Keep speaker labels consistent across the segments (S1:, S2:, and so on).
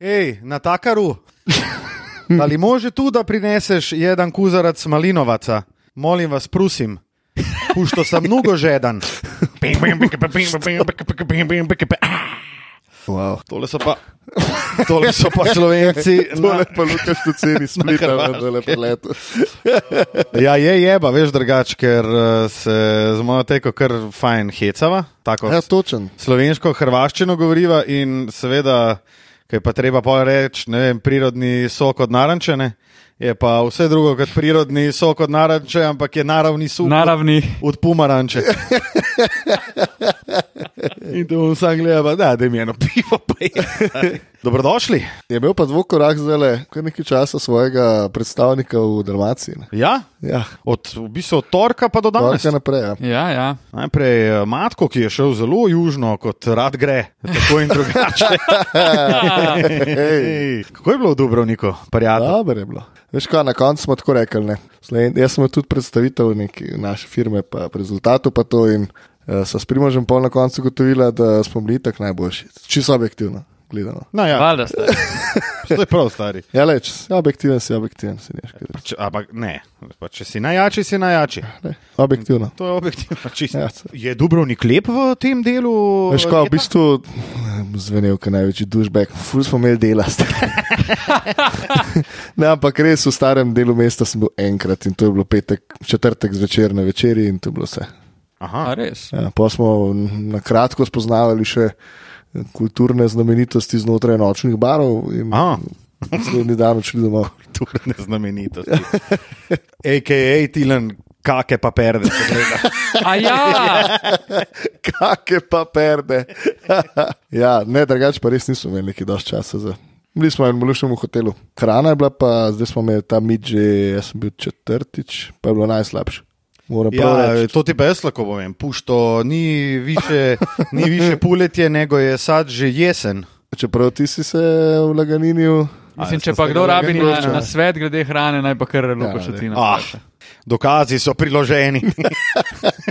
S1: Hej, natakaru, ali može tu, da prineseš jedan kuzarac malinovaca? Molim vas, prosim, pušto sem mnogo žeden. Ah,
S2: Wow.
S1: Tole so pa, tole so pa slovenci.
S2: Tole pa Lukaš tu ceni splita, da le prelet.
S1: Ja, je jeba, veš drugače, ker eh, se z mojo teko kar fajn hecava. Tako
S2: Ja, točen.
S1: slovensko, hrvaščino govoriva in seveda, kaj pa treba pa reči, ne vem, prirodni sok od narančene. Je pa vse drugo kot prirodni sok od naranče, ampak je naravni sok
S3: Naravni.
S1: od pomaranče. In to bom sam gledal, pa da, da mi eno pivo pa je. Dobrodošli.
S2: Je imel pa dvokorak zdaj, kar nekaj časa svojega predstavnika v Dalmaciji. ne?
S1: Ja,
S2: Ja,
S1: od, v bistvu od torka pa do danes.
S2: Torka naprej. Ja.
S3: Ja, ja.
S1: Najprej eh, Matko, ki je šel zelo južno, kot rad gre, tako in drugače. Ej, Kako je bilo v Dubrovniku, prijatelj?
S2: Dobro je bilo. Veš, kaj, na koncu smo tako rekli. Ne? Sloven- Jaz sem imel tudi predstavitev neke naše firme, pa rezultatov pa to. In uh, so s Primožem pol na koncu gotovila, da smo bili tako najboljši. Čisto objektivno gledano.
S1: No, ja,
S3: Valjda ste.
S1: to je prav, stari.
S2: Ja, leč, si objektiven si, objektiven si. Neš,
S1: Če, ampak ne, pa če si najjači, si najjači.
S2: ne, objektivno.
S1: To je objektivno čisto.
S2: Ja.
S1: Je Dubrovnik lep v tem delu?
S2: Veš, kaj, v
S1: leta?
S2: bistvu zvenel, kot največji dušbek, ful smo imeli dela. ne, ampak res v starem delu mesta sem bil enkrat in to je bilo petek, četrtek zvečer na večerji in to je bilo vse.
S3: A
S1: Aha,
S3: res.
S2: Ja, pa smo na kratko spoznavali še kulturne znamenitosti znotraj nočnih barov in
S1: Aha.
S2: naslednji dan odšli domov.
S1: kulturne znamenitosti. AKA Tilan, kake pa perde. se gleda.
S3: A ja,
S2: Kake pa perde. ja, ne, drugače pa res nismo imeli neki dosti časa. Za. Bili smo v enem lušnem hotelu. Hrana je bila pa, zdaj smo imeli ta mid, že jaz sem bil četrtič, pa je bilo najslabše. Moram prav
S1: Ja,
S2: reči.
S1: to ti pa jaz lahko povem. Pušto ni više, ni više poletje, nego je sad že jesen.
S2: Čeprav ti si se v Laganini.
S3: mislim,
S1: A,
S3: če
S1: so
S3: pa
S1: se
S3: kdo
S1: ga
S3: rabi na,
S1: organizirali?
S3: na svet glede hrane, naj pa kar
S2: Ja,
S3: lupa še ti
S1: Ah,
S3: na.
S1: dokazi so priloženi.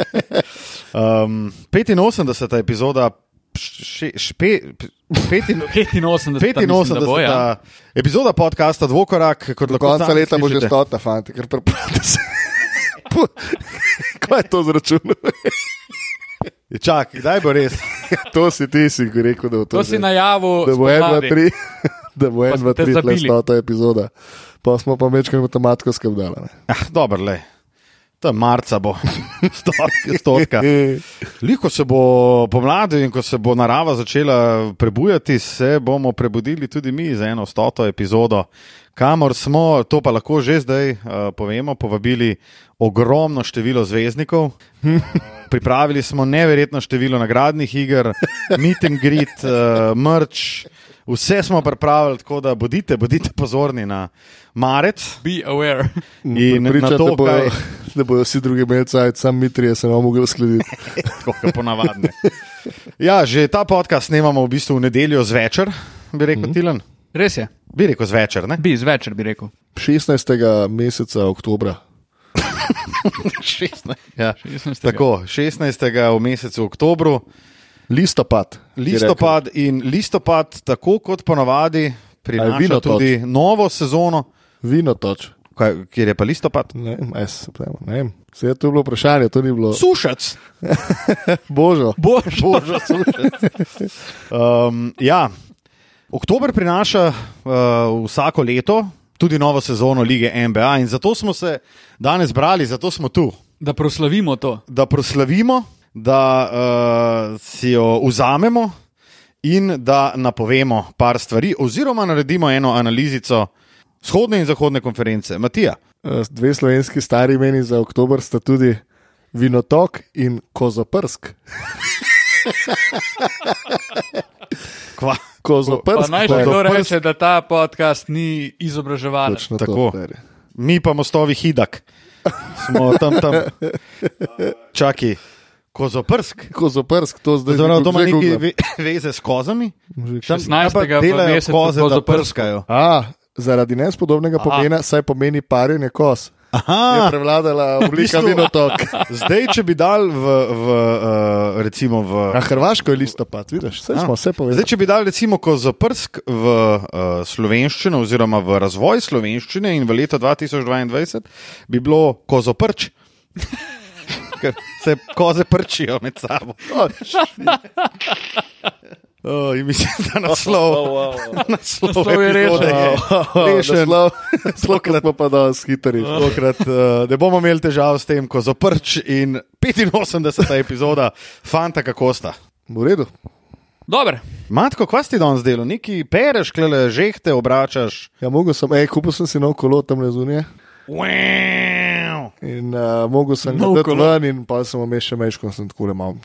S1: um, 85. epizoda. Še, špe, petin,
S3: 85.
S1: 85.
S3: Bo, ja.
S1: epizoda podcasta Dvokorak, kot
S2: Do
S1: lahko
S2: konca
S1: sami
S2: leta bo že
S1: slišite.
S2: stota, fanti, ker prepravite se. Pu- Kaj je to zračun?
S1: Čak, kdaj bo res?
S2: to si ti si rekel, da bo to.
S3: To si
S2: že-
S3: najavil.
S2: Da bo en, dva,
S3: spomladi.
S2: tri, da bo en,
S3: smo
S2: dva,
S3: te
S2: tri, tle
S3: zabili.
S2: stota epizoda. Pa smo pa večkrat matematiko skrbdala. ne.
S1: Ah, Dobro, le. Tam marca bo, stotka. stotka. Li, ko se bo pomladil in ko se bo narava začela prebujati, se bomo prebudili tudi mi za eno stoto epizodo, kamor smo, to pa lahko že zdaj uh, povemo, povabili ogromno število zvezdnikov. Pripravili smo neverjetno število nagradnih iger, meet and greet, uh, mrč. Vse smo pripravili, tako da bodite, bodite pozorni na marec.
S3: Be aware.
S2: Mm,
S1: In
S2: Priča,
S1: na to,
S2: da, bojo,
S1: kaj-
S2: da bojo vsi drugi imeli cajt, sam mi trije se ne bomo mogli uskladiti.
S1: tako kot ponavadi. Ja, že ta podcast snemamo v bistvu v nedeljo zvečer, bi rekel mm -hmm. Tilan.
S3: Res je.
S1: Bi rekel zvečer, ne?
S3: Bi zvečer bi rekel.
S2: 16. meseca, oktobra.
S1: 16. Ja.
S3: 16.
S1: Tako, 16. v mesecu oktobru,
S2: Listopad. bi
S1: listopad in listopad, tako kot ponavadi, prinaša
S2: vinotok?
S1: tudi novo sezono,
S2: rekel. Vino toč.
S1: kaj, kjer je pa listopad.
S2: Ne vem, aj se pravimo, ne vem. Vse je to bilo vprašanje, to ni bilo.
S1: Sušec.
S2: Božo.
S3: Bož.
S1: Božo sušec. Um, ja, oktober prinaša uh, vsako leto tudi novo sezono lige NBA in zato smo se danes brali, zato smo tu,
S3: Da proslavimo to.
S1: da proslavimo, da uh, si jo vzamemo in da napovemo par stvari, oziroma naredimo eno analizico vzhodne in zahodne konference. Matija,
S2: Eh, Dve slovenski stari meni za oktober sta tudi Vinotok in Kozoprsk.
S1: kva.
S3: Pa
S2: Kozoprsk.
S3: naj
S2: to
S3: še
S2: je
S3: kdo
S2: Kozoprsk,
S3: reče, da ta podcast ni izobraževalen.
S2: točno to,
S1: Pač Tako.
S2: stari.
S1: mi pa mostovi Hidak, smo tam tam. Čakaj, kozoprsk.
S2: Kozoprsk, to zdaj
S1: Zdaj,
S2: že
S1: doma neki
S2: googlam.
S1: ve, veze s kozami,
S2: Že
S1: tam
S3: 16.
S1: pa
S3: v
S1: delajo
S3: mesecu
S1: koze,
S3: bo
S1: da
S3: zaprsko.
S1: prskajo.
S2: A, zaradi nespodobnega pomena, saj pomeni parjenje kos. je
S1: Aha,
S2: prevladala oblika
S1: bistvu-
S2: Minotok.
S1: zdaj, če bi dal v, v, eh, recimo v
S2: Na Hrvaško je listopad, vidiš, vse smo vse povedali.
S1: Zdaj, če bi dal recimo kozoprsk v uh, slovenščino oziroma v razvoj slovenščine in v leto 2022 bi bilo kozoprč. Ker se koze prčijo med sabo. Oh, in mislim, da naslov, oh, wow, wow. naslov,
S3: Naslov je
S1: epizode
S3: rešen.
S1: rešen.
S2: Rešeno, tokrat pa pa da skitari.
S1: Tokrat uh, ne bomo imeli težav s tem, ko zoprč in 85. epizoda Fanta Kakosta.
S2: V redu.
S3: Dober.
S1: Matko, kva si ti danes delo? Neki pereš, klele, žehte obračaš.
S2: Ja, mogel sem, ej, kupil sem si nov kolo tam le zunije
S1: Wow.
S2: in uh, mogel sem ga
S3: Nov
S2: dati
S3: kolo.
S2: ven in pa sem omešal meško, sem tako le mal.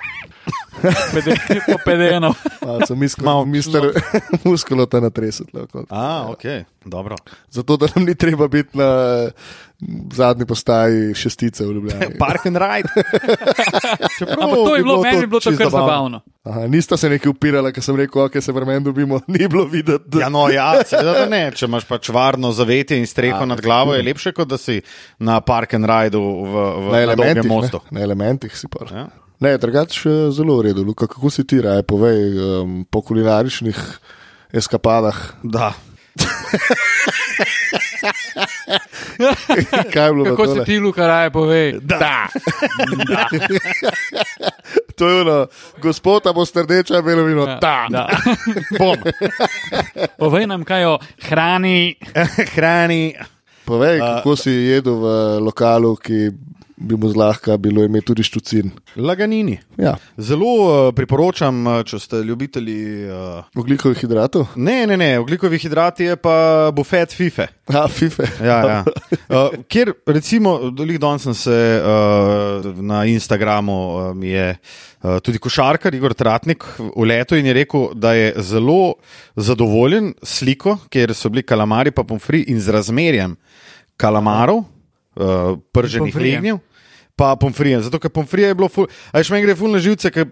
S3: Po PDN-u.
S2: Malo sem
S1: Malo.
S2: iskal, mister, muskulota na 30 lahko.
S1: A, ok, dobro.
S2: Zato, da nam ni treba biti na zadnji postaji šestice v Ljubljani.
S1: Park and ride.
S2: Čeprav
S3: Ampak to
S2: bi
S3: je bilo, meni je bilo to
S2: čisto
S3: kar zabavno.
S2: Aha, nista se neki upirala, ker sem rekel, ok, se vrmen dobimo, ni bilo videti. da-
S1: Ja, no, ja, seveda da ne. Če imaš pač varno zavetje in streho nad glavo, je lepše, kot da si na park and rideu v,
S2: na
S1: v dolgem
S2: elementih,
S1: mostu.
S2: ne, na elementih si pa.
S1: Ja.
S2: Ne, drugače eh, zelo v redu. Luka, kako si ti raje, povej um, po kulinaričnih eskapadah,
S1: Da.
S2: kaj je bilo
S3: Kako
S2: na
S3: si
S2: tole?
S3: ti, Luka, raje povej?
S1: Da.
S2: To je ono, gospoda bo strdeča, belo vino, ja. ta.
S3: da.
S1: Bom.
S3: Povej nam, kaj o hrani.
S1: Hrani.
S2: Povej, kako si jedel v lokalu, ki bi mu zlahka bilo ime tudi štucin.
S1: Laganini.
S2: Ja,
S1: Zelo eh, priporočam, eh, če ste ljubitelji. eh,
S2: oglikovih hidratov,
S1: Ne, ne, ne, oglikovi hidrati je pa bufet FIFA.
S2: a fife.
S1: Ja, ja. Uh, kjer, recimo, dolih danes sem se uh, na Instagramu, uh, mi je uh, tudi košarkar Igor Tratnik v letu in je rekel, da je zelo zadovoljen s sliko, kjer so bili kalamari pa pomfri in z razmerjem kalamarov, uh, prženih
S3: Pomfrijev.
S1: lignjev. Pa pomfrijem, zato ker pomfrije je bilo, ful- a veš, meni gre fulno živce, ker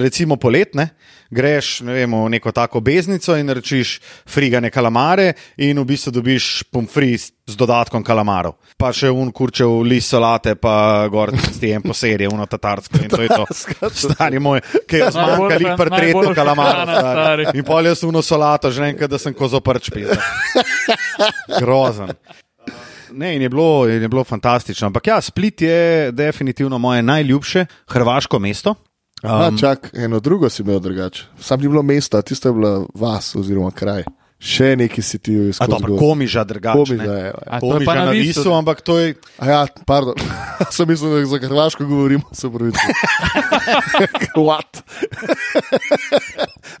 S1: recimo poletne, greš ne vem, v neko tako beznico in rečiš frigane kalamare in v bistvu dobiš pomfri s, z dodatkom kalamarov. Pa še un kurčev list solate, pa gor ti en poserje, uno tatarsko in to je to. Stari moj, ki je zmanjka
S3: Najbolj-
S1: lik pred tretjo
S3: najboljša
S1: kalamaro.
S3: hrana,
S1: stari.
S3: stari.
S1: In pol jaz uno solato, že enkrat, da sem kozoprč pil. Grozen. Ne, in je bilo, in je bilo fantastično. Ampak ja, Split je definitivno moje najljubše hrvaško mesto.
S2: Um, čak, eno drugo si imel drugače. Sam ni bilo mesta, tisto je bila vas oziroma kraj. Še neki si ti
S1: A dobro,
S2: izkušnja.
S1: komiža drugače.
S2: Komiža
S1: ne.
S2: je. ja.
S3: A to je
S1: Komiža
S3: pa na
S1: na
S3: Visu.
S1: visu, ampak to je.
S2: A Ja, pardon, sem mislil, da za Hrvaško govorimo, se pravi. Kvat.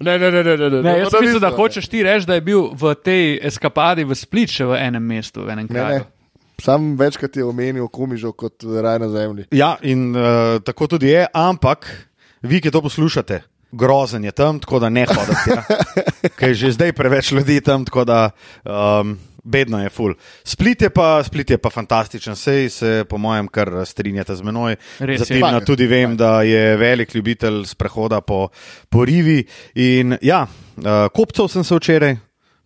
S2: ne, ne, ne, ne, ne, ne.
S3: Ne, jaz
S2: to ni
S3: mislim, da
S2: isto,
S3: hočeš ti reči, da je bil v tej eskapadi v Split še v enem mestu, v enem
S1: Ja,
S2: Ne, ne.
S3: kraju.
S2: Sam večkrat je omenil komižo kot raj na zemlji.
S1: Ja, in uh, tako tudi je, ampak vi, ki to poslušate, grozen je tam, tako da ne hodite. Ja. Ker je že zdaj preveč ljudi tam, tako da um, bedno je ful. Split je pa, split je pa fantastičen, sej se po mojem kar strinjate z menoj.
S3: Res je.
S1: Zatim
S2: Fajn je.
S1: tudi vem, da je velik ljubitelj sprehoda po, po rivi. In ja, uh, kopcev sem se včeraj.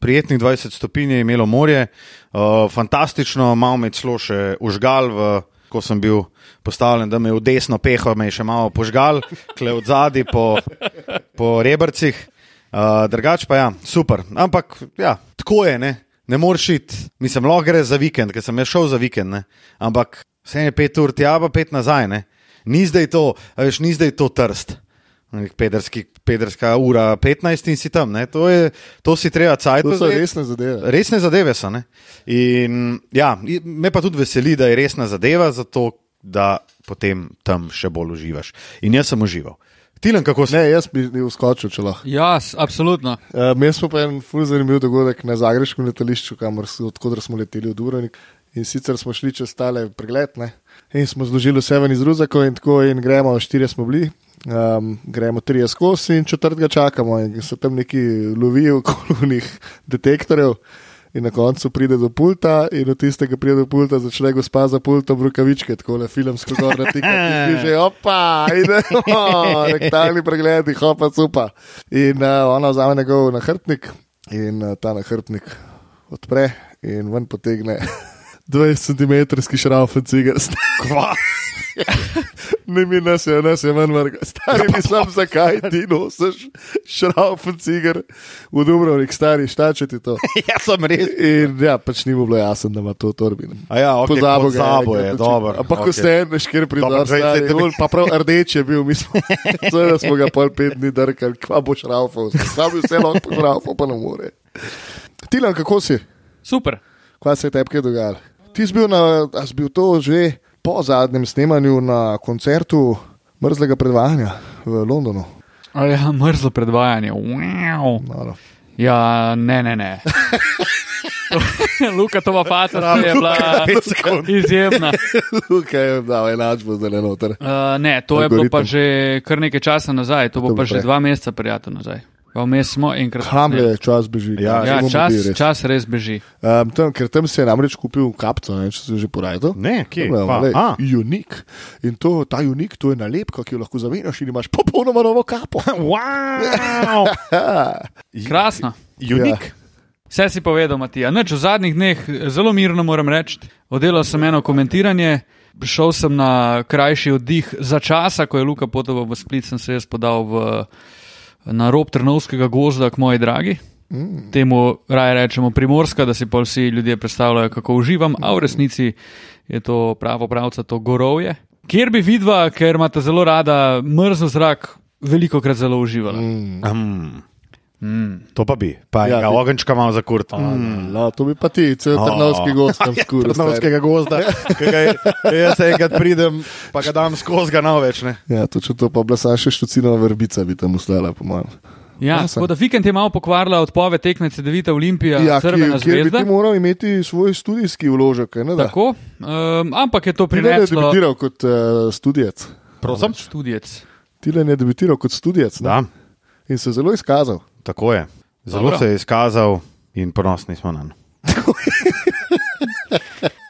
S1: Prijetnih 20 stopinj je imelo morje, uh, fantastično, malo me je celo še užgal, v, ko sem bil postavljen, da me je v desno peho, me je še malo požgal, kle od zadaj po, po rebrcih. Uh, drugač pa ja, super. Ampak ja, tako je, ne, ne moreš iti. Mislim, lahko gre za vikend, ker sem jaz šel za vikend, ne. ampak vse je pet ur tja, pa pet nazaj. Ne. Ni zdaj to, a veš, ni zdaj to trst. Nek Pederski, pederska ura 15 in si tam, ne. to, je, to si treba cajt.
S2: To so resne zadeve.
S1: Resne zadeve so. Ne? In ja, i- me pa tudi veseli, da je resna zadeva, zato da potem tam še bolj uživaš. In jaz sem užival. Tilen, kako se.
S2: Ne, jaz bi ne uskočil, če lahko.
S3: Ja, s- absolutno.
S2: Uh, Imeli smo pa en ful zanimiv dogodek na Zagrebskem letališču, kamor s- od koder smo leteli v Dubrovnik. In sicer smo šli čez tale pregled ne? in smo zložili vse ven iz Ruzaka in tako in gremo, štirje smo bili. Um, gremo tri skozi in četrtega čakamo, in so tam neki lovijo kolonih detektorjev. In na koncu pride do pulta, in od tistega pride do pulta, začne gospa za pultom rokavičke, tako le filmsko gor na tik, ki že opa, idemo, rektalni pregledi, hopa, cupa. In uh, ona vzame njegov eh, nahrbtnik in uh, ta nahrbtnik odpre in ven potegne 20-centimetrski šraufen cigar. Kva? ne mi nas je, nas je manj vrga. Stari, mislim, zakaj ti nosiš šraufen cigar v Dubrovnik, stari, štače ti to.
S1: Jaz sem res.
S2: In ja, pač ni mu bilo jasno, da ima to torbino.
S1: A ja, okay,
S2: Pozabil ga
S1: Pozabo je,
S2: enkrat očitno.
S1: dobro.
S2: Ampak ko
S1: okej.
S2: ste en škir
S1: Dobro,
S2: pridal,
S1: dvajset
S2: stari,
S1: centimetrov.
S2: dol, pa prav rdeč je bil, mi smo, seveda smo ga pol pet dni drkali, kva boš raufal, kva bi vse lahko raufal, pa ne more. Tilan, kako si?
S3: Super.
S2: Kva se je tebi kaj dogajalo? Ti si bil, na, a si bil to že po zadnjem snemanju na koncertu mrzlega predvajanja v Londonu.
S3: A Ja, mrzlo predvajanje. Wow.
S2: Noro.
S3: Ja, ne, ne, ne. Luka Tova Faca je bila izjemna.
S2: Tukaj je dal enačbo zdaj noter.
S3: Uh, ne, to je bilo
S2: Algoritem.
S3: pa že kar nekaj časa nazaj, to bo
S2: To bo
S3: pa že
S2: prej.
S3: dva meseca, prijatelj, nazaj. Pa vmes smo enkrat.
S2: Hamle, čas beži.
S1: Ja,
S3: Ja,
S2: bomo bili
S3: čas,
S2: res.
S3: čas res beži.
S2: Um, tam, ker tam si je namreč kupil kapco, ne, če si že porajal.
S1: Ne, kje? Pa, a.
S2: Unik. In to, ta unik, to je nalepka, ki jo lahko zamenjaš in imaš popolnoma novo kapo.
S1: Wow!
S3: Krasno.
S1: Unik.
S3: Vse si povedal, Matija. Noč v zadnjih dneh eh, zelo mirno moram reči. Oddelal sem eno komentiranje, šel sem na krajši oddih za časa, ko je Luka potoval v Split, sem se jaz podal v, na rob Trnovskega gozda, k moji dragi. Mm. Temu raje rečemo primorska, da si pa vsi ljudje predstavljajo, kako uživam, a v resnici je to pravo pravca, to gorovje, kjer bi vidva, ker imata zelo rada mrzlo zrak, veliko krat zelo uživala. Mm.
S1: Mm. To pa bi, pa ja,
S2: Hmm. Ja,
S1: ga
S2: bi.
S1: ogenčka imam za kurto. Mm.
S2: No, to bi pa ti, cel trnovski gost tam skuril.
S1: ja, Trnovskega gozda, ki ga je- jaz enkrat pridem, pa ga dam skozi, ga nav več. Ne?
S2: Ja, točno to, pa bila sam še štucina vrbica bi tam ustala, po mojem.
S3: Ja,
S2: Jasen.
S3: tako da vikend je malo pokvarila odpoved tekmice 9. Olimpija, ja, Crvena
S2: kjer bi
S3: zvezda.
S2: ti moral imeti svoj studijski vložek, ne da.
S3: Tako, um, ampak je to
S2: Ti ja. ne
S3: prineslo
S2: debitiral kot uh, studijec.
S1: Prosim?
S3: študijec.
S2: Ti ne debitiral kot studijec ne?
S1: Da,
S2: in se zelo izkazal.
S1: tako je. Zelo Dobro.
S3: Dobro.
S1: se je izkazal in ponosni smo na njega.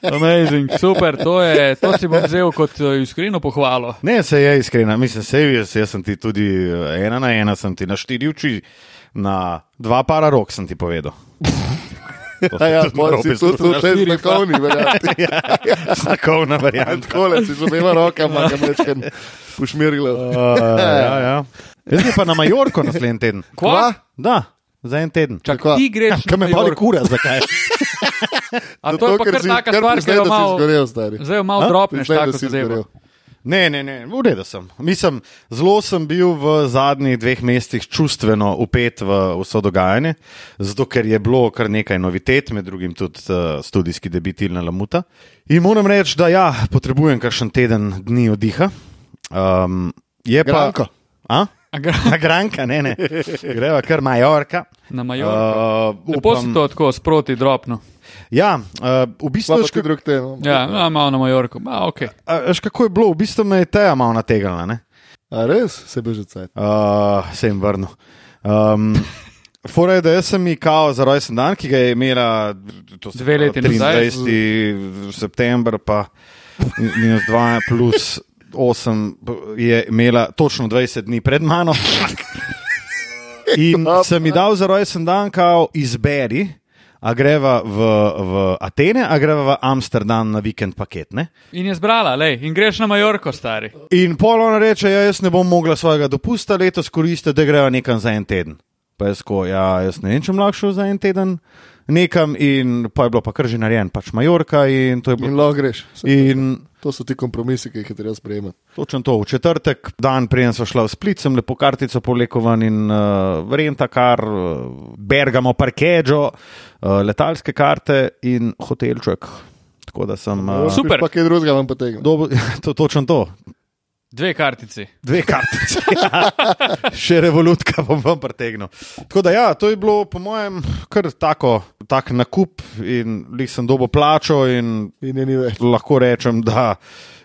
S3: Amazing, super, to, je, to si bom vzel kot eh, iskreno pohvalo.
S1: Ne, se je iskrena, mislim, se je, jaz, jaz sem ti tudi eh, ena na ena, sem ti na štiri oči, na dva para rok sem ti povedal. To sem tudi
S2: Ja, pol
S1: narobe
S2: si tudi
S1: izrazil.
S2: tu še ja. znakovni, verjamem.
S1: Znakovna varianta.
S2: Tako le si z obema rokama, da mečem pošmirgla.
S1: Uh, ja, ja. Jaz bi pa na Majorko naslednji teden.
S3: Kva?
S1: Da, za en teden.
S3: Čak,
S2: Kva? Ja.
S3: ti greš
S1: Kaj me
S3: na
S1: boli
S3: Majorko.
S1: kura, zakaj?
S3: A to je pa kar taka stvar, ki
S2: zdaj,
S3: jo
S2: da si
S3: malo.
S2: zgorel, stari.
S3: Zdaj jo malo
S1: A?
S3: dropneš,
S2: Zdaj,
S3: tako
S2: da
S3: da
S2: si
S3: se zdaj.
S2: zgorel.
S1: Ne, ne, ne, v redu sem. Mislim, zelo sem bil v zadnjih dveh mesecih čustveno upet v vso dogajanje, zato ker je bilo kar nekaj novitet, med drugim tudi uh, študijski debit Ilna Lamuta. In moram reči, da ja, potrebujem kakšen teden dni oddiha. Um, je
S2: Granko.
S1: pa. A? Na Granka, ne, ne. Greva kar Majorka.
S3: Na Majorko.
S1: Uh,
S3: Lepo si to tako sproti dropno.
S1: Ja, uh, v bistvu
S2: Sva
S1: je
S2: pa ti drug te. no.
S3: Ja, no, malo na Majorko. Ma, okay.
S1: A, veš, kako je bilo, v bistvu me je teja malo nategnila, ne?
S2: A res se bi že cajt.
S1: Uh, se jim vrnil. Um, Fora je, da jaz sem ji kao za rojsten dan, ki ga je imela to se
S3: Dve leti
S1: pravi,
S3: nazaj.
S1: 23. september, pa minus 2 plus 8 je imela točno 20 dni pred mano. In sem ji dal za rojsten dan, kao izberi, a greva v, v Atene, a greva v Amsterdam na vikend paket. Ne?
S3: In je zbrala, lej, in greš na Majorko, stari.
S1: In pol ona reče, ja, jaz ne bom mogla svojega dopusta letos koristiti, da grejo nekam za en teden. Pa jaz, ko, ja, jaz ne vem, če bom lahko šel za en teden nekam, in pa je bilo pa kar že narejen, pač Majorka in to je
S2: In
S1: bilo.
S2: lahko greš. Se-
S1: In
S2: To so ti kompromisi, ki jih je treba sprejemati.
S1: točno to, v četrtek, dan preden so šla v Split, sem lepo kartico polekovan in uh, renta kar, uh, Bergamo, parkežo, uh, letalske karte in hotelček. Tako da sem. Uh,
S3: Super.
S2: Pa kaj drugega vam potegne.
S1: dobil- To, točno to,
S3: Dve kartici.
S1: Dve kartice. Ja. Še revolutka bom vam pretegnil. Tako da, ja, to je bilo, po mojem, kar tako, tak nakup in lih sem dobo plačo in
S2: In je ni več.
S1: lahko rečem, da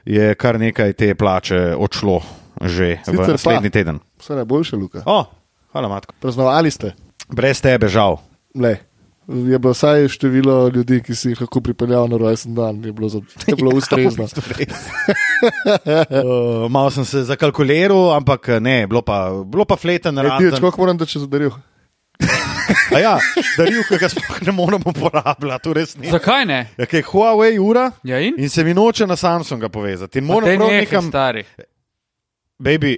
S1: je kar nekaj te plače odšlo že
S2: Sicer pa.
S1: v naslednji teden.
S2: Vse najboljše, Luka.
S1: O, hvala, matko.
S2: Praznovali ste.
S1: Brez tebe žal.
S2: Le. Je bilo vsaj število ljudi, ki si jih lahko pripeljal na rojsten dan, je bilo, za, je bilo ustrezno.
S1: Uh, malo sem se zakalkuliral, ampak ne, bilo pa, bilo pa fleten
S2: E, ti,
S1: razen.
S2: koliko moram, da če zadaril?
S1: A ja, darilka, ki ga sploh ne moremo uporabljati, to res ni.
S3: Zakaj ne?
S1: Ja, ker je Huawei ura
S3: Ja, in?
S1: in se mi noče na Samsunga povezati. In
S3: Pa
S1: moram
S3: te
S1: prav
S3: nehaj,
S1: nekam,
S3: stari.
S1: baby,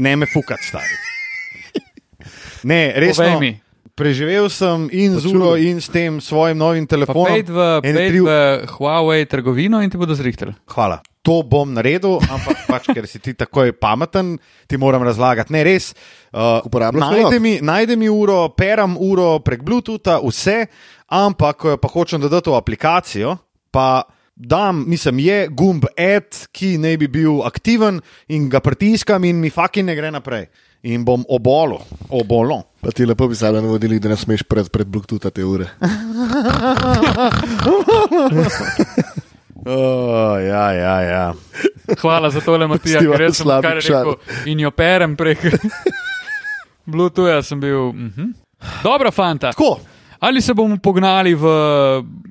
S1: ne me fukati, stari. Ne,
S3: Povej
S1: resno.
S3: mi.
S1: Preživel sem in z uro, in s tem svojim novim
S3: Pa
S1: telefonom.
S3: pejdi v,
S1: Ene
S3: pejdi
S1: tri
S3: v Huawei trgovino in ti bodo zrihteli.
S1: hvala. To bom naredil, ampak pač, ker si ti tako pameten, ti moram razlagati. Ne, res. Uh,
S2: Uporabno
S1: najde, mi, najde mi uro, peram uro prek Bluetootha, vse, ampak ko jo pa hočem dodati v aplikacijo, pa. Dam, mislim, je gumb ad, ki naj bi bil aktiven, in ga pritiskam, in mi fucking ne gre naprej. In bom obolo, obolo.
S2: Pa ti lepo bi zdaj navodili, da ne smeš pred, pred Bluetooth te ure.
S1: Oh, ja, ja, ja.
S3: Hvala za tole, Matija,
S2: Pustiva,
S3: ker res sem
S2: slabi
S3: kar
S2: čar.
S3: rekel. In jo perem prek Bluetootha sem bil. Mhm. Dobro, fanta.
S1: Tako,
S3: Ali se bomo pognali v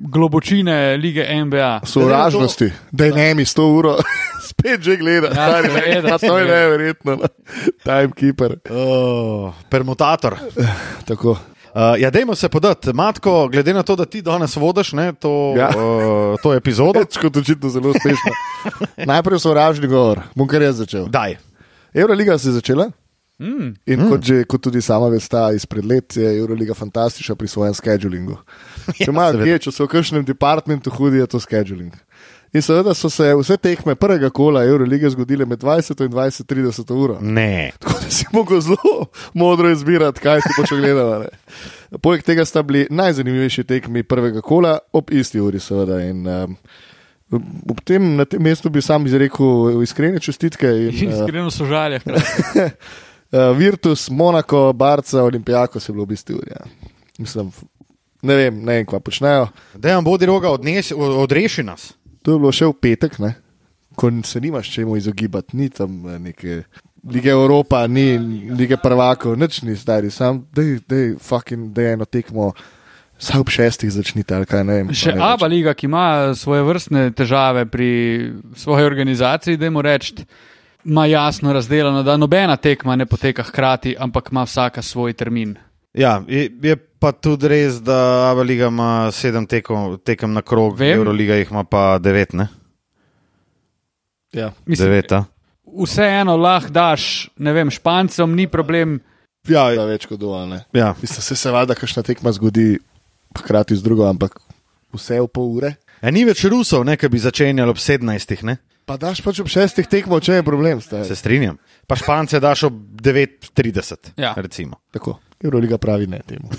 S3: globočine lige NBA?
S2: Sovražnosti, da ne mi 100 uro, spet že gledam.
S3: Ja,
S2: stari,
S3: seveda,
S2: ne, to je
S3: seveda.
S2: neverjetno. no. Timekeeper.
S1: oh, permutator.
S2: Tako.
S1: Uh, ja, dajmo se podati, Matko, glede na to, da ti danes vodiš ne, to, ja.
S2: Ja.
S1: uh, to epizodo.
S2: Več kot očitno zelo uspešno. Najprej sovražni govor, bom kar jaz začel.
S1: Daj.
S2: Euroliga se je začela.
S3: Mm.
S2: In mm. kot, že, kot tudi sama veste, izpred let je Euroliga fantastična pri svojem schedulingu. Če imajo kje, če so v kakšnem departmentu hudi, je to scheduling. In seveda so se vse tekme prvega kola Eurolige zgodile med 20 in 20-30 uro.
S1: Mm. Ne.
S2: Tako da si mogel zelo modro izbirati, kaj si boš ogledal. ne. Poleg tega sta bili najzanimivejši tekmi prvega kola ob isti uri, seveda. In, um, ob tem, na tem mestu bi sam izrekel iskrene čestitke. In, uh,
S3: Iskreno so žalje.
S2: Uh, Virtus, Monako, Barca, Olimpijako se je bilo v bistvu. Ja. Mislim, f- ne vem, ne vem, kva počnejo.
S1: Dejan Bodiroga odnes, o- odreši nas.
S2: To je bilo še v petek, ne? ko n- se nimaš čemu izogibati, ni tam eh, neke. Lige Evropa, ni lige prvakov, nič ni stari, sam da je fucking da eno tekmo, vsaj ob šestih začnite ali kaj ne vem. pa
S3: Še
S2: ne
S3: Abba Liga, ki ima svoje vrstne težave pri svoji organizaciji, da jim rečem, ima jasno razdeljeno, da nobena tekma ne poteka hkrati, ampak ima vsaka svoj termin.
S1: Ja, je, je pa tudi res, da Abba Liga ima sedem tekem, tekem na krog,
S3: Vem.
S1: Euroliga jih ima pa devet, ne?
S2: več. Ja.
S3: Mislim,
S1: Deveta.
S3: vseeno lahko daš, ne vem, špancem, ni problem.
S2: Da
S1: Ja,
S2: več kot dovolj. ne.
S1: ja.
S2: Mislim, se, se valjda, kakšna tekma zgodi hkrati z drugo, ampak vse v pol ure.
S1: E, ni več Rusov, ne, ki bi začenjali ob sedemnajstih, ne?
S2: Pa daš pač ob šestih tekmo, če je problem. Stari.
S1: Se strinjam. Pa Špance daš ob 9.30,
S3: Ja.
S1: recimo.
S2: Tako. Euroliga pravi ne temu.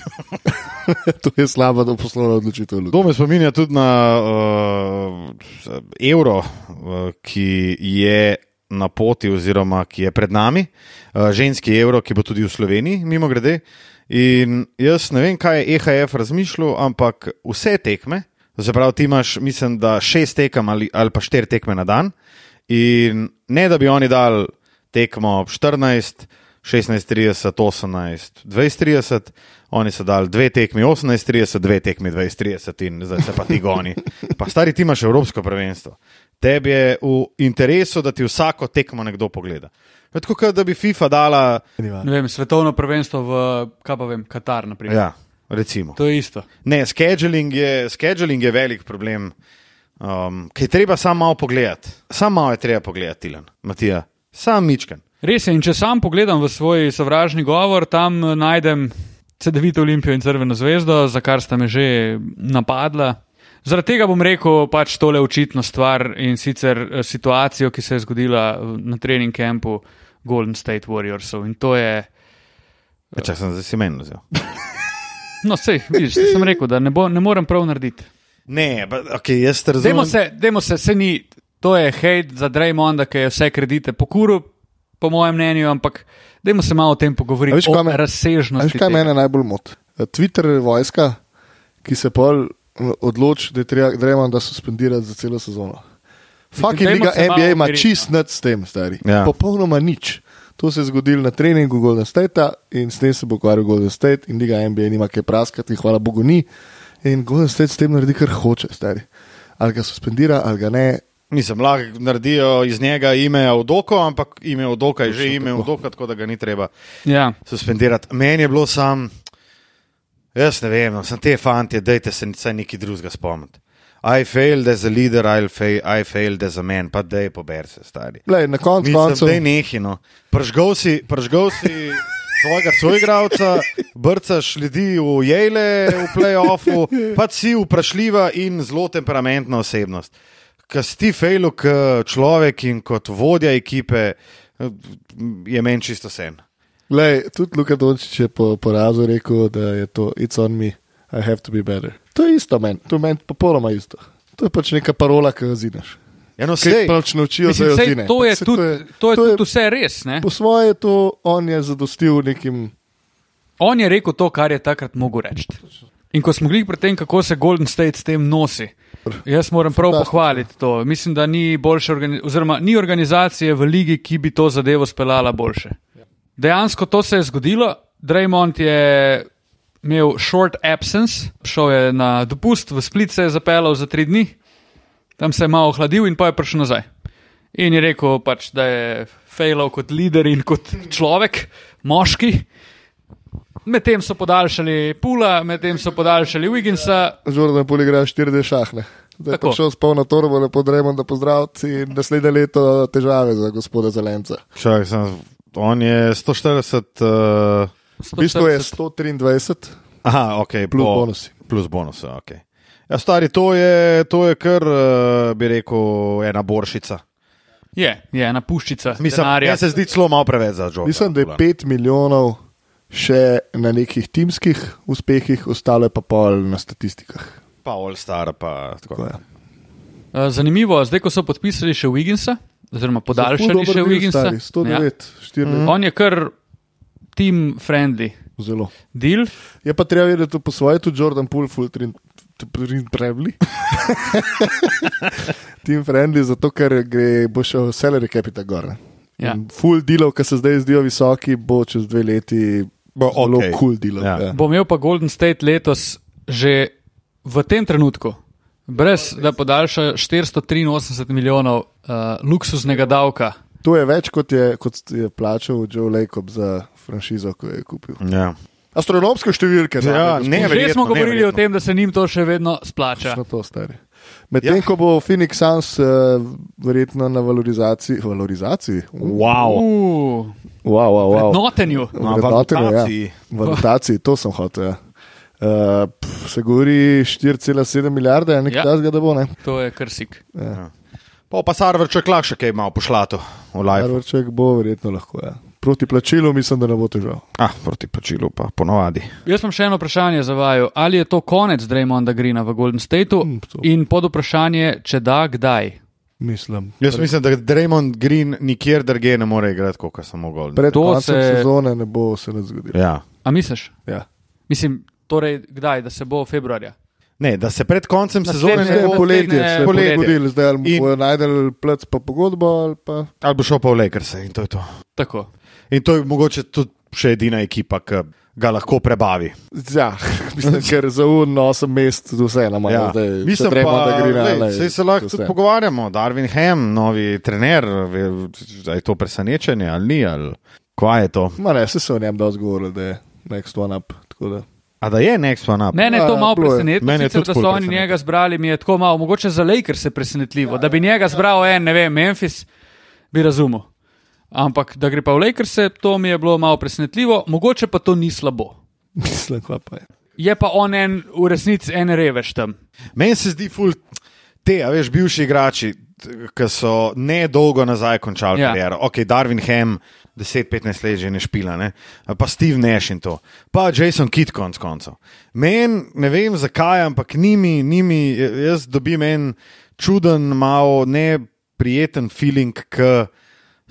S2: to je slaba do- poslovna odločitev. Luka.
S1: To me spominja tudi na uh, evro, uh, ki je na poti, oziroma ki je pred nami, uh, ženski evro, ki bo tudi v Sloveniji, mimo grede. In jaz ne vem, kaj je EHF razmišljal, ampak vse tekme, zapravo ti imaš, mislim, da šest tekem ali, ali pa štiri tekme na dan. In ne da bi oni dal tekmo ob 14, 16:30, 18, 20:30, oni so dali dve tekmi 18:30, dve tekmi 20:30 in zdaj se pa ti goni. Pa stari ti imaš Evropsko prvenstvo. Tebi je v interesu, da ti vsako tekmo nekdo pogleda. Je Tako kot da bi FIFA dala,
S3: Ne vem, svetovno prvenstvo v kaj pa vem, Katar. naprimer.
S1: ja, recimo.
S3: To je isto.
S1: Ne, scheduling je, scheduling je velik problem, um, ki je treba samo malo pogledati. Samo malo je treba pogledati, Ilan, Matija, sam mičken.
S3: Res je, in če sam pogledam v svoj sovražni govor, tam eh, najdem CD-vito Olimpijo in Crveno zvezdo, za kar sta me že napadla. Zaradi tega bom rekel pač tole očitno stvar in sicer eh, situacijo, ki se je zgodila eh, na trening kampu Golden State Warriorsov. In to je,
S1: Če Ja, sem zdaj si meni vzel.
S3: no, sej, vidiš, saj sem rekel, da ne, bo, ne morem prav narediti.
S1: Ne, pa, okay, jaz te razumem.
S3: Dajmo se, dajmo se, se ni, to je hate za Draymonda, ki je vse kredite pokuril, po mojem mnenju, ampak dajmo se malo o tem pogovoriti.
S2: A veš,
S3: o
S2: kaj me- A Veš,
S3: razsežnosti.
S2: kaj
S3: tega.
S2: mene najbolj moti? Eh, Twitter vojska, ki se pol eh, odloči, da je treba Dremon suspendirati za celo sezono. Fucking
S3: dajmo
S2: Liga
S3: se malo
S2: NBA ima
S3: umiriti,
S2: čist nad s tem, stari.
S1: Ja.
S2: Popolnoma nič. To se je zgodilo na treningu Golden State in s tem se bo ukvarjal Golden State in Liga NBA nima kaj praskati, hvala Bogu ni. In Golden State s tem naredi, kar hoče, stari. Ali ga suspendira, ali ga ne,
S1: Mislim, lahko naredijo iz njega ime Odoko, ampak ime Odoka je že
S2: Točno
S1: ime
S2: tako.
S1: Odoka, tako da ga ni treba
S3: Ja.
S1: suspendirati. Meni je bilo sam, Jaz ne vem, no, sem te fanti, dajte se vsaj nekaj drugega spomniti. I failed as a leader, I, fail, I failed as a man, pa dej pober se stari.
S2: Lej, na koncu
S1: Mislim,
S2: koncev.
S1: da je nehino. Pržgal si, pržgal si svojega soigravca, brcaš ljudi v Jele, v playoffu, pa si vprašljiva in zelo temperamentna osebnost. Kaj si fejlu, kot človek in kot vodja ekipe, je meni čisto sen.
S2: Lej, tudi Luka Dončić je po porazu rekel, da je to it's on me, I have to be better. To je isto meni, to je meni popolnoma isto. To je pač neka parola, ki jo zinaš.
S1: Eno
S2: Kaj
S1: Ja, no, sej,
S2: pač naučijo,
S3: Mislim,
S2: da jo
S3: sej,
S2: zine.
S3: to je
S2: Saj
S3: tudi, to je
S2: to
S3: tudi vse res. Ne?
S2: Po svoje je to, on je zadostil nekim.
S3: On je rekel to, kar je takrat mogel reči. In ko smo bili pri tem, kako se Golden State s tem nosi, jaz moram prav
S2: Fantastično.
S3: pohvaliti to. Mislim, da ni, boljše organi oziroma, ni organizacije v ligi, ki bi to zadevo speljala boljše. Dejansko to se je zgodilo. Draymond je imel short absence, šel je na dopust, v Split se je zapeljal za tri dni, tam se je malo ohladil in pa je prišel nazaj. In je rekel, pač, da je fejlal kot lider in kot človek, moški. Medtem so podaljšali Pula, medtem so podaljšali Wigginsa.
S2: Žordan Poli igra 4D šahne. Zdaj je
S3: Tako.
S2: prišel s polno torbo, lepo dremo, da pozdravci in naslednje leto težave za gospoda Zelenca.
S1: Čak, sem, on je 140. Uh,
S2: V bistvu je
S3: 140.
S2: 123,
S1: aha, ok,
S2: plus
S1: po-
S2: bonusi.
S1: Plus bonus, ok. Ja, stari, to je, to je kar, eh, bi rekel, ena boršica.
S3: Je, je ena puščica.
S1: Mislim,
S3: denarja.
S1: meni se zdi celo malo preveč za Džoka.
S2: Mislim, da je 5 milijonov še na nekih timskih uspehih, ostalo je pa pol na statistikah.
S1: Pa All Star, pa tako.
S2: Tako je.
S3: Eh, Zanimivo, zdaj ko so podpisali še Wigginsa, oziroma podaljšali še Wigginsa,
S2: Stari, 109, 4
S3: ja.
S2: milijonov.
S3: on je kar team friendly.
S2: no, Zelo.
S3: Deal,
S2: Je pa treba vedeti po svoje, tudi Jordan Poole, full trin, trin friendly. Team friendly, zato ker gre, bo šel salary capita gor. ne.
S3: Ja.
S2: In Full dealov, ki se zdaj zdijo visoki, bo čez dve leti
S1: Bo
S2: zelo
S1: okej.
S2: cool dealov.
S1: Ja.
S2: Ja.
S3: bo imel pa Golden State letos že v tem trenutku, brez da podaljša 483 milijonov uh, luksuznega davka.
S2: To je več, kot je, kot je plačal Joe Lacob za franšizo, ko jo je kupil.
S1: Ja.
S2: Astronomske številke,
S1: Ja,
S2: dame,
S1: ne,
S3: Že smo govorili o tem, da se njim to še vedno splača.
S2: Na to stari. Medtem ja. ko bo Phoenix Suns uh, verjetno na valorizaciji, valorizaciji,
S1: Wow.
S3: Uh,
S2: wow, wow, wow.
S3: notenju.
S1: Na
S2: Vrednotenju,
S1: valutaciji.
S2: Ja. Valutaciji, to sem hotel. Ja. Uh, pf, se govori 4,7 milijarde, nekaj
S3: Ja.
S2: ja. tazga, da bo ne.
S3: To je kar sik.
S1: Pa pa Sarvrček lahko še kaj malo pošlato v live.
S2: Arvorček bo verjetno lahko. Ja. Proti plačilu mislim, da ne bo težav.
S1: Ah, proti plačilu pa ponovadi.
S3: Jaz imam še eno vprašanje za vaju. Ali je to konec Draymonda Greena v Golden Stateu
S2: Mm, to.
S3: in pod vprašanje, če da, kdaj?
S2: Mislim.
S1: Jaz mislim, da Draymond Green nikjer drugje ne more igrati, kot samo gol.
S2: Pred
S3: To
S2: koncem
S3: se-
S2: se... sezone ne bo se nič zgodilo.
S1: Ja.
S3: A misliš?
S2: Ja.
S3: Mislim, torej kdaj, da se bo februarja?
S1: Ne, da se pred koncem sezone
S3: Naslednje
S1: ne bo
S3: poletje.
S2: Poletje se bo
S1: eh, poletje.
S2: zgodilo, zdaj ali
S1: In-
S2: bojo najdel plec pa pogodbo ali pa
S1: ali bo šel pa v Lakers in to je to.
S3: Tako.
S1: In to je mogoče tudi še edina ekipa, ki ga lahko prebavi.
S2: Ja, mislim, ker za uno osem mest do vse na manj.
S1: Ja. Mislim,
S2: Mislim,
S1: pa,
S2: da gre
S1: lej,
S2: na
S1: saj se lahko tudi pogovarjamo. Darwin Hem, novi trener, ve- a je to presenečenje ali ni, ali kaj je to.
S2: Ma ne, se so o njem dosti govorili, da je next one up. tako da.
S1: A da je next one up.
S3: Mene je
S2: Ja,
S3: to malo
S2: bilo je.
S3: presenetilo,
S1: Mene je
S3: sicer,
S1: tudi
S3: da
S1: ful
S3: so oni
S1: presenetilo.
S3: njega zbrali, mi je tako malo, mogoče za Lakers se presenetljivo, da bi njega zbral en, ne vem, Memphis, bi razumel. Ampak da gre pa v Lakers, to mi je bilo malo presenetljivo, mogoče pa to ni slabo.
S2: Mislim, kva pa je.
S3: Je pa on en, v resnici en revež tam.
S1: Meni se zdi ful te, a veš, bivši igrači, t- ki so nedolgo nazaj končali ja.
S3: Ja.
S1: kariero. Ok, Darwin Hem, 10-15 let že ne špila, ne? pa Steve Nash in to, pa Jason Kidd konc koncev. Meni, ne vem zakaj, ampak njimi, njimi jaz dobim en čuden, malo neprijeten feeling, ki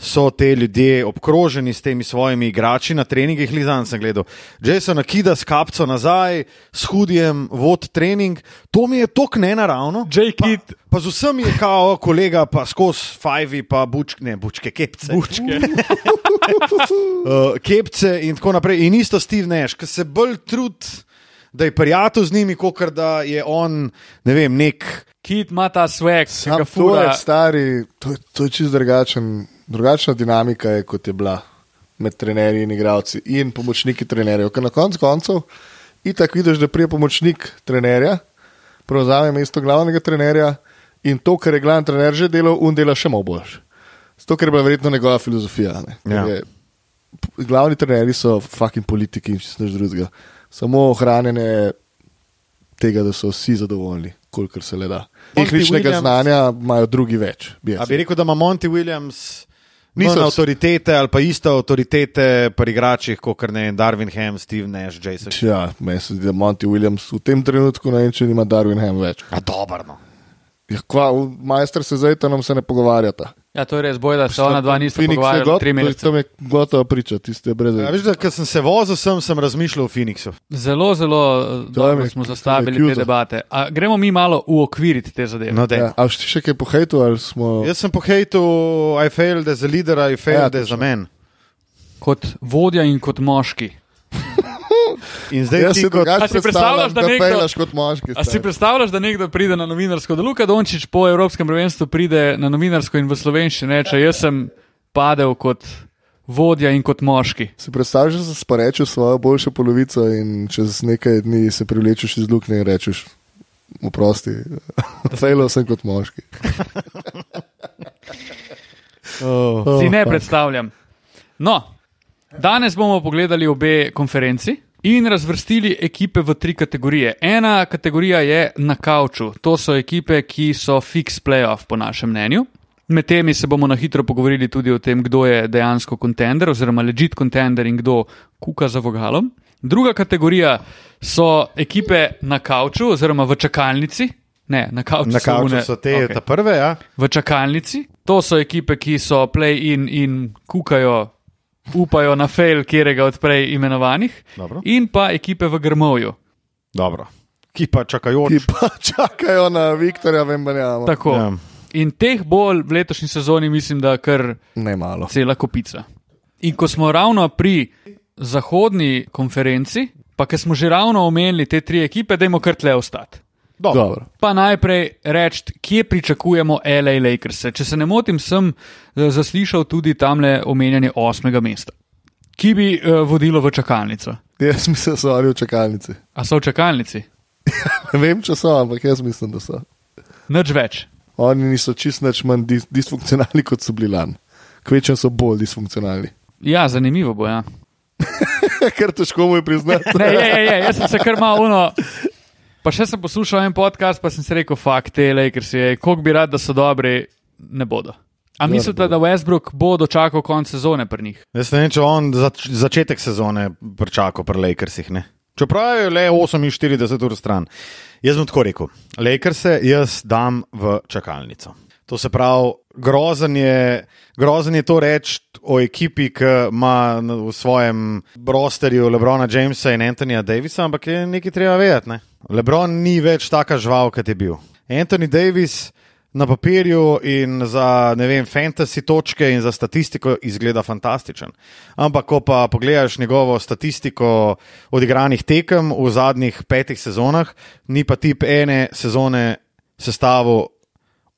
S1: so te ljudje obkroženi s temi svojimi igrači na treningih. Lizan sem gledal. Jason Akida s kapco nazaj, s hudijem vod trening. To mi je tok nenaravno.
S3: J.
S1: Pa-
S3: Kidd.
S1: Pa z vsemi je kao kolega, pa skozi Five, pa bučke, ne bučke, kepce. Bučke. uh, kepce in tako naprej. In isto Steve Nash, ki se bolj trudi, da je prijatelj z njimi, kot da je on, ne vem, nek.
S3: Kit ima ta svek,
S2: Tam
S3: ki ga
S2: to je
S3: fura.
S2: stari, to, je- to je čist drugačen, drugačna dinamika, je, kot je bila med trenerji in igralci in pomočniki trenerjev. Ker na koncu koncev itak vidiš, da prije pomočnik trenerja, prevzame mesto glavnega trenerja in to, kar je glavni trener že delal, un dela še malo boljš. To, kar je bila verjetno njegova filozofija. Ne? Ker
S1: Ja.
S2: Je, p- glavni trenerji so fucking politiki in čisto nič drugega. Samo ohranjene tega, da so vsi zadovoljni, kolikor se le da. Tehničnega
S1: Williams-
S2: znanja Ja, imajo drugi več. bi jaz
S1: A bi rekel, da ima Monty Williams
S2: Niso
S1: niso
S2: vsi-
S1: avtoritete ali pa iste avtoritete pri igračih, kot ne vem, Darwin Ham, Steve Nash, Jason.
S2: Ja, meni se zdi, da Monty Williams v tem trenutku ne vem, če ima Darwin Ham več.
S1: A dobro. No.
S2: Ja, kva, v- majster se zdaj tam se ne pogovarjata.
S3: Ja, to je res boj, da se ona dva nista
S2: Phoenix je
S3: pogovarjala
S2: got-
S3: tri mesece.
S2: Tam je gotovo priča, tiste brez
S1: A
S2: veze.
S1: Ja, veš, da ko sem se vozil, sem, sem razmišljal o Phoenixu.
S3: Zelo, zelo eh, dobro
S2: me-
S3: smo
S2: to me
S3: zastavili te
S2: kjuzo.
S3: debate. A gremo mi malo uokviriti te zadeve.
S1: No, daj.
S2: Ja, a si še kaj pohajtu ali smo.
S1: Jaz sem pohejtil, I failed as a leader, I failed
S2: Ja,
S1: as a man.
S3: Kot vodja in kot moški.
S1: In zdaj
S2: Jaz
S1: ti
S2: si
S1: kot
S3: A
S2: drugače
S3: si
S2: predstavljam,
S3: predstavljaš, da
S2: da
S3: nekdo-
S2: pelaš kot moški.
S3: A si
S2: stari.
S3: predstavljaš, da nekdo pride na novinarsko, da Luka Dončić po Evropskem prvenstvu pride na novinarsko in v slovenščini reče: Jaz sem padel kot vodja in kot moški.
S2: Si predstavljaš, da si porečeš svojo boljšo polovico in čez nekaj dni se privlečeš iz luknje in rečeš, oprosti, fejlo sem kot moški.
S1: oh.
S3: Si ne predstavljam. No, danes bomo pogledali obe konferenci. In razvrstili ekipe v tri kategorije. Ena kategorija je na kavču, to so ekipe, ki so fix playoff, po našem mnenju. Med temi se bomo na hitro pogovorili tudi o tem, kdo je dejansko kontender, oziroma legit kontender in kdo kuka za vogalom. Druga kategorija so ekipe na kavču, oziroma v čakalnici. Ne, na kavču,
S1: na
S3: so
S1: kavču
S3: one-
S1: so te
S3: okej
S1: okay. prve, ja.
S3: v čakalnici. To so ekipe, ki so play-in in kukajo, upajo na fail, katerega od prej imenovanih,
S1: Dobro.
S3: in pa ekipe v Grmovju.
S1: Dobro. Ki pa čakajoč.
S2: Ti pa čakajo na Viktorja, vem, da ne.
S3: Tako.
S1: Ja.
S3: In teh bolj v letošnji sezoni, mislim, da kar
S2: Ne malo.
S3: cela kopica. In ko smo ravno pri zahodni konferenci, pa ker smo že ravno omenili te tri ekipe, dajmo kar tle ostati.
S1: Dobro.
S2: Dobro.
S3: Pa najprej reči, kje pričakujemo L.A. Lakers. Če se ne motim, sem eh, zaslišal tudi tamle omenjanje osmega mesta, ki bi eh, vodilo v čakalnico.
S2: Jaz mislim, da so oni v čakalnici.
S3: A so v čakalnici?
S2: Ne vem, če so, ampak jaz mislim, da so.
S3: Nič več.
S2: Oni niso čist nič manj dis disfunkcionalni, kot so bili lani. Kvečem so bolj disfunkcionalni.
S3: Ja, zanimivo bo. Ja.
S2: Ker težko mu je priznati.
S3: Ne, je, je, je, jaz sem se kar malo uno. Pa še sem poslušal en podcast, pa sem si rekel, fakt, te Lakers je, koliko bi rad, da so dobri, ne bodo. A mislite, da Westbrook bo dočakal konec sezone pri njih?
S1: Jaz ne vem, če on zač začetek sezone pričakal pri Lakersih. Ne? Čeprav je le 48 ur stran. Jaz bom tako rekel: Lakerse jaz dam v čakalnico. To se pravi, grozen je, grozen je to reči o ekipi, ki ima na- v svojem rosterju Lebrona Jamesa in Antonija Davisa, ampak je nekaj treba vedeti. Ne? Lebron ni več taka žval, kot je bil. Anthony Davis na papirju in za ne vem, fantasy točke in za statistiko izgleda fantastičen. Ampak, ko pa pogledaš njegovo statistiko odigranih tekem v zadnjih petih sezonah, ni pa tip ene sezone sestavil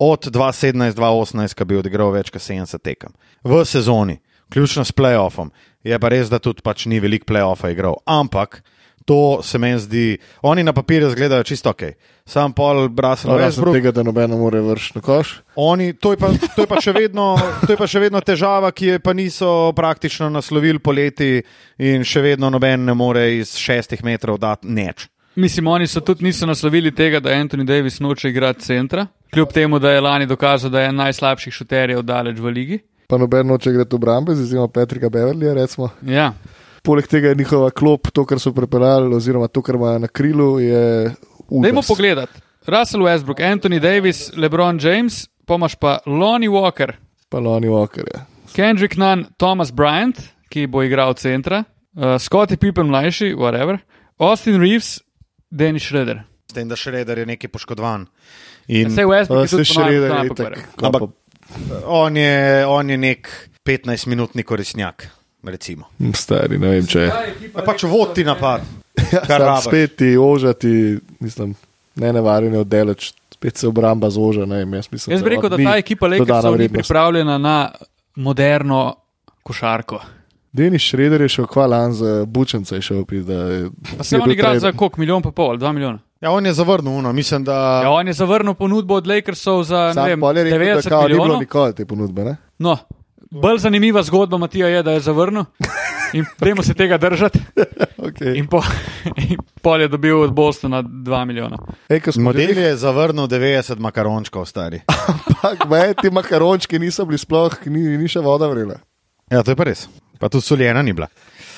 S1: od 2017-2018, ki bi odigral več kot 70 tekem v sezoni, vključno s playoffom. Je pa res, da tudi pač ni veliko playoffa igral. Ampak. To se meni zdi, oni na papirju izgledajo čisto ok. Sam Paul, Russell,
S2: No, Razen
S1: Westbrook,
S2: tega, da noben ne more vršiti na koš.
S1: Oni, to, je pa, to, je pa še vedno, to je pa še vedno težava, ki je pa niso praktično naslovili poleti, in še vedno noben ne more iz šestih metrov dati neč.
S3: Mislim, oni so tudi niso naslovili tega, da Anthony Davis noče igrati centra, kljub temu, da je lani dokazal, da je en najslabših šuterjev daleč v ligi.
S2: Pa noben noče igrati v obrambe, z izjemo Petrika Beverlija. Recimo.
S3: Ja,
S2: Poleg tega je njihova klop, to, kar so prepeljali, oziroma to, kar imajo na krilu, je
S3: dajmo
S2: udars.
S3: pogledat. Russell Westbrook, Anthony Davis, LeBron James, pa imaš pa Lonnie Walker,
S2: Pa Lonnie Walker ja. je.
S3: Kendrick Nunn, Thomas Bryant, ki bo igral centra, uh, Scotty Pippen mlajši, whatever, Austin Reeves, Dennis Schroeder.
S1: S tem, da še redar je nekaj poškodovan.
S3: Ja,
S1: In
S3: Sej Westbrook je
S2: Se
S3: tudi
S2: še
S3: ponavadi
S2: reda,
S3: slab, kar je.
S1: Ampak- on je, on je nek 15-minutni korisnjak, recimo.
S2: hm, Stari, ne vem če je.
S1: Ja, pač vodi napad.
S2: Ja,
S1: Kar
S2: sam
S1: rabiš.
S2: spet ti ožati, mislim, ne nevaren je oddeleč, spet se obramba zoža. Ne, vem, jaz, mislim,
S3: Jaz bi rekel, da ta ekipa Lakersov ni pripravljena na moderno košarko.
S2: Denis Šreder je šel kvalan za Bučenca, je šel pri da.
S3: Pa se on igra za koliko, milijon pa pol, ali dva milijona.
S1: Ja, on je zavrnil, uno. mislim, da.
S3: Ja, on je zavrnil ponudbo od Lakersov za ne
S2: Sam
S3: vem,
S2: pol je rekel, da
S3: 90
S2: kao, ni bilo
S3: milijonov.
S2: nikoli te ponudbe. Ne?
S3: No, bolj zanimiva zgodba Matija je, da je zavrnil in dajmo se tega držati.
S2: Okay.
S3: In, po, in pol je dobil od Bostona 2 milijona.
S2: Ej, ko smo
S1: Model
S2: delili,
S1: je zavrnil 90 makarončkov, stari.
S2: ampak me, ti makarončki niso bili sploh, ni, ni še voda vrela.
S1: Ja, to je pa res. Pa tudi soljena ni bila.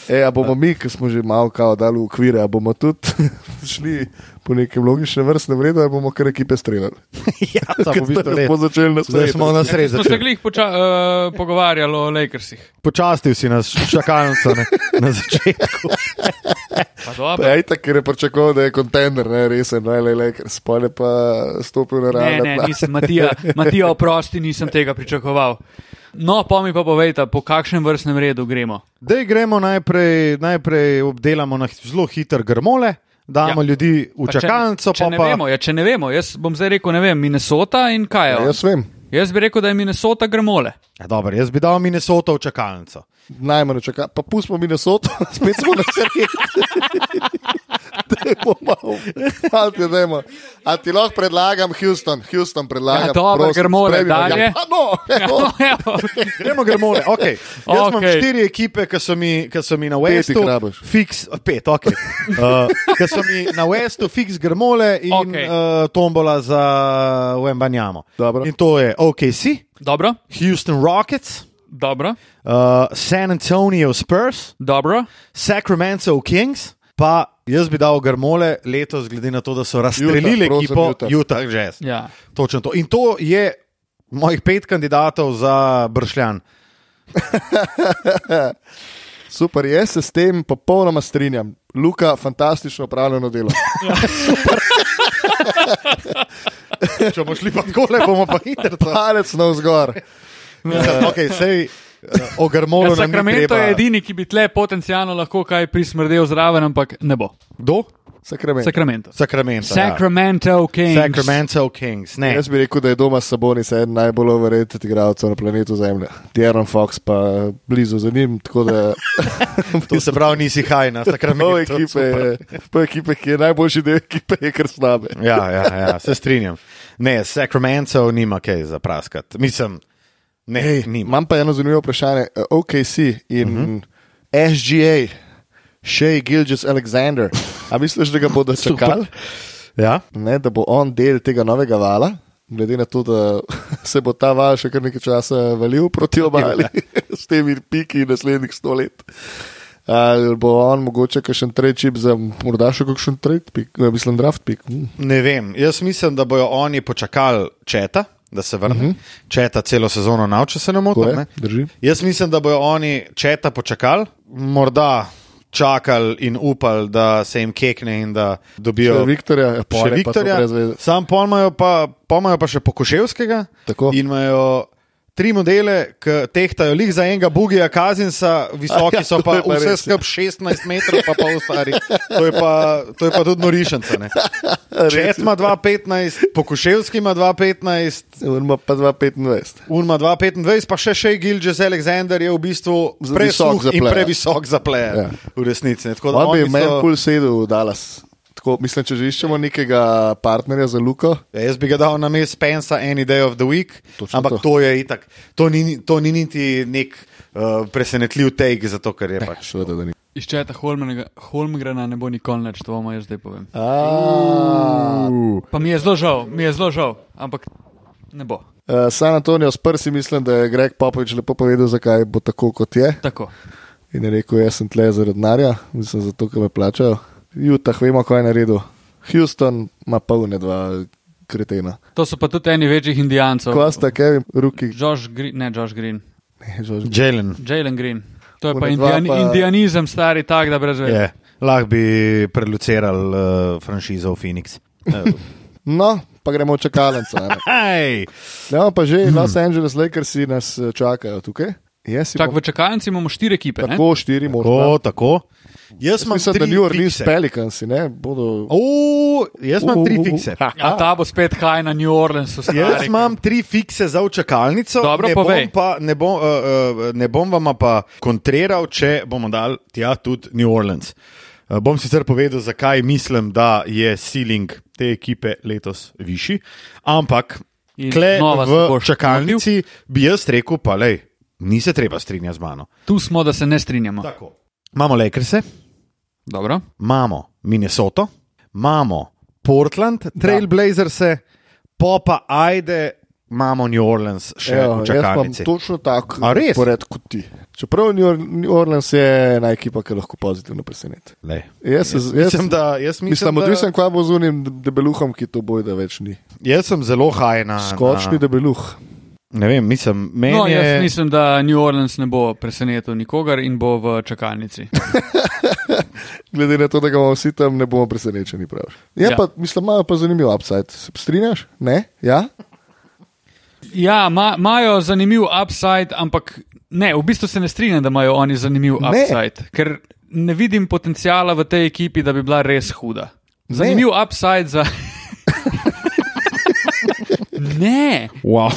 S2: E, a
S3: Ja.
S2: bomo mi, ki smo že malo kao dali v okvire, a bomo tudi šli po nekem logičnem vrstnem redu, ali bomo kar ekipe streljali.
S1: ja, samo v bistvu
S2: Zdaj smo
S1: res.
S2: začeli na
S1: Zdaj smo na sredi
S3: Smo se
S1: začeli.
S3: glih poča, uh, pogovarjali o Lakersih.
S1: Počastil si nas, čakalnico ne, na začetku.
S3: Pa dobro.
S2: Ej, tako ja, je pričakoval, da je kontender, ne resen, no, le, le, ker spone pa stopil na Ja,
S3: Ne,
S2: realno.
S3: ne, nisem, Matija, Matija, oprosti, nisem tega pričakoval. No, pa mi pa povejte, po kakšnem vrstnem redu gremo.
S1: Zdaj gremo najprej, najprej obdelamo na hi- zelo hiter grmole, damo ja.
S3: Ja.
S1: ljudi v
S3: Pa če-
S1: čakalnico,
S3: če
S1: pa
S3: ne
S1: pa.
S3: vemo, ja, če ne vemo, jaz bom zdaj rekel, ne vem, Minnesota in kaj je.
S2: Ja, jaz vem,
S3: Jaz bi rekel, da je Minnesota grmole.
S1: Ja, dobro, jaz bi dal Minnesota v čakalnico.
S2: najmanj čaka, pa pustimo Minnesoto, spet smo na sredi. Dajmo malo, malo te dajmo. A ti lahko predlagam Houston, Houston predlagam.
S3: Ja, dobro,
S2: prosim,
S3: ker more
S2: spremimo ga.
S3: dalje.
S2: Ja, pa no, evo.
S3: No, evo.
S1: Gremo grmole, ok. Jaz okay. imam
S3: Okej.
S1: štiri ekipe, ki so mi, ki so mi na
S2: Pet
S1: Westu.
S2: jih rabiš.
S1: Fiks, pet, ok. Uh, ki so mi na Westu, fiks grmole in okay.
S3: Okej.
S1: uh, tombola za Wembanjamo.
S2: Dobro.
S1: In to je OKC,
S3: Dobro,
S1: Houston Rockets,
S3: dobro,
S1: uh, San Antonio Spurs,
S3: dobro.
S1: Sacramento Kings, pa jaz bi dal grmole letos, glede na to, da so razstrelili
S2: Utah, prosim,
S1: ekipo
S2: Utah.
S1: Utah Jazz.
S3: Ja.
S1: Točno to. In to je mojih pet kandidatov za bršljan.
S2: Super, jaz se s tem popolnoma strinjam. Luka, fantastično opravljeno delo.
S1: Če bomo šli pa tako, le bomo pa hitro.
S2: Palec na vzgor.
S1: Okay, Ja, sej, eh, o grmolu
S3: Ja,
S1: nam ni
S3: Sakramento
S1: treba.
S3: je edini, ki bi tle potencialno lahko kaj prismrdel zraven, ampak ne bo.
S1: Kdo?
S2: Sakrament.
S3: Sakramento.
S1: Sacramento.
S3: Sacramento Kings.
S1: Ja. Sacramento Kings. Ne.
S2: Jaz bi rekel, da je doma Sabonis eden najbolj overrated igralcev na planetu Zemlja. Tjeron Fox pa blizu za njim, tako da
S1: To se pravi, nisi haj na Sacramento.
S2: pol ekipe, je- pol ekipe, ki je najboljši del ekipe, je kar slabe.
S1: Ja, ja, ja, se strinjam. Ne, Sacramento nima kaj za praskati. Mislim, ne, hey, nima.
S2: Imam pa eno zanimivo vprašanje. Eh, OKC in uh -huh. SGA, Shea Gilgis Alexander, a misliš, da ga bodo čakali?
S1: Ja?
S2: ne, da bo on del tega novega vala, glede na to, da se bo ta val še kar nekaj časa valil ja. proti obali s temi piki naslednjih sto let. Ali bo on mogoče kakšen trade čip za morda še kakšen trade pik, ne, mislim draft pik. Mm.
S1: Ne vem. Jaz mislim, da bojo oni počakali četa, da se vrne. Uh -huh. Četa celo sezono nauči, če se ne motim.
S2: Mhm. Tako je,
S1: ne?
S2: drži.
S1: Jaz mislim, da bojo oni četa počakali, morda čakali in upali, da se jim kekne in da dobijo.
S2: Še Viktorja, ja,
S1: Še
S2: pole, pa to
S1: Viktorja,
S2: brez veze.
S1: sam pol imajo pa, pol imajo pa še Pokoševskega.
S2: Tako.
S1: In imajo tri modele, ki tehtajo lih za enega Bugija Kazinsa, visoki
S2: Ja,
S1: so
S2: to
S1: pa
S2: je pa
S1: vse
S2: res.
S1: skup 16 metrov, pa pa ostari. To je pa, to je pa tudi norišenca. ne. Čet ima 2,15, Pokoševski ima 2,15,
S2: On ima pa 2,25.
S1: un ima 2,25, pa še še Gilžes Aleksandar je v bistvu
S2: Za
S1: presuh
S2: visok za
S1: in
S2: pleja.
S1: previsok za pleje.
S2: Ja.
S1: V resnici. ne. Tako da
S2: On bi
S1: oni
S2: meni
S1: so-
S2: pol sedel v Dallas. Tako, mislim, če že iščemo nekega partnerja za Luko,
S1: Ja, jaz bi ga dal na mest Spensa, any day of the week,
S2: Točno
S1: ampak to,
S2: to.
S1: to je itak. To ni, to ni niti nek uh, presenetljiv take, zato ker je pač.
S2: seveda, da ni.
S3: Iščeta Holmgrena, Holmgrena ne bo nikoli več, to vam jaz zdaj povem.
S2: A,
S3: Pa mi je zelo žal, mi je zelo žal, ampak ne bo.
S2: Uh, San Antonijo s prsi mislim, da je Greg Popovič lepo povedal, zakaj bo tako, kot je.
S3: Tako.
S2: In je rekel, jaz sem tle zaradi denarja, mislim, zato, ker me plačajo. Jutah, vemo, kaj je naredil. Houston ima polne dva kretena.
S3: To so pa tudi eni večjih indijancev.
S2: Kosta, Kevin, Ruki,
S3: Josh Green, ne Josh Green,
S2: ne, Josh.
S1: Jelen
S3: Jalen Green. To je
S2: One
S3: pa,
S2: dva
S3: indijan,
S2: pa-
S3: pa indijanizem, stari tak, da brez veze.
S1: je. Lahko bi preluceral uh, franšizo v Phoenix. Eh,
S2: No, pa gremo v čakalnico. a ne.
S1: Hej!
S2: Gremo pa že Los Angeles Lakersi nas eh, čakajo tukaj. Jaz si
S3: Čak,
S2: bom-
S3: v čakalnici imamo štiri ekipe. ne?
S2: tako štiri možne.
S1: Tako, tako. Jaz imam
S2: Mislim, da
S1: tri
S2: New Orleans
S1: fikse.
S2: Pelicans ne, bodo.
S1: O, jaz imam tri fikse.
S3: A ta bo spet haj na New Orleansu.
S1: Jaz
S3: stari.
S1: imam tri fikse za v čakalnico,
S3: Dobro,
S1: ne, bom
S3: povej.
S1: pa, ne, bom, uh, uh, ne bom vama pa kontriral, če bomo dal tja tudi New Orleans. Uh, bom sicer povedal, zakaj mislim, da je ceiling te ekipe letos višji, ampak
S3: In
S1: kle
S3: znova se
S1: v
S3: boš
S1: čakalnici bi jaz rekel, pa lej, ni se treba strinjati z mano.
S3: Tu smo, da se ne strinjamo.
S1: Tako. Imamo Lakerse,
S3: Dobro.
S1: imamo Minnesoto, imamo Portland, Trailblazers, pa pa ajde, imamo New Orleans še Ejo,
S2: Evo,
S1: v
S2: jaz imam
S1: čakalnici.
S2: točno tako
S1: A res?
S2: pored kot ti. Čeprav New Or- New Orleans je ena ekipa, ki lahko pozitivno preseneti.
S1: Lej.
S2: Jaz, jaz, jaz,
S1: Mislim, da, jaz, mislim,
S2: mislim,
S1: da,
S2: odvisen, kaj bo z unim debeluhom, ki to boji, da več ni.
S1: jaz sem zelo hajna.
S2: Skočni debeluh.
S1: Ne vem, mislim, meni
S3: No, jaz
S1: je.
S3: mislim, da New Orleans ne bo presenetil nikogar in bo v čakalnici.
S2: Glede na to, da ga imamo vsi tam, ne bomo presenečeni. Praviš. Je ja.
S3: Ja.
S2: pa, mislim, imajo pa zanimiv upside. Se strinjaš? Ne? Ja?
S3: Ja, ma- imajo ma, zanimiv upside, ampak ne, v bistvu se ne strinjam, da imajo oni zanimiv
S2: Ne.
S3: upside, ne. ker ne vidim potencijala v tej ekipi, da bi bila res huda. Zanimiv ne. upside za. ne.
S1: Wow.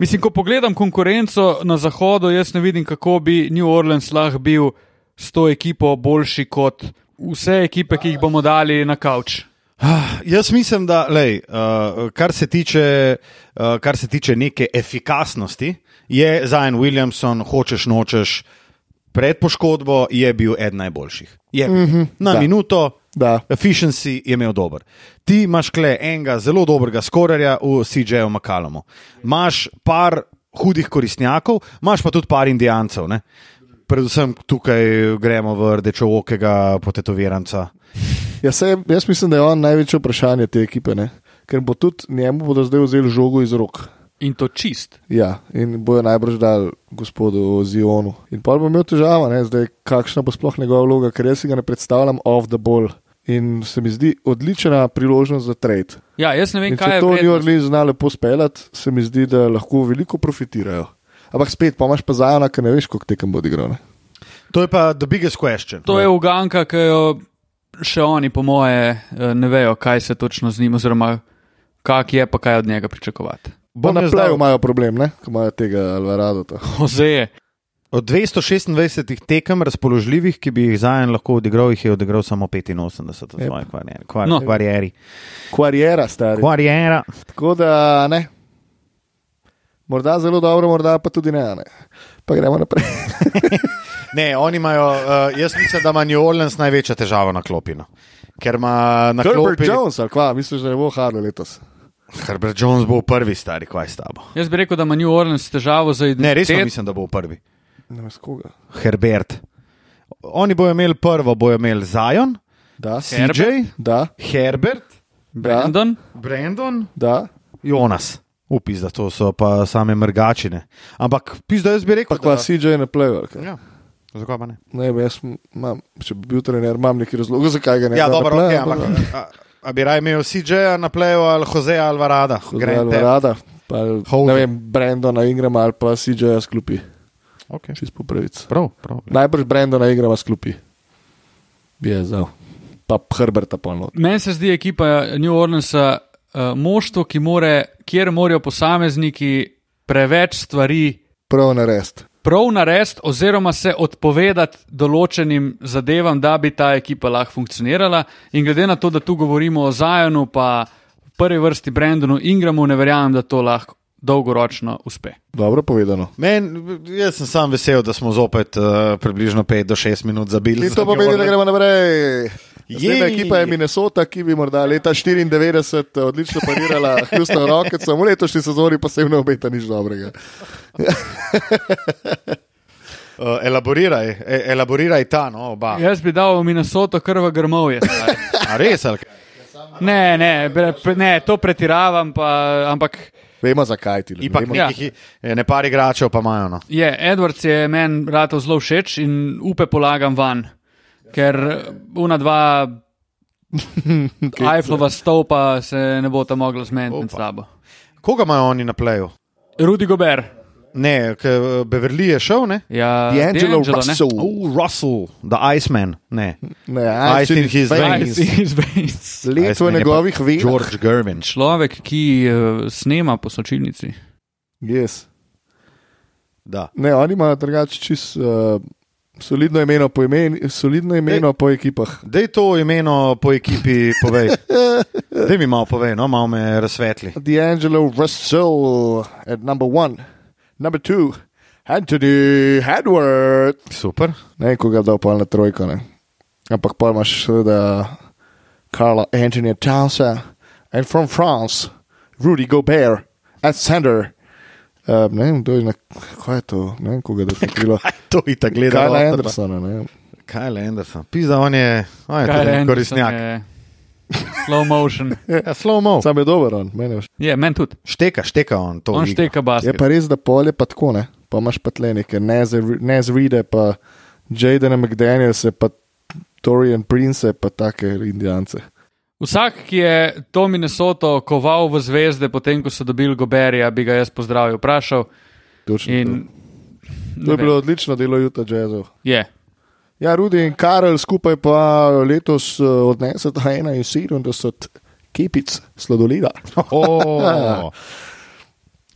S3: Mislim, ko pogledam konkurenco na zahodu, jaz ne vidim, kako bi New Orleans lahko bil s to ekipo boljši kot vse ekipe, ki jih bomo dali na kavč.
S1: Ah, Jaz mislim, da lej, uh, kar, se tiče, uh, kar se tiče neke efikasnosti, je Zajen Williamson, hočeš nočeš, pred poškodbo je bil eden najboljših. Je bil. Mm -hmm, Na
S2: Mhm. da.
S1: da. minuto.
S2: Da.
S1: Efficiency je imel dober. Ti imaš kle enega zelo dobrega skorerja v CJ-u Makalomu. Imaš par hudih koristnjakov, imaš pa tudi par indijancev. Ne? Predvsem tukaj gremo v rdečookega potetoviranca.
S2: Ja, se, jaz mislim, da je on največje vprašanje te ekipe, ne? ker bo tudi njemu bodo zdaj vzeli žogo iz rok.
S3: In to čist.
S2: Ja, in bojo najbrž dal gospodu Zionu. In pa bo imel težavo, ne, zdaj, kakšna bo sploh njegova vloga, ker jaz si ga ne predstavljam off the ball. In se mi zdi odlična priložnost za trade.
S3: Ja, jaz ne vem,
S2: In
S3: kaj
S2: če
S3: je
S2: to New
S3: vrednost.
S2: Orleans zna lepo speljati, se mi zdi, da lahko veliko profitirajo. Ampak spet, pa imaš pa zajona, ker ne veš, koliko tekem bo igral. ne.
S1: To je pa the biggest question.
S3: To je uganka, ki jo še oni, po moje, eh, ne vejo, kaj se točno z njim, oziroma kak je, pa kaj od njega pričakovati.
S2: Bo
S1: Bom
S2: na
S1: jaz
S2: pleju
S1: dal-
S2: imajo problem, ne? ko imajo tega Alvarado.
S3: Ozeje.
S1: Od 226 tekem razpoložljivih, ki bi jih Zajen lahko odigral, jih je odigral samo 85 v svoji karieri. Kvar,
S3: No.
S1: no. karieri.
S2: Kvarjera stari.
S1: Kariera.
S2: Tako da ne. Morda zelo dobro, morda pa tudi ne. a ne. Pa gremo naprej.
S1: Ne, oni imajo, uh, jaz mislim, da ima New Orleans največja težava na klopino. Ker ima na
S2: Herbert
S1: klopi.
S2: Jones, ali kva, misliš, da ne bo Harlow letos?
S1: Herbert Jones bo prvi, stari, kaj s tabo.
S3: Jaz bi rekel, da ima New Orleans težavo za
S1: Ne, resno
S3: identiteto.
S1: mislim, da bo prvi.
S2: Ne vem, z koga.
S1: Herbert. Oni bojo imeli prvo, bojo imeli Zion,
S2: Da,
S1: CJ,
S3: Herbert?
S2: da,
S1: Herbert, ja.
S3: Brandon,
S1: Brandon,
S2: da.
S1: Jonas. Upis, da to so pa same mrgačine. Ampak, pis, da jaz bi rekel,
S2: Pa kva
S1: da-
S2: CJ ne plevel.
S1: Ja, zakaj pa ne?
S2: Ne, vem, jaz imam, če bi bil trener, imam neki razlog, zakaj ga ne
S1: Ja,
S2: da
S1: dobro,
S2: na play,
S1: okay, ampak a, a bi raje imel CJ-ja na pleju ali Joseja Alvarada?
S2: Gremo
S1: Grande.
S2: rada. Pa,
S1: Houser.
S2: ne vem, Brendona igrama ali pa CJ-ja sklupi.
S1: Okay.
S2: Čist po pravici.
S1: Prav, prav.
S2: Najbrž Brendona igrama sklupi. Bi je zdal. Pa Herberta polno.
S3: meni se zdi ekipa eh, New Orleansa uh, moštvo, ki more, kjer morajo posamezniki preveč stvari
S2: Prav na rest.
S3: prav narediti, oziroma se odpovedati določenim zadevam, da bi ta ekipa lahko funkcionirala. In glede na to, da tu govorimo o Zajonu, pa v prvi vrsti Brendonu Ingramu, ne verjamem, da to lahko dolgoročno uspe.
S2: Dobro povedano.
S1: Men, jaz sem sam vesel, da smo zopet uh, približno 5 do 6 minut zabili.
S2: In to pomeni, da gremo naprej. Naslednja
S1: Jej.
S2: ekipa je Minnesota, ki bi morda leta 1994 odlično parirala Houston Rockets, samo v letošnji sezoni pa se jim ne obeta nič dobrega.
S1: Uh, elaboriraj, e, elaboriraj ta, no, oba.
S2: Ja.
S3: Jaz bi dal v Minnesoto krva grmovje. stari.
S1: A res, ali kaj?
S3: Ne, ne, bre- pre- ne, to pretiravam, pa, ampak
S2: Vemo zakaj ti ljudje.
S1: Ipak
S2: Vemo-
S3: Ja.
S1: nekih, ja. ne par igračev pa imajo. No.
S3: Je, Edwards je meni ratov zelo všeč in upe polagam van, ker una dva
S2: ja.
S3: Eifflova stopa se ne bo ta mogla zmeniti med sabo.
S1: Koga imajo oni na pleju?
S3: Rudi Gober,
S1: Ne, k- Beverly je šel, ne?
S3: Ja,
S2: D'Angelo
S3: D'Angelo, ne?
S2: Russell.
S1: Oh, Russell, the Iceman. Ne.
S2: Ne,
S1: Ice in his veins.
S3: Ice in Space.
S2: Let v
S1: Iceman je pa
S2: njegovih venih.
S1: George Gervin.
S3: Človek, ki eh, snema po sočilnici.
S2: Yes.
S1: Da.
S2: Ne, oni imajo drugače čist uh, solidno imeno, po, imen, solidno imeno po ekipah.
S1: Dej to imeno po ekipi, povej. Dej mi malo povej, no, malo me razsvetli.
S2: D'Angelo Russell at number one, number two, Anthony Edward.
S1: Super.
S2: Ne, koga da opal na trojko. Ne. Ampak pa imaš seveda Karla Antonija Townsa and from France, Rudy Gobert at center. Uh, ne vem, kdo je na, kaj je to, ne vem, koga da se krilo.
S1: To je tako gledano.
S2: Karla Andersona, ne.
S1: Kaj je Anderson? Pisa, on je,
S2: Ja,
S1: on je
S3: Kyle
S1: tudi en
S3: Anderson
S1: korisnjak.
S3: je Slow motion.
S1: Ja, slow mo.
S2: Sam je dober on, meni je všeč.
S3: Je, meni tudi.
S1: Šteka, šteka on to.
S3: On
S1: igro.
S3: šteka
S2: Je
S3: basket.
S2: pa res, da polje pa tako ne, pa imaš pa tle neke nezride, pa Jadena McDanielse, pa Torian Prince, pa take indijance.
S3: Vsak, ki je to Minnesoto koval v zvezde, potem ko so dobili Goberija, bi ga jaz pozdravil, vprašal.
S2: Točno to.
S3: In,
S2: To je bilo odlično delo Utah Jazzov.
S3: Je.
S2: Ja, Rudi in Karel skupaj pa letos eh, odneseta 71 kipic sladoleda.
S1: Oh,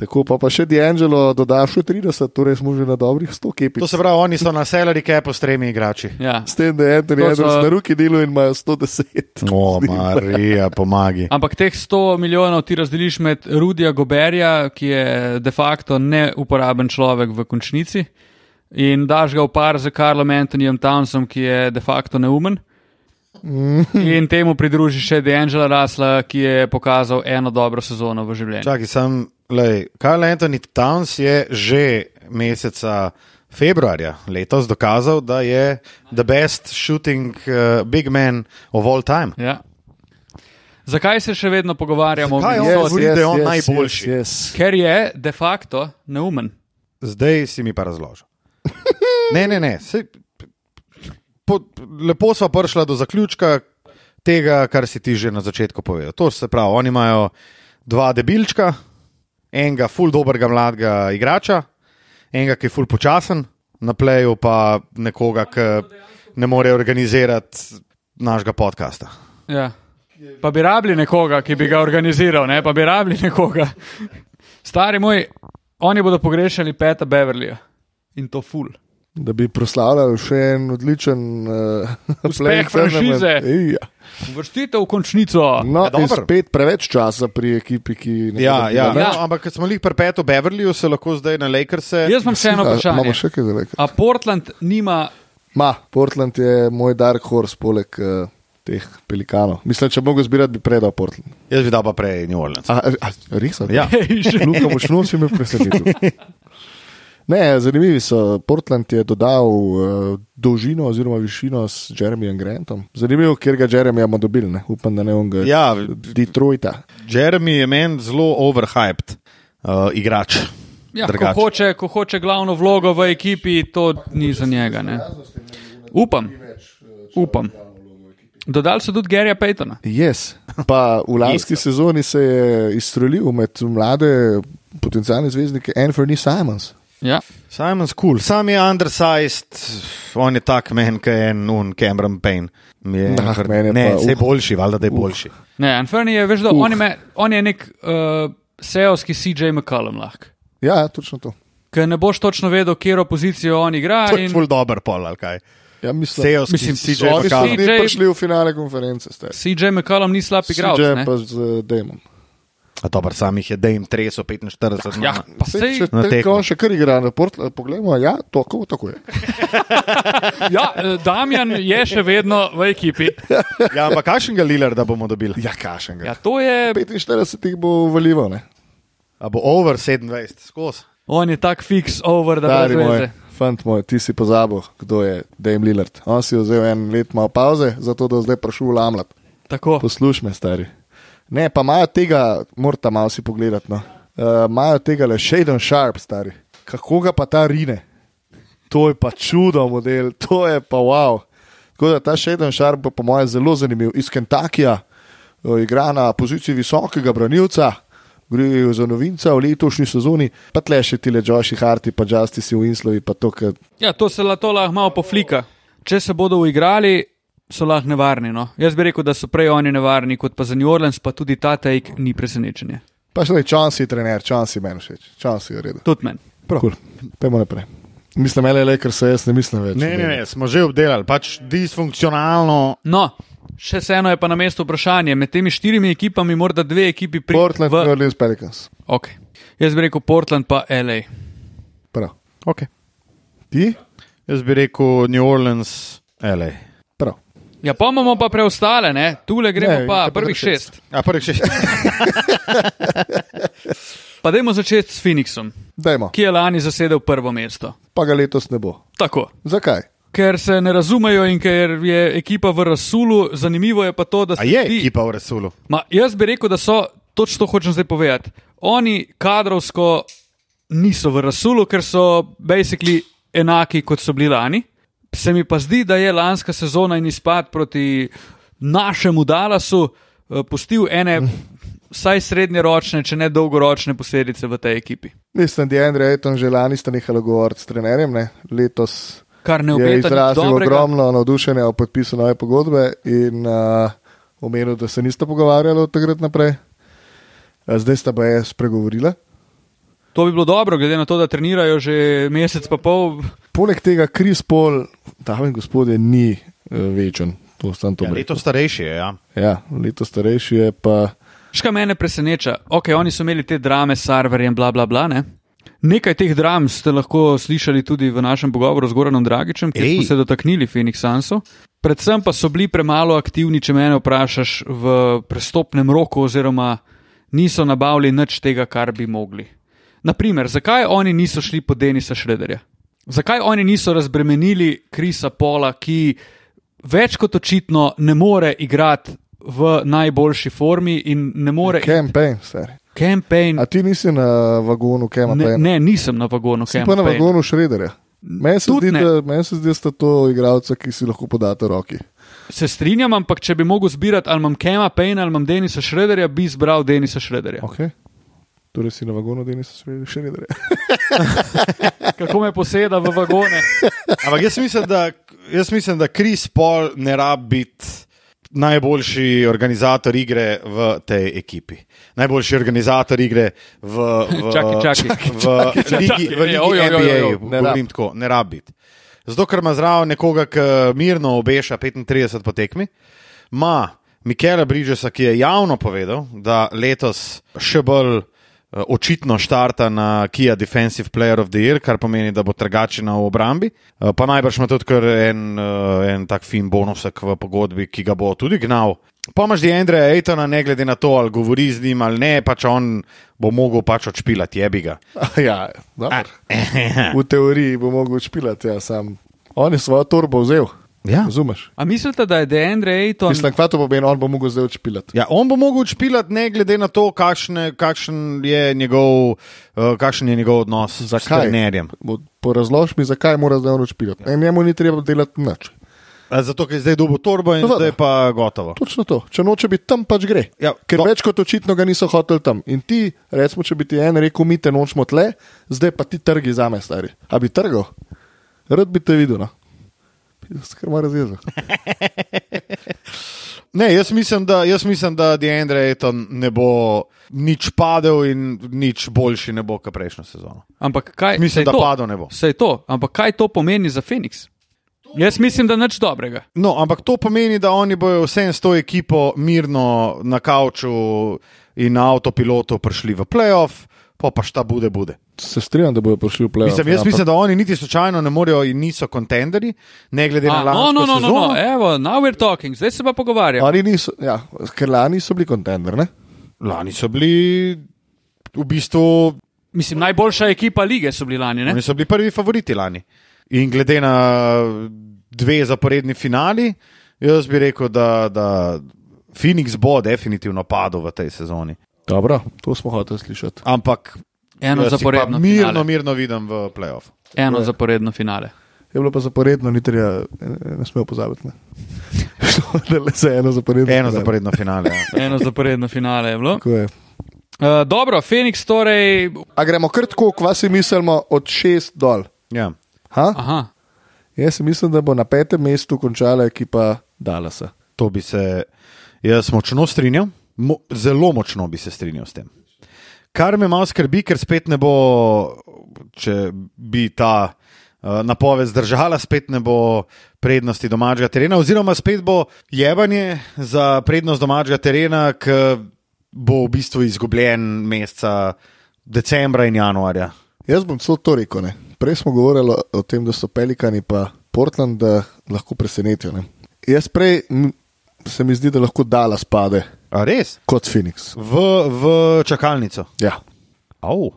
S2: Tako pa, pa še D'Angelo doda še 30, torej smo že na dobrih 100
S1: to
S2: kipic.
S1: se pravi, oni so na salary capu s tremi igrači.
S3: Ja.
S2: S tem, da je Anthony
S3: To so-
S2: Edwards na ruki delo in imajo 110.
S1: O, Marija, pomagi.
S3: Ampak teh 100 milijonov ti razdeliš med Rudija Goberja, ki je de facto neuporaben človek v končnici, in daš ga v par z Karlom Antonijem Townsom, ki je de facto neumen.
S1: Mm.
S3: In temu pridruži še D'Angela Rasla, ki je pokazal eno dobro sezono v življenju.
S1: Čakaj, sem, lej, Karl Anthony Towns je že meseca februarja letos dokazal, da je the best shooting uh, big man of all time.
S3: Ja. Zakaj se še vedno pogovarjamo o
S1: Zakaj on
S3: Minnesoti?
S1: govori? da je on najboljši.
S2: Yes, yes.
S3: Ker je de facto neumen.
S1: Zdaj si mi pa razložil. Ne, ne, ne. Sej, po, lepo sva prišla do zaključka tega, kar si ti že na začetku povedal. To se pravi, oni imajo dva debilčka, enega ful dobrega mladega igrača, enega, ki je ful počasen, na pleju pa nekoga, ki ne more organizirati našega podcasta.
S3: Ja. Pa bi rabili nekoga, ki bi ga organiziral, ne? pa bi rabili nekoga. Stari moj, oni bodo pogrešali peta Beverlyja in to ful.
S2: Da bi proslavljali še en odličen uh,
S3: Uspeh franšize.
S2: Ja.
S3: Vrstite v končnico.
S2: No,
S1: Ja, dobro.
S2: in spet preveč časa pri ekipi, ki ne
S1: Ja,
S2: bo
S1: ja,
S2: dobila.
S1: no, ampak ker smo jih prepeto v Beverlyju, se lahko zdaj na Lakerse.
S3: Jaz imam še eno
S2: A, Imamo
S3: vprašanje.
S2: še kaj za reči.
S3: A Portland nima,
S2: Ma, Portland je moj dark horse, poleg uh, teh pelikanov. Mislim, če bi mogel zbirati, bi predal Portland.
S1: Jaz bi dal pa prej New Orleans.
S2: A, a, a, res?
S1: Ja.
S2: Luka močno si me presenetil. Ne, zanimivi so. Portland je dodal uh, dolžino oziroma višino s Jeremijem Grantom. Zanimivo, ker ga Jeremija bomo dobili, ne? upam, da ne on ga.
S1: Ja,
S2: Detroita.
S1: Jeremy je meni zelo overhyped uh, igrač.
S3: ja, ko,
S1: Drugače.
S3: hoče, ko hoče glavno vlogo v ekipi, to ni za njega. Ne? Upam. Upam. Dodali so tudi Gerija Paytona.
S2: Yes. Pa v lanski yes. sezoni se je izstrelil med mlade potencijalne zvezdnike Anthony Simons.
S3: Ja.
S1: Simon's cool, sam je undersized, on je tak men, kot je en un, Cameron Payne. Je,
S2: Nah, meni je
S1: ne,
S2: pa,
S1: vse
S2: uh.
S1: uh, boljši, valjda da je uh. boljši.
S3: Ne, Anferni je, veš, da on, je me- on je nek uh, seovski CJ McCallum lahko.
S2: Ja, točno to.
S3: Ker ne boš točno vedel, kjero pozicijo on igra.
S1: To je
S3: In
S1: ful dober pol, ali kaj.
S2: Ja, mislim,
S1: Sejo si
S3: Mislim,
S1: CJ
S2: Oni so
S1: McCallum.
S2: tudi
S3: CJ
S2: prišli v finale konference, ste.
S3: CJ McCallum ni slab igralec.
S2: Že
S3: ne.
S2: pa z eh, Damom.
S1: A Dober, sam jih je, da jim treso 45.
S3: Ja,
S1: na-
S3: pa
S2: Sej,
S3: sej,
S2: če
S1: Na
S2: te
S1: tekmo.
S2: on še kar igra na Portland, poglejmo, ja, to kako tako je.
S3: ja, eh, Damjan je še vedno v ekipi.
S1: ja, ampak kakšen ga Lilar, da bomo dobili?
S2: Ja, kašen
S3: Ja,
S2: ga. Ja.
S3: to je,
S2: 45 jih bo valjivo, ne?
S1: A bo over 27, skozi.
S3: on je tak fix over, da brez
S2: Dari moj,
S3: veze.
S2: fant moj, ti si pozabil, kdo je Dame Lillard. On si je vzel en let malo pauze, zato da zdaj prišel v Lamlat.
S3: Tako.
S2: Poslušaj me, stari. Ne, pa imajo tega, morata malo si pogledati. No. Uh, imajo tega le Shaden Sharp, stari. Kako ga pa ta rine? To je pa čudo model, to je pa wow. Tako da ta Shaden Sharp bo po eh, mojem zelo zanimiv. Iz Kentakija uh, igra na poziciji visokega branilca, Gre za novinca v letošnji sezoni, pa tle še ti le Joshi Harti, pa Justice Winslow, pa to, kar
S3: Ja, to se la- to lahko malo poflika. Če se bodo uigrali, so lahko nevarni. No? Jaz bi rekel, da so prej oni nevarni, kot pa za New Orleans, pa tudi ta take ni presenečenje.
S2: Pa še pač, časi, trener, časi meni všeč, časi je redo.
S3: Tudi meni.
S2: Cool. Pejmo naprej. Mislim, le le, ker se jaz ne mislim več.
S1: Ne, ne, ne, smo že obdelali, pač disfunkcionalno.
S3: No, še vseeno je pa na mestu vprašanje. Med temi štirimi ekipami, morda dve ekipi pri
S2: Portland, New
S3: v...
S2: Orleans Pelicans.
S3: okay. Jaz bi rekel Portland pa LA.
S2: Prav.
S1: Okay.
S2: Ti?
S1: Jaz bi rekel New Orleans, L.A.
S2: Prav.
S3: Ja, pa imamo pa preostale, ne? tule gremo
S2: Ne,
S3: ne, pa
S2: itak prvi
S3: prvih
S2: šest.
S3: šest. šest.
S1: A prvi še.
S3: Pa dajmo začeti s Phoenixom,
S2: Dajmo,
S3: ki je lani zasedel prvo mesto.
S2: pa ga letos ne bo.
S3: Tako.
S2: Zakaj?
S3: Ker se ne razumejo in ker je ekipa v Rasulu, zanimivo je pa to, da
S1: A je
S3: ti-
S1: ekipa v Resulu?
S3: Ma, jaz bi rekel, da so, točno to hočem zdaj povedati. Oni kadrovsko niso v Rasulu, ker so basically enaki kot so bili lani. Se mi pa zdi, da je lanska sezona in izpad proti našemu Dallasu eh, pustil ene, vsaj srednjeročne, če ne dolgoročne posledice v tej ekipi.
S2: Mislim, da je Andrej Ayton že lani sta nehala govoriti s trenerjem, ne? letos
S3: Kar ne
S2: je
S3: obeta nič
S2: izrazil
S3: dobrega.
S2: ogromno navdušenja ob podpisu nove pogodbe in uh, omenil, da se nista pogovarjala od takrat naprej. Eh, Zdaj sta pa je spregovorila.
S3: To bi bilo dobro, glede na to, da trenirajo že mesec pa pol.
S2: Poleg tega, Kris Pol, tam in gospodje, ni eh, večen. To sem to
S1: Ja,
S2: rekel.
S1: leto starejši je. Ja.
S2: Ja, leto starejši je pa.
S3: Ška mene preseneča, ok, oni so imeli te drame s serverjem, bla bla bla. Ne? Nekaj teh dram ste lahko slišali tudi v našem pogovoru z Goranom Dragičem, kjer
S1: Ej.
S3: smo se dotaknili Phoenix Sunsov. Predvsem pa so bili premalo aktivni, če mene vprašaš, v prestopnem roku, oziroma niso nabavili nič tega, kar bi mogli. Naprimer, zakaj oni niso šli po Denisa Šrederja? Zakaj oni niso razbremenili Krisa Pola, ki več kot očitno ne more igrati v najboljši formi in ne more
S2: Campaign, stari.
S3: Campaign.
S2: A ti nisi na vagonu
S3: Ne,
S2: Campaign?
S3: ne, nisem na vagonu.
S2: si pa na
S3: Campaign.
S2: vagonu Šrederja. Meni se,
S3: Tudi
S2: zdi,
S3: ne.
S2: da, meni se zdi, da sta to igralca, ki si lahko podata roki.
S3: Se strinjam, ampak če bi mogel zbirati, ali imam Kema Payne ali imam Denisa Šrederja, bi izbral Denisa Šrederja.
S2: Okay. Torej si na vagonu Denisa Šre- Šrederja.
S3: Kako me poseda v vagone?
S1: Ampak jaz mislim, da, jaz mislim, da Kris Paul ne rabi biti najboljši organizator igre v tej ekipi. Najboljši organizator igre v, v,
S3: Čakaj, čakaj.
S1: v ligi, v ligi
S3: Ja, oj, oj, oj,
S1: NBA.
S3: oj, oj.
S2: Ne
S1: Govorim tako, ne rabi biti. Zato, ker ima zraven nekoga, ki mirno obeša 35 po tekmi, ima Mikela Bridgesa, ki je javno povedal, da letos še bolj eh, očitno štarta na Kia Defensive Player of the Year, kar pomeni, da bo trgačina v obrambi. Eh, Pa najbrž ima tudi kar en, eh, en tak fin bonusek v pogodbi, ki ga bo tudi gnal. Pomaž di Andreja Aitona, ne glede na to, ali govori z njim ali ne, pač on bo mogel pač odšpilati, jebi ga.
S2: ja, dobro. v teoriji bo mogel špilati, ja, sam. On je svojo torbo vzel.
S1: Ja.
S2: Razumeš?
S3: A mislite, da je DeAndre Ayton
S2: Mislim, kvato bo ben, on bo mogel zdaj odšpilati.
S1: Ja, on bo mogel špilati, ne glede na to, kakšne, kakšen, je njegov, uh, kakšen je njegov odnos z trenerjem.
S2: Porazlož mi, zakaj mora zdaj on odšpilati. Ja. Njemu ni treba delati nič.
S1: A Zato, ker je zdaj dobil torbo in
S2: Seveda.
S1: zdaj je pa gotovo.
S2: Točno to. Če noče biti tam, pač gre.
S1: Ja,
S2: Ker
S1: no.
S2: no. več kot očitno ga niso hoteli tam. In ti, recimo, če bi ti en rekel, mi te nočemo tle, zdaj pa ti trgi za me, stari. A bi trgal? Rad bi te videl. No. Skrma razjezil.
S1: Ne, jaz mislim, da, jaz mislim, da Deandre Ayton ne bo nič padel in nič boljši ne bo, kot prejšnjo sezono.
S3: Ampak kaj
S1: Mislim,
S3: saj
S1: da
S3: to,
S1: padel ne bo.
S3: Sej to, ampak kaj to pomeni za Phoenix? Jaz mislim, da nič dobrega.
S1: No, ampak to pomeni, da oni bojo vsem s to ekipo mirno na kavču in na avtopilotu prišli v playoff, pa pa šta bude, bude.
S2: Se strinjam, da bodo prišli v ja, plevel.
S1: Mislim,
S3: ja,
S1: jaz mislim, da oni niti slučajno ne morejo in niso kontenderi, ne glede na
S3: A, no,
S1: lansko
S3: no, no, no,
S1: sezono.
S3: no, evo, now we're talking, zdaj se pa pogovarjamo.
S2: Oni niso, ja, ker lani so bili kontender, ne?
S1: Lani so bili v bistvu
S3: Mislim, najboljša ekipa lige so bili lani. Ne?
S1: Oni so bili prvi favoriti lani. In glede na dve zaporedni finali, jaz bi rekel, da, da Phoenix bo definitivno padel v tej sezoni.
S2: Dobro, to smo hoteli slišati.
S1: Ampak
S3: Eno
S1: jaz jih pa
S3: zaporedno.
S1: mirno,
S3: finale.
S1: mirno vidim v playoffu.
S3: Eno zaporedno finale.
S2: Je bilo pa zaporedno, ni treba, ne, ne smemo pozabiti. Ne? Šlo je le za eno zaporedno.
S1: Eno zaporedno finale. Ja.
S3: Eno zaporedno finale je bilo.
S2: Tako je.
S3: Uh, dobro, Feniks torej.
S2: A gremo kar tako, kva si mislimo, od šest dol.
S1: Ja.
S2: Ha?
S3: Aha.
S2: Jaz si mislim, da bo na petem mestu končala ekipa Dalasa.
S1: To bi se jaz močno strinjal, mo, zelo močno bi se strinjal s tem. Kar me malo skrbi, ker spet ne bo, če bi ta uh, napoved zdržala, spet ne bo prednosti domačega terena, oziroma spet bo jebanje za prednost domačega terena, ki bo v bistvu izgubljen meseca decembra in januarja.
S2: Jaz bom celo to rekel. Ne. Prej smo govorili o tem, da so Pelikani in Portland da lahko presenetijo. Ne. Jaz prej m, se mi zdi, da lahko Dala spade
S1: A res?
S2: kot Phoenix.
S1: V, v čakalnico.
S2: Ja.
S1: Au.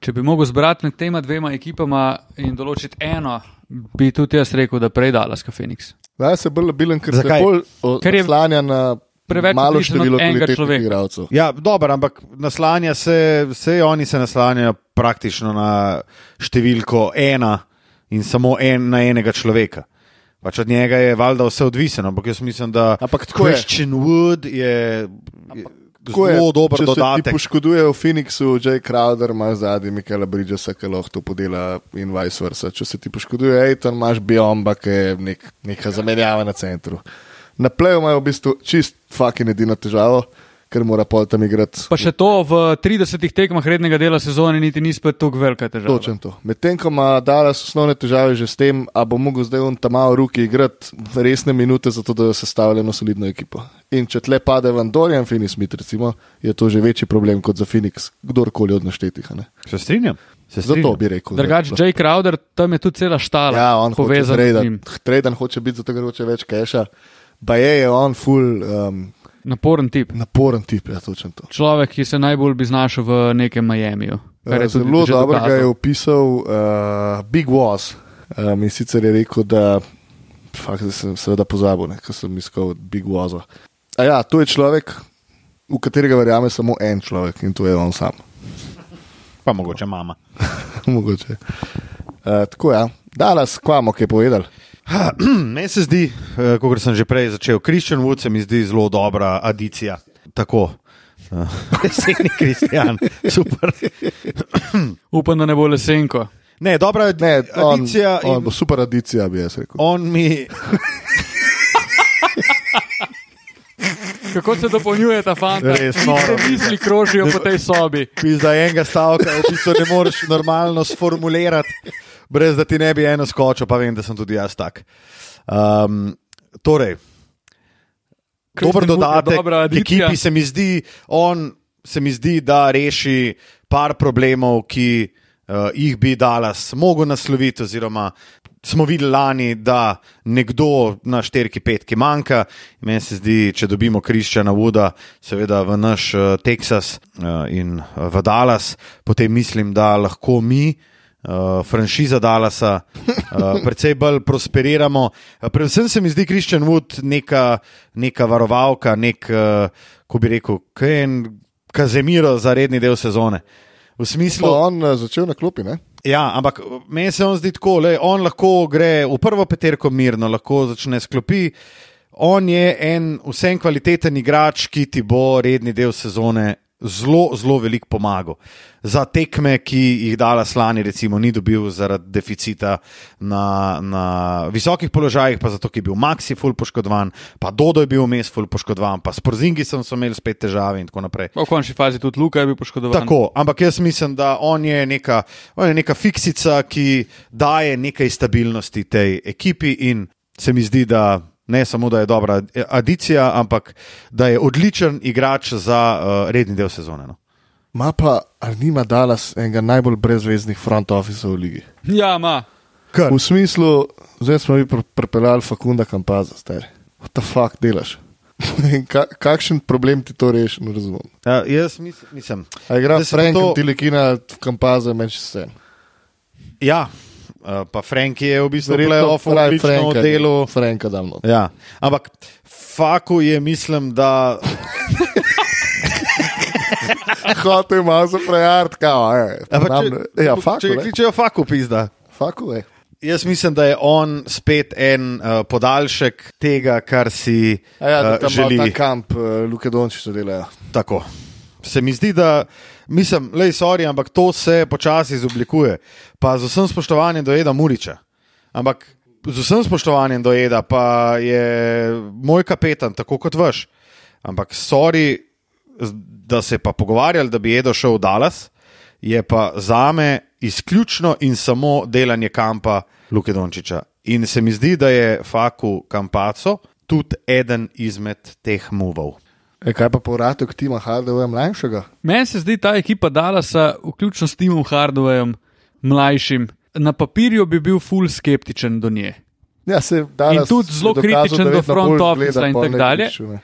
S3: Če bi mogel zbrati med tema dvema ekipama in določiti eno, bi tudi jaz rekel, da prej dala ska Feniks.
S2: Da se bolj labilen, ker
S1: Zakaj?
S2: se bolj
S3: Ker je
S2: oslanja na
S3: preveč
S2: malo
S3: odvisen od
S2: število
S3: enega človeka.
S2: kvalitetnih igralcev.
S1: Ja, dobro, ampak naslanja se, vse oni se naslanjajo praktično na številko ena in samo en na enega človeka. Pač od njega je valjda vse odvisno, ampak jaz mislim, da
S2: Ampak tako je.
S1: Christian je. Wood je, je
S2: Tako je,
S1: zelo dober
S2: če se ti
S1: dodatek.
S2: Poškoduje v Phoenixu, Jay Crowder ima zadnji, Michaela Bridgesa, ki lahko to podela in vice versa. Če se ti poškoduje Aiton, imaš Biomba, ki je nek, neka zamenjava na centru. Na pleju imajo v bistvu čist fucking edino težavo, ker mora pol tam igrati.
S3: Pa še to v 30 tekmah rednega dela sezone niti ni spet tako velika težava.
S2: Točen to. Medtem ko ima Dallas osnovne težave že s tem, a bo mogel zdaj on tam malo roki igrati resne minute, zato da sestavlja eno solidno ekipo. In če tle pade Van Dorian, Finis Smith, recimo, je to že večji problem kot za Phoenix, kdorkoli od naštetih. a ne.
S1: Se strinjam. Se
S2: Zato
S1: strinjam.
S2: bi rekel. da-
S3: Drugač, Jay Crowder, tam je tudi cela štala.
S2: ja, on hoče
S3: povezana z njim.
S2: treden. Treden hoče biti, zato ker hoče več keša. Pa je, je on full um,
S3: Naporen tip.
S2: naporen tip, ja, točen to.
S3: Človek, ki se najbolj bi znašel v nekem Miamiju. kar je
S2: Ja, Eh,
S3: tudi
S2: Zelo
S3: že
S2: dobro ga je
S3: dokazal.
S2: opisal uh, Big Woz. Um, in sicer je rekel, da fakt, zdaj sem seveda pozabil, ne, ker sem iskal od Big Woza. A ja, to je človek, v katerega verjame samo en človek in to je on sam.
S1: Pa mogoče mama.
S2: Mogoče. Uh, tako ja, danes kvamo, kaj je povedal.
S1: Hm, Meni se zdi, kot sem že prej začel, Christian Wood se mi zdi zelo dobra adicija. Tako. Uh, Reseni Kristjan, super.
S3: Upam, da ne bo lesenko.
S1: Ne, dobra je
S2: Ne, on,
S1: adicija.
S2: on
S1: in-
S2: bo super adicija, bi jaz rekel.
S1: on mi,
S3: Kako se dopolnjuje ta fanta?
S1: Res,
S3: Iste
S1: noro.
S3: misli krožijo po tej sobi.
S1: ki za enega stavka v bistvu ne moreš normalno sformulirati, brez da ti ne bi eno skočil, pa vem, da sem tudi jaz tak. Um, torej, dober
S3: Christian Wood je
S1: dodatek
S3: dobra
S1: k
S3: adicija.
S1: ekipi se mi zdi, on se mi zdi, da reši par problemov, ki uh, jih bi Dallas mogel nasloviti, oziroma smo videli lani, da nekdo na šterki petki manjka. In Meni se zdi, če dobimo Kriščana Vuda, seveda v naš uh, Teksas uh, in uh, v Dallas, potem mislim, da lahko mi. Uh, franšiza Dallasa, uh, precej bolj prosperiramo. Uh, predvsem se mi zdi Christian Wood neka, neka varovalka, nek, uh, ko bi rekel, kaj je en Kazemiro za redni del sezone. V
S2: Pa
S1: smislu,
S2: on uh, začel na klopi, ne?
S1: Ja, ampak meni se on zdi tako, da on lahko gre v prvo peterko mirno, lahko začne sklopi. On je en vsem kvaliteten igrač, ki ti bo redni del sezone zelo, zelo velik pomagal. Za tekme, ki jih dala slani, recimo, ni dobil zaradi deficita na, na visokih položajih, pa zato, ker je bil Maxi ful poškodovan, pa Dodo je bil vmes ful poškodovan, pa s Porzingisom so imeli spet težave in tako naprej.
S3: Pa V končni fazi tudi Luka je bil poškodovan.
S1: Tako, ampak jaz mislim, da on je, neka, on je neka fiksica, ki daje nekaj stabilnosti tej ekipi, in se mi zdi, da ne samo, da je dobra adicija, ampak da je odličen igrač za uh, redni del sezone. No.
S2: Ma pa, ali nima Dallas enega najbolj brezveznih front officev v ligi?
S3: Ja, ima.
S1: Kar,
S2: V smislu, zdaj smo mi pr- pripeljali Fakunda Kampaza, stari. What the fuck delaš? In ka kakšen problem ti to reši, ne razumem.
S1: ja, jaz mis, mislim.
S2: A igra
S1: Zdaj se bo
S2: Frank
S1: to-
S2: to... Tilekina, Kampaza, meni še vse.
S1: Ja, uh, pa Frank je v bistvu playoff
S2: ja.
S1: odlično delo.
S2: Franka dam not.
S1: Ja. Ampak faku je, mislim, da
S2: Hotel ima za prejart, kao, je.
S1: Ampak
S2: Nam,
S1: če-
S2: ja,
S1: če
S2: faku,
S1: ga
S2: ne.
S1: kličejo faku, pizda.
S2: Faku, je.
S1: Jaz mislim, da je on spet en uh, podaljšek tega, kar si
S2: A ja, da
S1: uh,
S2: tam želi.
S1: želi.
S2: eh, ta kamp, uh, Luke Dončić delajo.
S1: Tako. Se mi zdi, da mislim, le sorry, ampak to se počasi izoblikuje. Pa z vsem spoštovanjem do Eda Muriča. Ampak z vsem spoštovanjem do Eda, pa je moj kapetan, tako kot vaš. Ampak sorry, z- da se je pa pogovarjali, da bi Edo šel v Dallas, je pa za me izključno in samo delanje kampa Luke Dončiča. In se mi zdi, da je Faku Kampaco tudi eden izmed teh muvov.
S2: E, kaj pa povratek Tima Hardeja mlajšega?
S3: Meni se zdi ta ekipa Dalasa, vključno s Timom Hardovem, mlajšim, na papirju bi bil ful skeptičen do nje.
S2: Ja, se danes
S3: In tudi zelo
S2: je dokazal,
S3: kritičen
S2: da
S3: do
S2: vedno
S3: front
S2: bolj
S3: officea
S2: gleda
S3: in
S2: pol
S3: tako
S2: na
S3: dalje.
S2: igrišču, ne.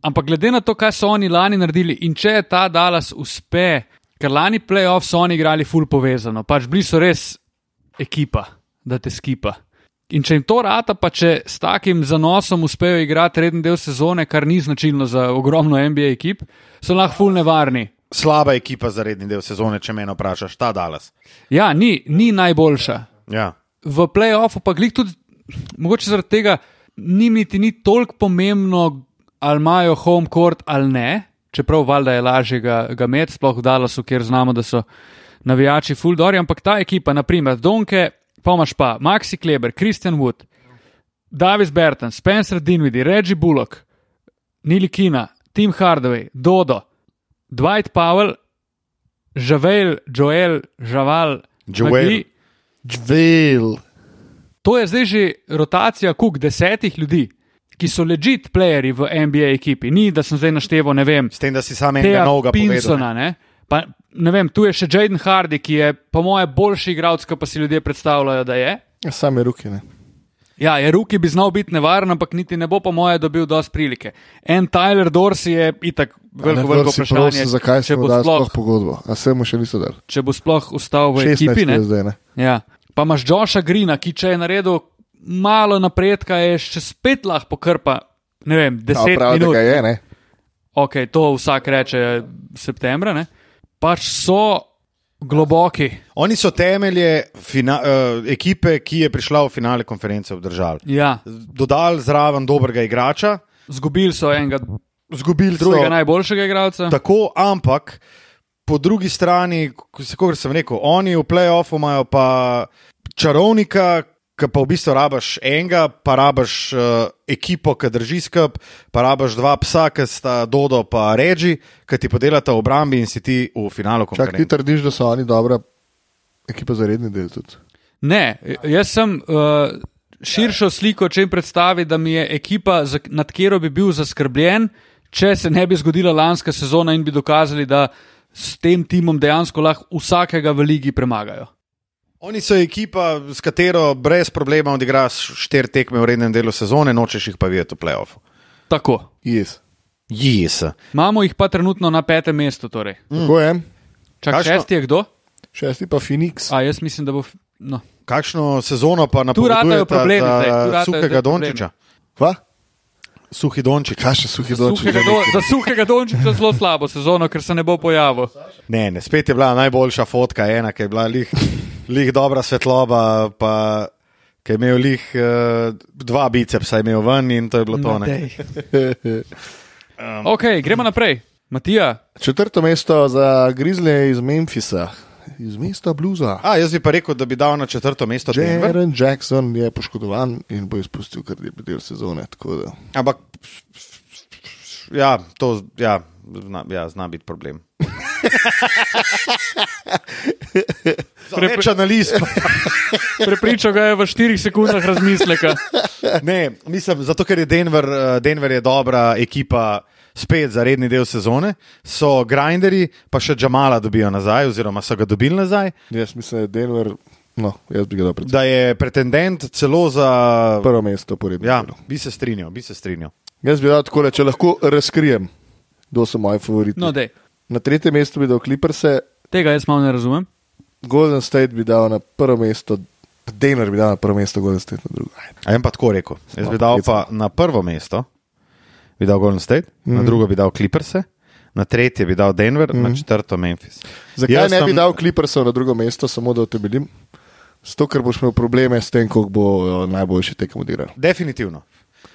S3: Ampak glede na to, kaj so oni lani naredili in če je ta Dallas uspe, ker lani playoff so oni igrali ful povezano, pač bili so res ekipa, da te skipa. In če jim to rata, pa če s takim zanosom uspejo igrati reden del sezone, kar ni značilno za ogromno NBA ekip, so lahko ful nevarni.
S1: Slaba ekipa za redni del sezone, če me vprašaš, ta Dallas.
S3: Ja, ni, ni najboljša.
S1: Ja.
S3: v playoffu pa glih tudi, mogoče zaradi tega, njim niti ni toliko pomembno, ali imajo home court ali ne, čeprav valjda je lažje ga, ga imeti, sploh v Dallasu, kjer znamo, da so navijači fuldori, ampak ta ekipa, naprimer Donke, pa imaš pa Maxi Kleber, Christian Wood, Davis Berton, Spencer Dinwiddie, Reggie Bullock, Nili Kina, Tim Hardaway, Dodo, Dwight Powell, Žavel, Joel, Žaval,
S1: Joel.
S3: Magui,
S2: Dvel.
S3: To je zdaj že rotacija kuk desetih ljudi, ki so ležit playerji v NBA ekipi. Ni, da sem zdaj našteval, ne vem,
S1: S tem, da si sam enega
S3: Teja
S1: novega povedal.
S3: Pinsona. Ne? Pa, ne vem, tu je še Jaden Hardy, ki je po moje boljši igralec, kot pa si ljudje predstavljajo, da je.
S2: Ja, same ruke. Ne.
S3: Ja, je ruki bi znal biti nevaren, ampak niti ne bo, po moje, dobil dosti prilike. En Tyler Dorsey je itak veliko,
S2: Vendar
S3: veliko
S2: si
S3: vprašanje,
S2: prosim, zakaj
S3: če,
S2: smo
S3: bo
S2: dali
S3: sploh,
S2: sploh pogodbo? A se mu še niso dali?
S3: če bo sploh ostal v
S2: 16
S3: ekipi. Ne?
S2: je zdaj, ne?
S3: Ja. Pa imaš Joša Grina, ki če je naredil malo napredka, je še spet lahko pokrpa, ne vem,
S2: Ja,
S3: 10
S2: pravi, da
S3: minut.
S2: ga je, ne?
S3: Ok, to vsak reče septembra, ne? pač so globoki.
S1: Oni so temelje fina, uh, ekipe, ki je prišla v finale konference obdržali.
S3: Ja.
S1: Dodali zraven dobrega igrača,
S3: Zgubili so enega,
S1: zgubili
S3: drugega
S1: so-
S3: najboljšega igralca.
S1: Tako, ampak po drugi strani, kot sem rekel, oni v playoffu imajo pa čarovnika, ki pa v bistvu rabaš enega, pa rabaš uh, ekipo, ki drži skrb, pa rabaš dva psa, ki sta Dodo pa Reži, ki ti podelata v obrambi in si ti v finalu
S2: Čak ti
S1: konkurenci.
S2: trdiš, da so oni dobra ekipa za redni del tudi.
S3: Ne, jaz sem uh, širšo sliko, če jim predstavi, da mi je ekipa, za- nad katero bi bil zaskrbljen, če se ne bi zgodila lanska sezona in bi dokazali, da s tem timom dejansko lahko vsakega v ligi premagajo.
S1: Oni so ekipa, s katero brez problema odigraš štiri tekme v rednem delu sezone, nočeš jih pa videti v playoffu.
S3: Tako.
S2: Yes.
S1: Jis.
S3: Imamo jih pa trenutno na petem mestu. Torej.
S2: Mm. Tako je.
S3: Čak,
S1: Kakšno-
S3: šesti je kdo?
S2: Šesti pa Phoenix.
S3: A, jaz mislim, da bo. f- No.
S1: Kakšno sezono pa
S3: ratajo
S1: napovedujete
S3: problemi
S1: za
S3: zdaj, tu ratajo zdaj
S1: Suhega
S3: problemi.
S1: Dončiča?
S2: Kva?
S1: Suhi Dončič.
S2: Kaj še suhi doči?
S3: Suhega Don- Za suhega Dončiča zelo slabo sezono, ker se ne bo pojavil.
S1: Ne, ne, spet je bila najboljša fotka, ena, ki je bila lih, lih dobra svetloba, pa ki je imel lih uh, dva bicepsa, je imel ven in to je bilo to. Ne.
S3: Ok, gremo naprej. Matija,
S2: Četrto mesto za Grizzly iz Memphisa, iz mesta Bluza.
S1: A, jaz bi pa rekel, da bi dal na četrto mesto Denver,
S2: Jaren Jackson je poškodovan in bo izpustil kar lepi del sezone. tako da.
S1: ampak ja, to ja, zna, ja, zna biti problem. Preveč analiz. pa-
S3: prepričal ga je v štirih sekundah razmisleka.
S1: Ne, mislim, zato ker je Denver, eh, Denver je dobra ekipa. Spet za redni del sezone so grinderji, pa še Džamala dobijo nazaj, oziroma so ga dobili nazaj.
S2: Jaz mislim, da je Denver, no, jaz bi ga dal pred
S1: Da je pretendent celo za.
S2: prvo mesto po redu.
S1: Ja, bi se strinjal, bi se strinjal.
S2: Jaz bi dal tako, če lahko razkrijem, kdo so moji favoriti.
S3: No, dej.
S2: na tretjem mestu bi dal Clippers,
S3: Tega jaz malo ne razumem.
S2: Golden State bi dal na prvo mesto, Denver bi dal na prvo mesto, Golden State na drugo. Ajde.
S1: A jaz pa tako rekel. Jaz
S2: No,
S1: bi dal
S2: poklical.
S1: pa na prvo mesto, bi dal Golden State, mm.
S2: Mhm.
S1: na drugo bi dal Clippers, na tretje bi dal Denver, mm. na četrto Memphis.
S2: Zakaj
S1: Jaz
S2: jaz ne bi
S1: sem-
S2: dal Clippersov na drugo mesto, samo da te belim? Zato, ker boš imel probleme s tem, kako bo eh, najboljši tekem odigral.
S1: Definitivno.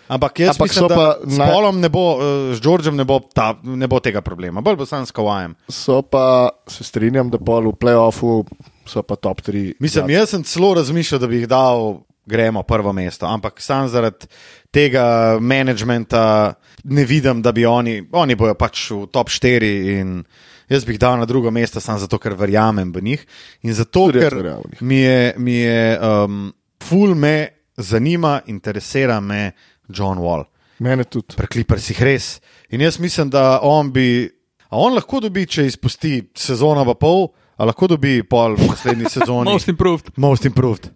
S1: Ampak jaz
S2: Ampak
S1: mislim,
S2: so
S1: pa,
S2: pa
S1: da s
S2: naj-
S1: Polom ne bo, eh, s Georgem ne bo, ta, ne bo tega problema, bolj bo sam s Kawajem.
S2: So pa, se strinjam, da pol v playoffu so pa top 3.
S1: Mislim, jaz sem celo razmišljal, da bi jih dal, gremo prvo mesto, ampak sam zaradi tega menedžmenta ne vidim, da bi oni, oni bojo pač v top 4 in jaz bi jih dal na drugo mesto, samo zato, ker verjamem v njih. In zato,
S2: Tudi jaz
S1: ker
S2: verjamem v njih.
S1: mi je, mi je um, ful me zanima, interesira me John Wall.
S2: Mene tudi.
S1: Pri Clippersih res. In jaz mislim, da on bi. A on lahko dobi, če izpusti sezono pa pol, a lahko dobi pol v naslednji sezoni.
S3: Most improved.
S1: Most improved.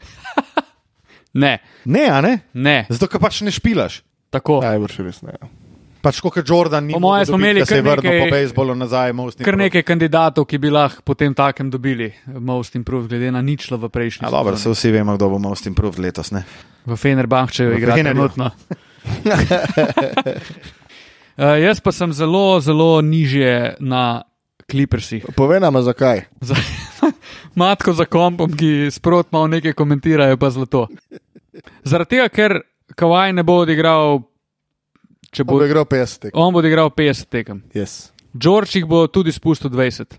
S3: Ne,
S1: Ne, a ne?
S3: ne,
S1: Zato, ker pač ne špilaš.
S3: tako.
S1: Ja,
S2: Najbrž res ne.
S1: Pač kot Jordan, ni
S3: Po
S1: mogel
S3: moje smo
S1: dobiti,
S3: imeli
S1: da se je
S3: kar
S1: vrnil po
S3: nekaj-
S1: bejzbolu nazaj. most
S3: Kar
S1: improved.
S3: nekaj kandidatov, ki bi lahko potem takem dobili, most improved, glede na ničlo v prejšnji.
S1: A, Ja, dobro, se
S3: sezoni.
S1: vsi vemo, kdo bo most improved letos. Ne?
S3: V Fenerbahčeju
S1: V
S3: igra
S1: Fenerju.
S3: trenutno. Uh, jaz pa sem zelo, zelo nižje na klipersih.
S2: Povej nam, zakaj.
S3: Za, matko za kompom, ki sprot malo nekaj komentirajo, pa zlato. Zaradi tega, ker Kawaj ne bo odigral, če
S2: Bo
S3: bo.
S2: igral 50 tek.
S3: On bo odigral 50 tekem.
S2: Yes.
S3: George jih bo tudi spustil 20.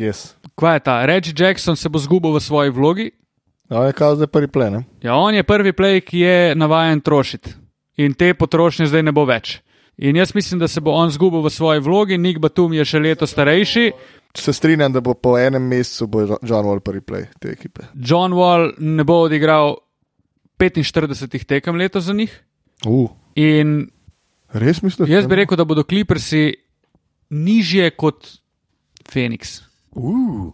S2: Yes.
S3: Kaj je ta? Reggie Jackson se bo zgubil v svoji vlogi.
S2: No, je kao zdaj prvi plen. ne?
S3: Ja, on je prvi play, ki je navaden trošiti. In te potrošnje zdaj ne bo več. In jaz mislim, da se bo on zgubil v svoji vlogi, Nick Batum je še leto starejši,
S2: Se strinjam, da bo po enem mesecu bo Jo- John Wall prvi play te ekipe.
S3: John Wall ne bo odigral 45 tekem leto za njih.
S2: Uh,
S3: In
S2: res mislim?
S3: jaz bi rekel, da bodo kliprsi nižje kot Phoenix.
S1: Uh.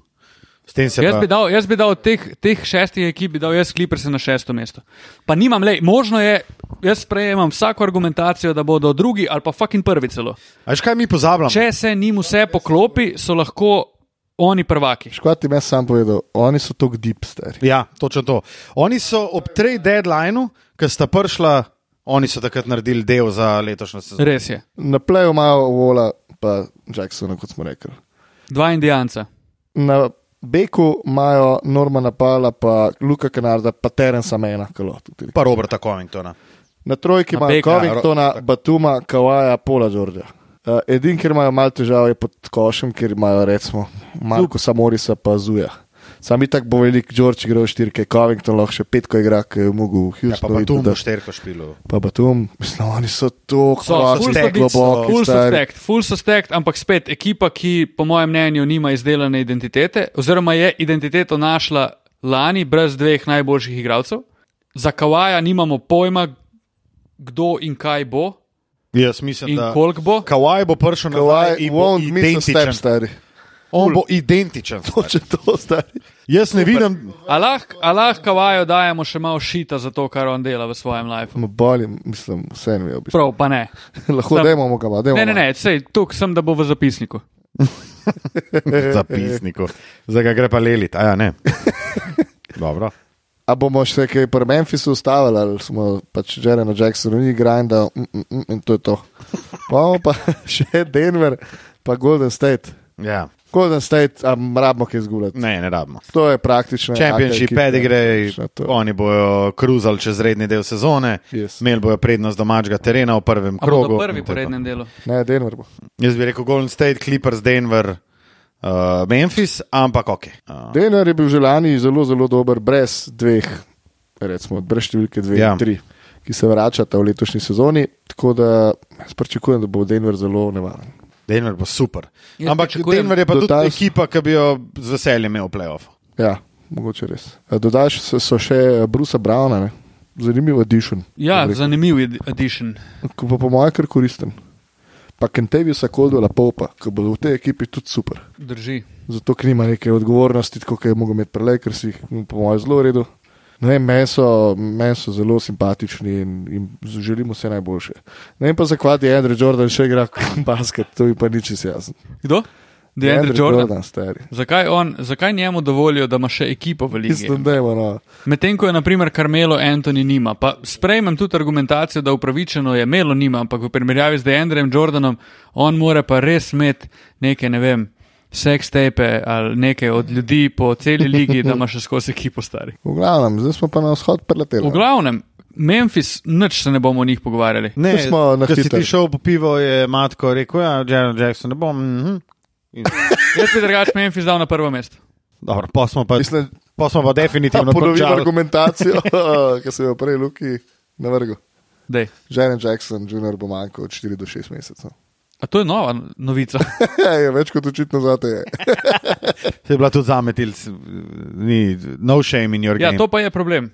S1: S tem se
S3: Jaz
S1: Ja, pa-
S3: bi, dal, jaz bi dal od teh, teh šestih ekip, bi dal jaz Clippers na šesto mesto. Pa nimam, lej, možno je, jaz sprejemam vsako argumentacijo, da bodo drugi ali pa fucking prvi celo.
S1: A veš, kaj mi pozabljamo?
S3: Če se njim vse poklopi, so lahko oni prvaki.
S2: Škvati meni sam povedal, oni so tako deep stari.
S1: Ja, točno to. Oni so ob trej deadlineu, ki sta prišla, oni so takrat naredili del za letošnjo sezono.
S3: Res je.
S2: Na playu imajo Vola pa Jacksona, kot smo rekli.
S3: Dva indijanca.
S2: Na Beku imajo Normana Pala, pa Luka Kanarda, pa Terensa Mena, kalot.
S1: Pa Roberta Covingtona.
S2: Na trojki
S3: Na
S2: imajo
S1: Ja,
S3: Beka,
S2: Covingtona, Batuma, Kawaja, Pola Đorđa. Uh, edin, kjer imajo malo težav, je pod košem, kjer imajo recimo Marko Samorisa pa Zuja. Sam itak bo velik George igral štirke, Covington lahko še petko igra, ki je mogel v
S1: Ja, pa pa tu
S2: Houstonu. videti, da-
S1: bo šterko špilo.
S2: pa Batum, mislim, oni so to
S3: So,
S1: so
S2: kročno
S1: stacked,
S2: globoki.
S3: Full so
S2: stari.
S3: stacked, full so stacked, ampak spet ekipa, ki po mojem mnenju nima izdelane identitete, oziroma je identiteto našla lani brez dveh najboljših igralcev. Za Kawaja nimamo pojma, kdo in kaj bo
S1: Jaz mislim,
S3: in
S1: da
S3: koliko bo.
S1: Kawhi bo prišel na
S2: Kawhi won't miss a step,
S1: identičen.
S2: stari.
S1: On bo identičen.
S2: Hoče to, stari.
S1: Jaz ne vidim,
S3: Allah Kawaju dajemo še malo šita za to, kar on dela v svojem lifeu.
S2: Ma Bolim, mislim, vse ne ve, v bistvu.
S3: Prav, pa ne.
S2: Lahko
S3: Sam-
S2: dajmo ga, dajmo.
S3: Ne, ne, ne, sej tukaj sem, da bo v zapisniku.
S2: Eh,
S1: zapisniku. Zdaj ga gre pa lelit. A ja, ne. Dobro.
S2: A bomo še kaj pri Memphisu ustavili, ali smo pač Jeremy Jackson, ni grinda mm, mm, mm, in to je to. Pa bomo pa še Denver, pa Golden State.
S1: Ja.
S2: Golden State, a rabimo kaj izgubljati.
S1: Ne, ne rabimo.
S2: To je praktično.
S1: Championship
S2: taka ekipa,
S1: pedigre,
S2: praktično ja, to.
S1: oni bojo kruzali čez redni del sezone,
S2: Yes.
S1: imeli bojo prednost domačega terena v prvem
S3: A
S1: krogu.
S3: bodo prvi
S1: in to
S3: po
S1: je to.
S3: rednem delu.
S2: Ne, Denver bo.
S1: Jaz bi rekel Golden State, Clippers, Denver, uh, Memphis, ampak ok. Uh,
S2: Denver je bil že lani zelo, zelo dober, brez dveh, recimo, brez številke dve,
S1: Ja.
S2: ja. tri, ki se vračata v letošnji sezoni. Tako da jaz pričakujem, da bo Denver zelo nevaren.
S1: Denver bo super.
S3: Jaz
S1: ampak
S3: pričakujem-
S1: Denver je pa tudi
S2: Dodal-
S1: ekipa, ki bi jo z veseljem imel v playoff.
S2: Ja, mogoče res. Dodaš so, so še eh, Brusa Brauna, ne? zanimiv addition.
S3: Ja,
S2: bi rekel.
S3: zanimiv je addition.
S2: Ko pa po mojem kar koristen. Pa Kenteviusa Kodula Popa, ki bo v tej ekipi tudi super.
S3: Drži.
S2: Zato, ker nima neke odgovornosti, tako kot je mogel imeti prelej, ker si jih po mojem zelo redu. Ne, vem, meni so, men so zelo simpatični in, in želimo vse najboljše. Ne vem pa, zakaj je Andrej Jordan še igra basket, to mi pa ni čisto jasno.
S3: Kdo? Deandre
S2: Andre
S3: Jordan.
S2: Ja, Jordan stari.
S3: Zakaj, on, zakaj njemu dovolijo, da ima še ekipo v ligi?
S2: Mislim, da je no, ono.
S3: Medtem ko je, naprimer, Karmelo Antoni nima. Pa sprejmem tudi argumentacijo, da upravičeno je Melo nima, ampak v primerjavi z Deandrem Jordanom, on mora pa res imeti neke, ne vem, sex tepe ali nekaj od ljudi po celi ligi, da ima še skozi ekipo stari.
S2: V glavnem, zdaj smo pa na vzhod preleteli.
S3: V glavnem, Memphis, nič se ne bomo o njih pogovarjali.
S1: Ne,
S2: To smo na
S1: ko si
S2: hitro.
S1: ti šel po pivo, je matko rekel, ja, Jaron Jackson ne bom. mhm." In,
S3: Jaz bi drugač Memphis dal na prvo mesto.
S1: dobro, pa smo pa,
S2: Mislim,
S1: pa, smo pa
S2: da
S1: definitivno
S2: ponovim
S1: končali.
S2: argumentacijo, ki sem jo prej Luki navrgel.
S3: Dej.
S2: Jaren Jackson, junior bo manjkal od 4 do 6 mesecev.
S3: A to je nova novica.
S2: je več kot očitno zate. je.
S1: Se je bila tudi zametil, ni no shame in your
S3: Ja,
S1: game.
S3: to pa je problem.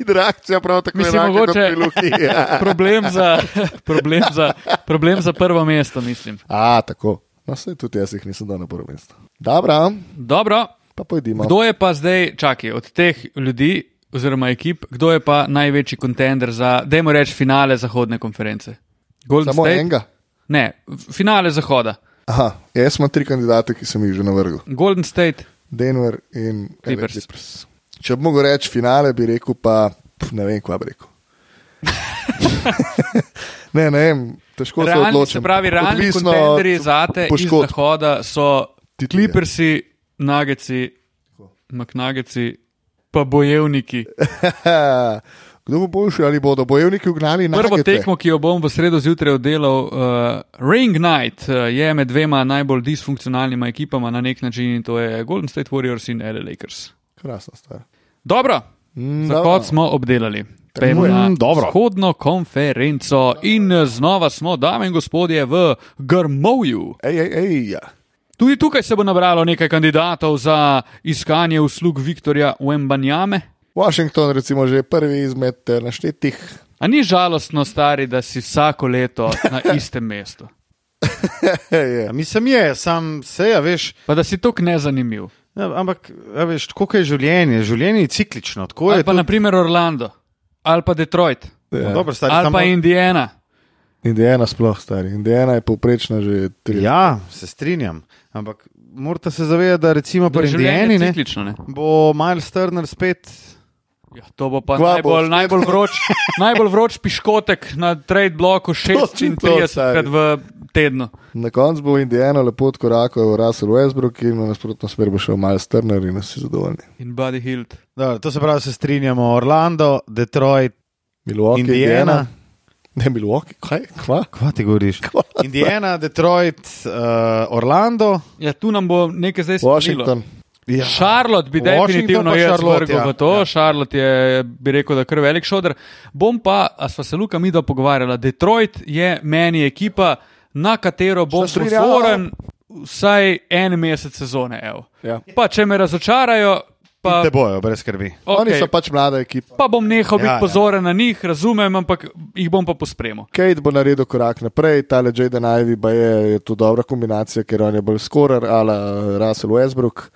S2: In reakcija prav tako
S3: Mislim,
S2: enaka kot
S3: mogoče-
S2: pri Luki.
S3: Problem za, problem za, problem za prvo mesto, mislim.
S2: A, tako. No, se tudi jaz jih nisem dal na prvo mesto. Dobro,
S3: Dobro,
S2: pa pojdimo.
S3: kdo je pa zdaj, čakaj, od teh ljudi oziroma ekip, kdo je pa največji kontender za, dajmo reči, finale zahodne konference? Golden
S2: Samo
S3: State?
S2: enega.
S3: Ne, finale zahoda.
S2: Aha, jaz imam tri kandidate, ki sem jih že navrgel.
S3: Golden State,
S2: Denver in LA
S3: Clippers.
S2: Če bi mogel reči finale, bi rekel pa pf, ne vem, kva bi rekel. ne, ne vem, težko se
S3: realni,
S2: odločim.
S3: se pravi, realni
S2: Odvisno
S3: kontenderji
S2: od
S3: zate
S2: poškodb.
S3: iz zahoda so
S2: Titulja.
S3: Clippersi, Nageci, McNageci, pa bojevniki.
S2: Kdo bo boljši ali bodo bojevniki ugnali na
S3: Prvo tekmo, ki jo bom v sredo zjutraj oddelal, uh, Ring Night uh, je med dvema najbolj disfunkcionalnima ekipama na nek način in to je Golden State Warriors in LA Lakers.
S2: Krasna stvar.
S3: Dobro,
S2: Mm,
S3: zahod smo obdelali. Pejmo
S1: je.
S3: na
S1: Mm, dobro.
S3: vzhodno konferenco in eh, znova smo, dame in gospodje, v Grmovju.
S2: Ej, ej, ej, ja.
S3: Tudi tukaj se bo nabralo nekaj kandidatov za iskanje uslug Viktorja Wembanjame.
S2: Washington, recimo, že prvi izmed eh, naštetih.
S3: A ni žalostno, stari, da si vsako leto na istem mestu,
S2: Je.
S1: Ja, mislim, je, sam se, ja, veš.
S3: pa da si tako nezanimiv.
S1: Ja, ampak, ja, veš, tako kot je življenje, življenje je ciklično. tako
S3: Ali
S1: Je
S3: pa,
S1: tudi,
S3: na primer, Orlando, ali pa Detroit,
S1: no, dobro, stari,
S3: ali
S1: samo,
S3: pa Indiana.
S2: Indijana sploh stari. Indijana je povprečna že tri.
S1: ja, se strinjam. Ampak morate se zavedati, da recimo
S3: Da
S2: Torej,
S1: pri
S3: življenje
S1: Indijani
S3: je
S1: ne,
S3: ciklično, ne?
S1: bo Miles Turner spet.
S3: Ja, to bo pa
S2: Kva
S3: najbolj,
S2: boš?
S3: najbolj, vroč, najbolj vroč piškotek na trade bloku
S2: Točno to,
S3: 36krat
S2: stari.
S3: v tednu.
S2: Na koncu bo Indijana lepo odkorakal Russell Westbrook in v nasprotno smer bo šel Miles Turner in nas je zadovoljni.
S3: In Buddy Hilt.
S1: Da, to se pravi, se strinjamo. Orlando, Detroit,
S2: Milwaukee,
S1: Indiana.
S2: Indijana. Ne, Milwaukee, kaj? Kva?
S1: Kva ti govoriš? Indiana, Detroit, uh, Orlando.
S3: Ja, tu nam bo nekaj zdaj spomnilo.
S2: Washington.
S1: Ja.
S3: Charlotte bi
S1: Washington
S3: definitivno
S1: pa
S3: jaz
S1: Charlotte,
S3: vrgel
S1: ja.
S3: v to.
S1: Ja.
S3: Charlotte je, bi rekel, da kar velik šodr. Bom pa, a sva se Luka Mido pogovarjala, Detroit je meni ekipa, na katero bom
S2: Sta strinjala?
S3: pozoren
S1: ja.
S3: vsaj en mesec sezone. Evo.
S2: Ja.
S3: Pa če me razočarajo, pa,
S1: Te bojo, brez skrbi.
S2: Okay. Oni
S3: okay,
S2: so pač mlada ekipa.
S3: pa bom nehal
S1: Ja,
S3: biti
S1: ja.
S3: pozoren na njih, razumem, ampak jih bom pa pospremil.
S2: Kate bo naredil korak naprej, tale Jaden Ivy pa je, je to dobra kombinacija, ker on je bolj skorer, ala Russell Westbrook.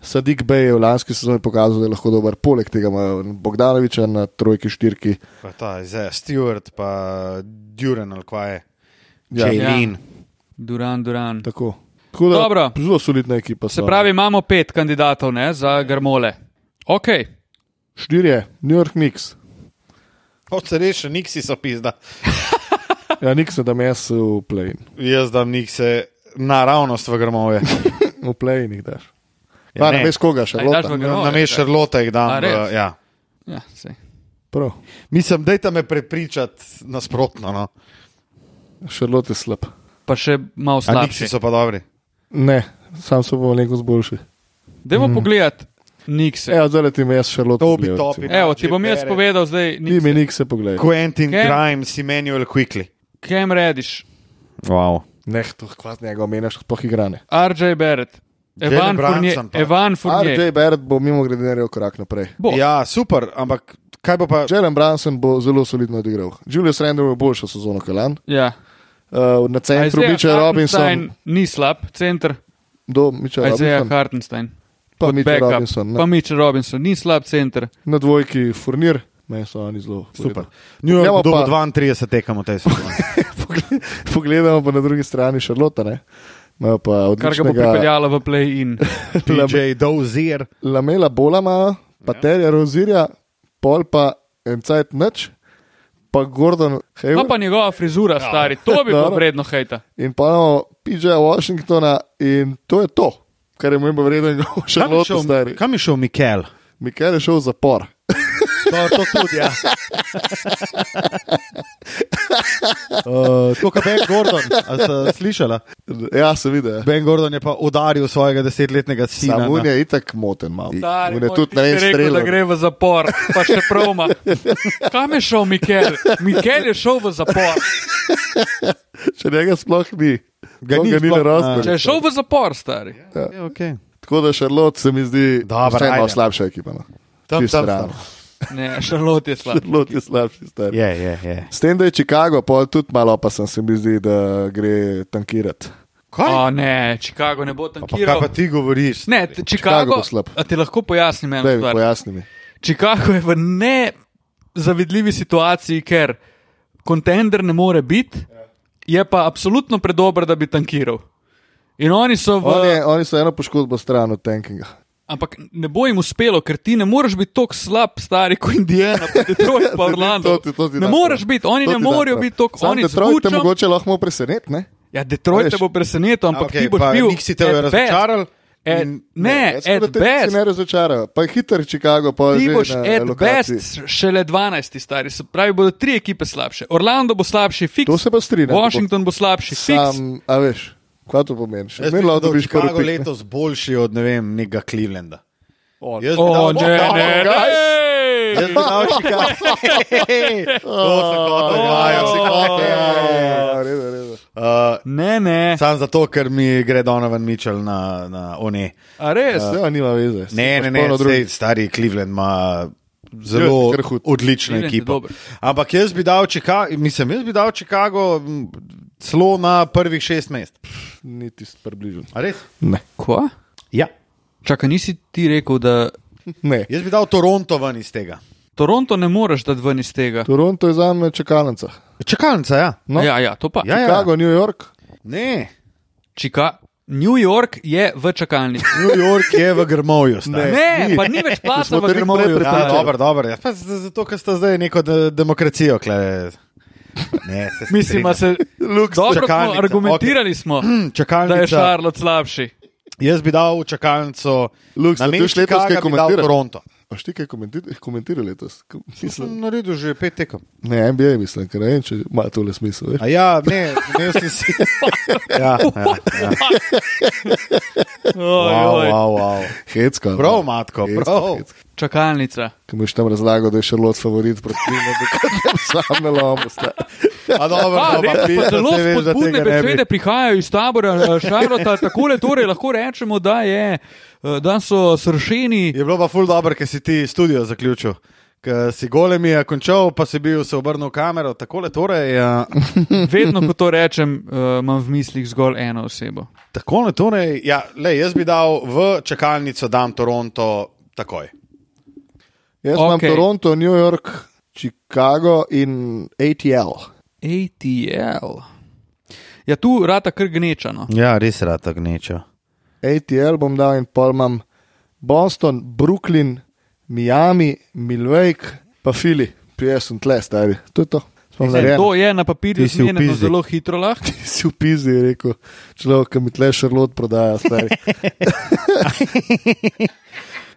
S2: Sadik Bey je v lanski sezoni pokazal, da je lahko dober, poleg tega ima Bogdanoviča na trojki, štirki.
S1: Pa ta, zdaj, Stewart, pa Duran ali kva je.
S2: Ja.
S1: Jaylin.
S3: Duran, Duran.
S2: Tako. Tako da,
S3: Dobro.
S2: Zelo solidna ekipa.
S3: Se
S2: so.
S3: pravi, imamo pet kandidatov ne, za grmole. Ok,
S2: štirje, New York Knicks.
S1: Hoče reči, niksi so pizda.
S2: Ja, Knicks je da mes v plajn.
S1: Jaz dam nikse naravnost v grmove.
S2: V plajnih daš.
S1: Ja,
S2: Ja,
S1: ne.
S2: ne veš koga, še
S3: Aj, daš
S2: vedno.
S3: v grmo.
S1: Na meš Šarlota jih
S3: A,
S1: dam.
S3: res?
S1: v- Ja.
S3: ja, saj.
S1: Mislim, dajte me prepričati nasprotno. No.
S2: Šarlot je slab.
S3: pa še malo
S1: A niksi
S3: slabši.
S1: so pa dobri.
S2: Ne, sam so bo nekaj zboljši.
S3: Dajmo mm. pogledati, Nikse.
S2: Mhm. Evo, zdaj ti me jaz Šarlot.
S1: To bi topi.
S3: Evo, ti bom jaz
S1: Beret.
S3: povedal zdaj,
S2: Ni mi
S3: Nikse.
S2: Knicks, poglej.
S1: Quentin
S3: Ken-
S1: Grimes, Emmanuel Quickly.
S3: Kem Rediš,
S1: Wow.
S2: Ne, to kvart njega omenjaš, sploh igrane.
S3: RJ Barrett, Evan
S1: Jalen
S3: Fournier,
S1: Brunson pa.
S3: Evan Fournier.
S2: RJ Barrett bo mimo grede naredil korak naprej.
S3: Bo.
S1: Ja, super, ampak kaj bo pa.
S2: Jalen Branson bo zelo solidno odigral. Julius Randall bo boljšo sezono kalan.
S3: Ja.
S2: Uh, na centru
S3: Isaiah
S2: Miča
S3: Hartenstein
S2: Robinson,
S3: Ni slab, center,
S2: do Miča
S3: Isaiah
S2: Robinson,
S3: Hartenstein.
S2: pa
S3: kot
S2: Miča
S3: backup.
S2: Robinson.
S3: Pa
S2: Ne.
S3: Mitch Robinson, ni slab center.
S2: Na dvojki Furnir, ne so oni zelo v redu.
S1: Super. New York
S2: Gremo
S1: bo dobil
S2: pa-
S1: 32 tekem v tej sezoni.
S2: Pogled- Pogledamo pa na drugi strani Šarlota, ne. Imajo pa
S3: Kar ga bo
S2: odličnega
S3: pripeljalo v play-in.
S1: PJ Dozier.
S2: Lamela Bolama, pa ja. Terja Rozirja, pol pa Encajt Nič, pa Gordon
S3: No,
S2: Hayward.
S3: pa njegova frizura, stari, to bi bilo
S2: Dobro.
S3: vredno hejta.
S2: in pa imamo PJ Washingtona in to je to, kar je moj vreden,
S1: Kam je
S2: še
S1: šel-
S2: stari.
S1: Kam je šel Mikel?
S2: Mikel je šel v zapor.
S1: No, to tudi. Ja. Uh, Tako kot Ben Gordon, ali ste slišali?
S2: Ja, se vidi.
S1: Ben Gordon je pa udaril svojega desetletnega sina.
S2: Samo on
S1: na-
S2: je itak moten, malo.
S3: Stari
S2: On je
S3: moj,
S2: tudi
S3: ti
S2: ne vem,
S3: si rekel, da
S2: streljal.
S3: gre v zapor, pa še proma. Kam je šel Mikel? Mikel je šel v zapor.
S2: Če njega sploh ni,
S1: Ga
S2: ga
S1: ni
S2: ni, ga ni
S1: sploh,
S2: na
S3: Če
S2: razporedu.
S3: je šel v zapor, stari.
S1: Ja, okay.
S2: Tako da Šarlot se mi zdi, da
S1: Dobro,
S2: je
S1: ajde.
S2: malo slabša ekipa. No.
S1: Tam,
S2: Čisto
S1: tam,
S2: realno.
S3: Ne, Šarlot je slab.
S2: Šarlot je slabši. Star.
S1: Je, je, je.
S2: S tem, da je Chicago, pa tudi malo opasen, se mi zdi, da gre tankirati.
S1: Kaj?
S3: O, ne, Chicago ne bo
S1: A, pa, kaj
S3: tankiral.
S1: pa ti govoriš?
S3: Ne, t- Chicago,
S2: bo slab.
S3: a ti lahko pojasnim eno
S2: Daj mi
S3: stvar.
S2: pojasni. mi.
S3: Chicago je v nezavidljivi situaciji, ker kontender ne more biti, je pa absolutno predober, da bi tankiral. In oni so v.
S2: On je- Oni so eno poškodbo stran od tankinga.
S3: Ampak ne bo jim uspelo, ker ti ne moreš biti tako slab, stari kot Indijana, pa Detroit, pa Orlando.
S2: To ti- to ti
S3: Ne
S2: da
S3: moreš
S2: prav.
S3: biti, oni
S2: To
S3: ne
S2: ti da
S3: morejo
S2: prav.
S3: biti tako.
S2: Samo
S3: Oni z
S2: Detroit te
S3: Vučem-
S2: mogoče lahko preseneti, ne?
S3: Ja, Detroit
S2: Veš.
S3: te bo presenetil, ampak
S1: Okej,
S3: ti boš
S1: pa
S3: bil.
S1: Nixi te bojo
S3: at best.
S1: razočarali
S3: At-
S1: in-
S3: Ne,
S2: jaz
S3: at
S2: mislim, da te nisi
S3: best.
S2: ne razočarajo. Pa je hiter Chicago, pa
S3: Ti
S2: že
S3: boš
S2: na
S3: at
S2: lokaciji.
S3: best šele 12, stari. Se pravi, bodo tri ekipe slabše. Orlando bo slabši,
S2: To
S3: fiks.
S2: se pa strinjam.
S3: Washington bo slabši, fiks.
S2: Sam, a veš, kaj to pomeni? Še
S1: Jaz
S2: vedno
S1: mislim, da je
S2: dobiš prvi
S1: Chicago
S2: pik, ne?
S1: letos boljši od ne vem, nekega Clevelanda. Jaz bi
S3: O,
S1: dal-
S3: ne,
S1: Oh,
S3: ne,
S1: guys.
S3: ne.
S1: Jaz bi dal Chicago. To se kot odvaja, se kot odvaja.
S2: Ja, v redu, v redu.
S3: Ne, ne.
S1: Sam Uh, zato, ker mi gre Donovan Mitchell na, na one.
S3: A res?
S2: Ja, nima veze.
S1: Ne, ne, ne, sej, stari Cleveland ima zelo
S2: Je kar hud.
S1: odlično
S3: Cleveland je
S1: ekipo.
S3: dober.
S1: Ampak jaz bi dal Chicago, mislim, jaz bi dal Chicago m, celo na prvih šest mest.
S2: Niti približno.
S1: A res?
S2: Ne.
S3: Kva?
S1: Ja.
S3: Čakaj, nisi ti rekel, da
S2: ne.
S1: Jaz bi dal Toronto ven iz tega.
S3: Toronto ne moreš dati ven iz tega?
S2: Toronto je za me čakalnica.
S1: Čakalnica, ja.
S2: No.
S3: Ja, ja, to pa.
S1: Ja, ja.
S2: Chicago, New York.
S1: Ne,
S3: Čika, New York je v čakalnici.
S1: New York je v Grmovju. stari.
S3: Ne,
S2: ni.
S3: pa ni več placa
S2: Smo
S3: v
S2: te nekaj
S3: Grmovju.
S2: prej
S1: Ja,
S2: prepričali.
S3: stari.
S1: dobro, dobro. Ja, pa z- zato, ker ste zdaj neko de demokracijo. Kle. Ne, se
S3: Mislim, da
S1: strinjam.
S3: se dobro smo,
S1: čakalnica, Hmm,
S3: argumentirali smo, da je
S1: čakalnica.
S3: Charlotte slabši.
S1: Jaz bi dal v čakalnico
S2: Lux,
S1: na
S2: a ti
S1: mestu
S2: boš letos kaj
S1: Chicaga, bi dal
S2: komentiral?
S1: Toronto.
S2: A še ti kaj komentirali komentir letos? Ko- Mislim,
S1: Sem naredil že pet tekem.
S2: ne, NBA mislim, ker ne vem, če ima tole smisel. veš.
S1: A ja, ne, ne, si si. Ja, ja, ja.
S3: Oj,
S1: Wow,
S3: oj.
S1: wow, wow.
S2: Hecka.
S1: Prav,
S2: no.
S1: matko,
S2: Hecka,
S1: prav.
S2: hecka.
S3: Čakalnica.
S2: Ki mu je tam razlagal, da je Charlotte favorit proti meni, da je sam na lomu. sta.
S1: A dobro,
S3: A,
S1: no, pa
S3: res,
S1: pizda,
S3: pa
S1: saj
S3: zelo
S1: veš, da
S3: spodbudne
S1: tega ne bi.
S3: besede prihajajo iz tabora Šarlota, tako torej lahko rečemo, da, je, eh, da so sršeni.
S1: Je bilo pa ful dobro, ker si ti studio zaključil. Ker si golem je končal, pa si bil se obrnil v kamero, tako le torej. Ja.
S3: Vedno, ko to rečem, eh, imam v mislih zgolj eno osebo.
S1: Tako le torej. Ja, le, jaz bi dal v čakalnico, dam Toronto takoj.
S2: Jaz imam
S3: Okej.
S2: Toronto, New York, Chicago in ATL.
S3: ATL. Ja, tu rata kar gnečano.
S1: Ja, res rata gneča.
S2: ATL bom dal in pol imam Boston, Brooklyn, Miami, Milwaukee, pa Fili, piješ sem tle, stari. To je to. Smo
S3: Zdaj,
S2: narejeni.
S3: to je na papirju
S1: Ti si v
S3: zmenjeno
S1: pizdi.
S3: zelo hitro lahko.
S2: Si v pizdi, je rekel človek, ki mi tle šarlot prodaja, stari.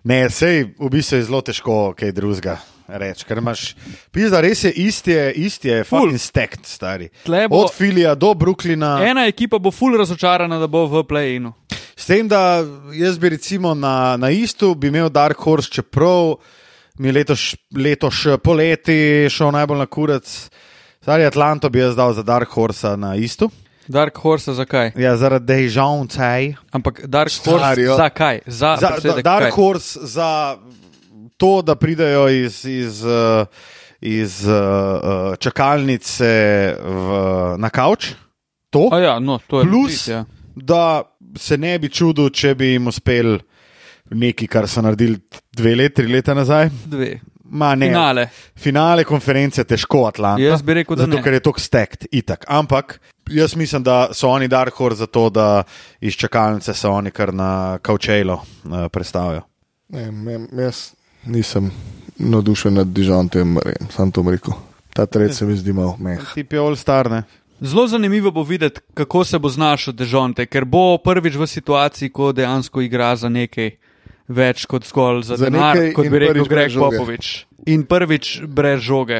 S1: Ne, sej v bistvu je zelo težko kaj drugega reči, ker imaš, pizda, res je isti, je, isti je, fucking stekt, stari.
S3: Tle bo-
S1: Od Filija do Brooklyna.
S3: Ena ekipa bo ful razočarana, da bo v play-inu.
S1: S tem, da jaz bi recimo na, na istu bi imel Dark Horse, čeprav mi je letoš, letoš eh, poleti šel najbolj na kurac. Stari Atlanto bi jaz dal za Dark Horse na istu.
S3: Dark Horse, zakaj?
S1: Ja, zaradi Dejžavncaj.
S3: Ampak Dark Horse,
S2: Starijo.
S3: zakaj?
S1: Za,
S3: Za,
S1: da,
S3: predsedek,
S1: Dark
S3: kaj?
S1: Horse za to, da pridejo iz, iz, eh, iz eh, eh, čakalnice v, na kavč. To.
S3: A ja, no, to je
S1: Plus,
S3: legit, ja.
S1: da se ne bi čudil, če bi jim uspel nekaj, kar so naredili dve leti, tri leta nazaj.
S3: Dve.
S1: Ma, ne,
S3: Finale.
S1: Finale konference težko Atlanta.
S3: Jaz bi rekel, da
S1: zato,
S3: ne.
S1: ker je to stekt, itak. Ampak jaz mislim, da so oni Dark Horse zato, da iz čakalnice se oni kar na kaučejlo uh, predstavijo.
S2: Ne, ne, jaz nisem navdušen nad Dižantem, sam to bom rekel. Ta tret se mi zdi malo meh.
S1: Ti je all star, ne?
S3: Zelo zanimivo bo videti, kako se bo znašel Dežonte, ker bo prvič v situaciji, ko dejansko igra za nekaj. več kot zgolj
S2: Za
S3: za, za denar,
S2: nekaj
S3: kot
S2: in
S3: bi rekel
S2: prvič brez
S3: Greg
S2: žoge.
S3: Popovič. In prvič brez žoge.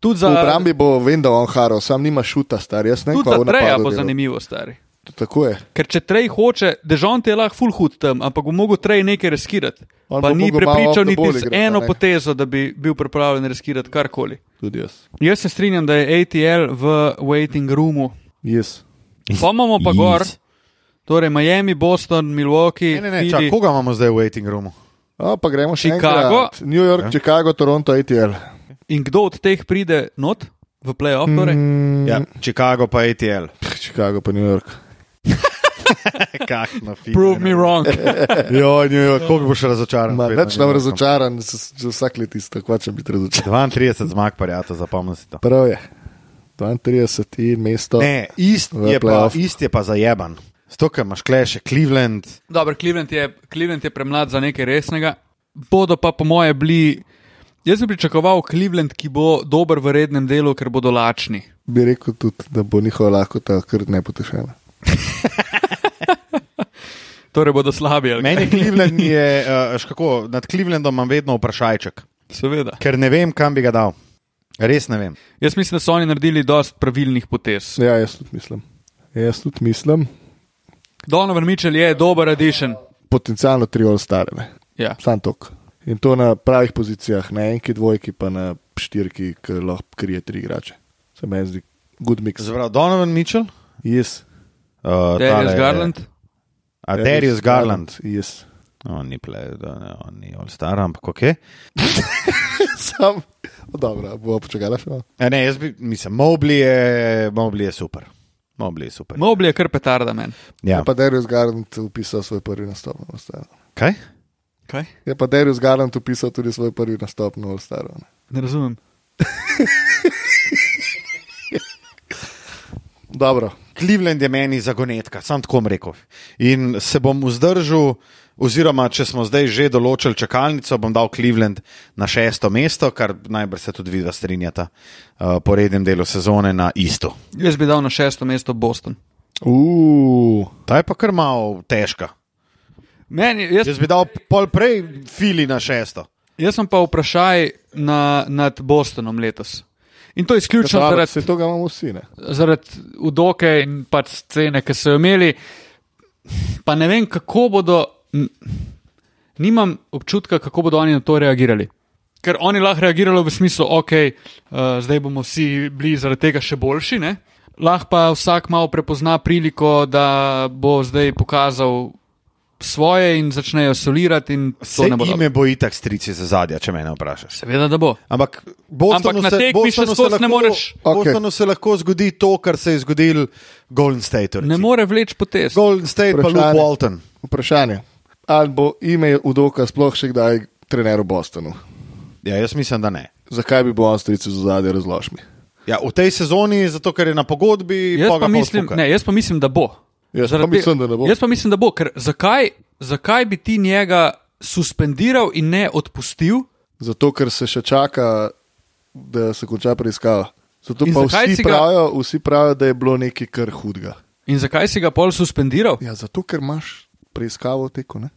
S3: Tudi
S2: V
S3: za
S2: obrambi bo vem, da on haro, sam nima šuta, star. Jaz ne vem,
S3: tudi
S2: kako
S3: za
S2: bo
S3: Treja
S2: napadal.
S3: bo
S2: delal.
S3: zanimivo, stari.
S2: Tako je.
S3: Ker če Trej hoče, Dežon ti je lahko full hud tam, ampak bo mogel Trej nekaj riskirati.
S2: On
S3: pa
S2: bo
S3: ni
S2: mogel malo off
S3: prepričal
S2: the
S3: niti
S2: ball
S3: z
S2: igrati, a
S3: eno
S2: ne.
S3: potezo, da bi bil pripravljen riskirati karkoli.
S2: Tudi jaz.
S3: Jaz se strinjam, da je ATL v waiting roomu.
S2: Jaz.
S3: Pa imamo pa
S1: Jeez.
S3: gor, torej Miami, Boston, Milwaukee,
S1: Ne, ne, ne,
S3: Philly.
S1: čak, koga imamo zdaj v waiting roomu?
S2: O, pa gremo še
S3: Chicago.
S2: enkrat. New York, ja. Chicago, Toronto, ATL.
S3: in kdo od teh pride not v playoff? Torej?
S2: Mm,
S1: Ja, Chicago pa ATL.
S2: pff, Chicago pa New York.
S1: Kakšno film.
S3: Prove me wrong.
S1: Jo, New York, koliko boš razočaran?
S2: Ma,
S1: spet
S2: Neč
S1: na
S2: nam
S1: New Yorku?
S2: razočaran, s- že vsak let isto, kva če biti razočaran.
S1: 32 zmag, parjata, zapomni si to.
S2: Prav je. 32 in mesto.
S1: Ne, ist
S2: V
S1: je, pa,
S2: playoff.
S1: ist je pa zajeban. Stokaj imaš kle še Cleveland,
S3: Dobro, Cleveland je, Cleveland je premlad za nekaj resnega. Bodo pa, po moje, bili. Jaz bi pričakoval Cleveland, ki bo dober v rednem delu, ker bodo lačni.
S2: Bi rekel tudi, da bo njihova lahkota kar nepotešena.
S3: Torej bodo slabi. ali kaj?
S1: Meni Cleveland je, eh, veš kako, nad Clevelandom imam vedno vprašajček,
S3: Seveda.
S1: ker ne vem, kam bi ga dal. Res ne vem.
S3: Jaz mislim, da so oni naredili dosti pravilnih potez.
S2: Ja, jaz tudi mislim. Jaz tudi mislim,
S3: Donovan Mitchell je dober addition.
S2: potencialno tri ol starene.
S3: Ja.
S2: Sam tok. In to na pravih pozicijah, na enki, dvojki, pa na štirki, ki lahko krije tri igrače. Se meni zdi, good mix.
S1: Zavrl Donovan Mitchell,
S2: Yes.
S1: uh,
S3: Darius Garland.
S1: A Darius Garland.
S2: Ja, Yes.
S1: No, ni play, da, ne, on ni all star, ampak ok. Eh,
S2: Sam, O, dobro, bo počakala še malo.
S1: A Ne, jaz bi, mislim, Mobley je, Mobley je super. Mobley je super.
S3: Mobley je kar petarda meni.
S1: Ja.
S2: Je pa Darius Garland upisal svoj prvi nastop na All-Staru.
S1: Kaj?
S3: Kaj?
S2: Je pa Darius Garland upisal tudi svoj prvi nastop na All-Staru. ne.
S3: Ne razumem.
S2: Dobro,
S1: Cleveland je meni zagonetka, sam tako bom rekel. In se bom vzdržal, oziroma če smo zdaj že določili čakalnico, bom dal Cleveland na šesto mesto, kar najbrž se tudi vidva strinjata uh, po rednem delu sezone na isto.
S3: Jaz bi dal na šesto mesto Boston.
S2: Uuu,
S1: Ta je pa kar malo težka.
S3: Meni, jaz,
S1: Jaz bi dal pol prej fili na šesto.
S3: jaz sem pa vprašaj na, nad Bostonom letos. In to izključno zaradi
S2: se tega imamo vsi. Ne?
S3: zaradi udoke in pač scene, ki so jo imeli. Pa ne vem, kako bodo, n- nimam občutka, kako bodo oni na to reagirali. Ker oni lahko reagirajo v smislu, ok, uh, zdaj bomo vsi bili zaradi tega še boljši, ne? lahko pa vsak malo prepozna priliko, da bo zdaj pokazal svoje in začnejo solirati in to
S1: Se
S3: ne bo. dobro.
S1: ime boji tak strici za zadje, če me ne vprašaš.
S3: Seveda, da bo.
S1: Ampak, Bostonu
S3: Ampak na
S1: se-
S3: tekmi še
S1: Bostonu se
S3: skozi ne
S1: lahko-
S3: moreš.
S2: Okej.
S1: Bostonu se lahko zgodi to, kar se je zgodil Golden State.
S3: Ne more vleč potez.
S1: Golden State pa Luke
S2: Vprašanje.
S1: Walton.
S2: Vprašanje, ali bo ime Udoka sploh še kdaj trener v Bostonu?
S1: Ja, jaz mislim, da ne.
S2: Zakaj bi bil on stric iz zadnje razložmi?
S1: Ja, v tej sezoni, zato ker je na pogodbi,
S3: Jaz
S1: ga
S3: pa, mislim,
S1: odpuka.
S3: ne, jaz pa mislim, da bo.
S2: Jaz pa
S3: Zaradi-
S2: mislim, da ne bo.
S3: Jaz pa mislim, da bo, ker zakaj, zakaj bi ti njega suspendiral in ne odpustil?
S2: Zato, ker se še čaka, da se konča preiskava. Zato
S3: In
S2: pa
S3: zakaj si
S2: vsi
S3: ga-
S2: pravijo, vsi pravijo, da je bilo nekaj kar hudega.
S3: In zakaj si ga pol suspendiral?
S2: Ja, zato, ker imaš preiskavo v teku. Ne?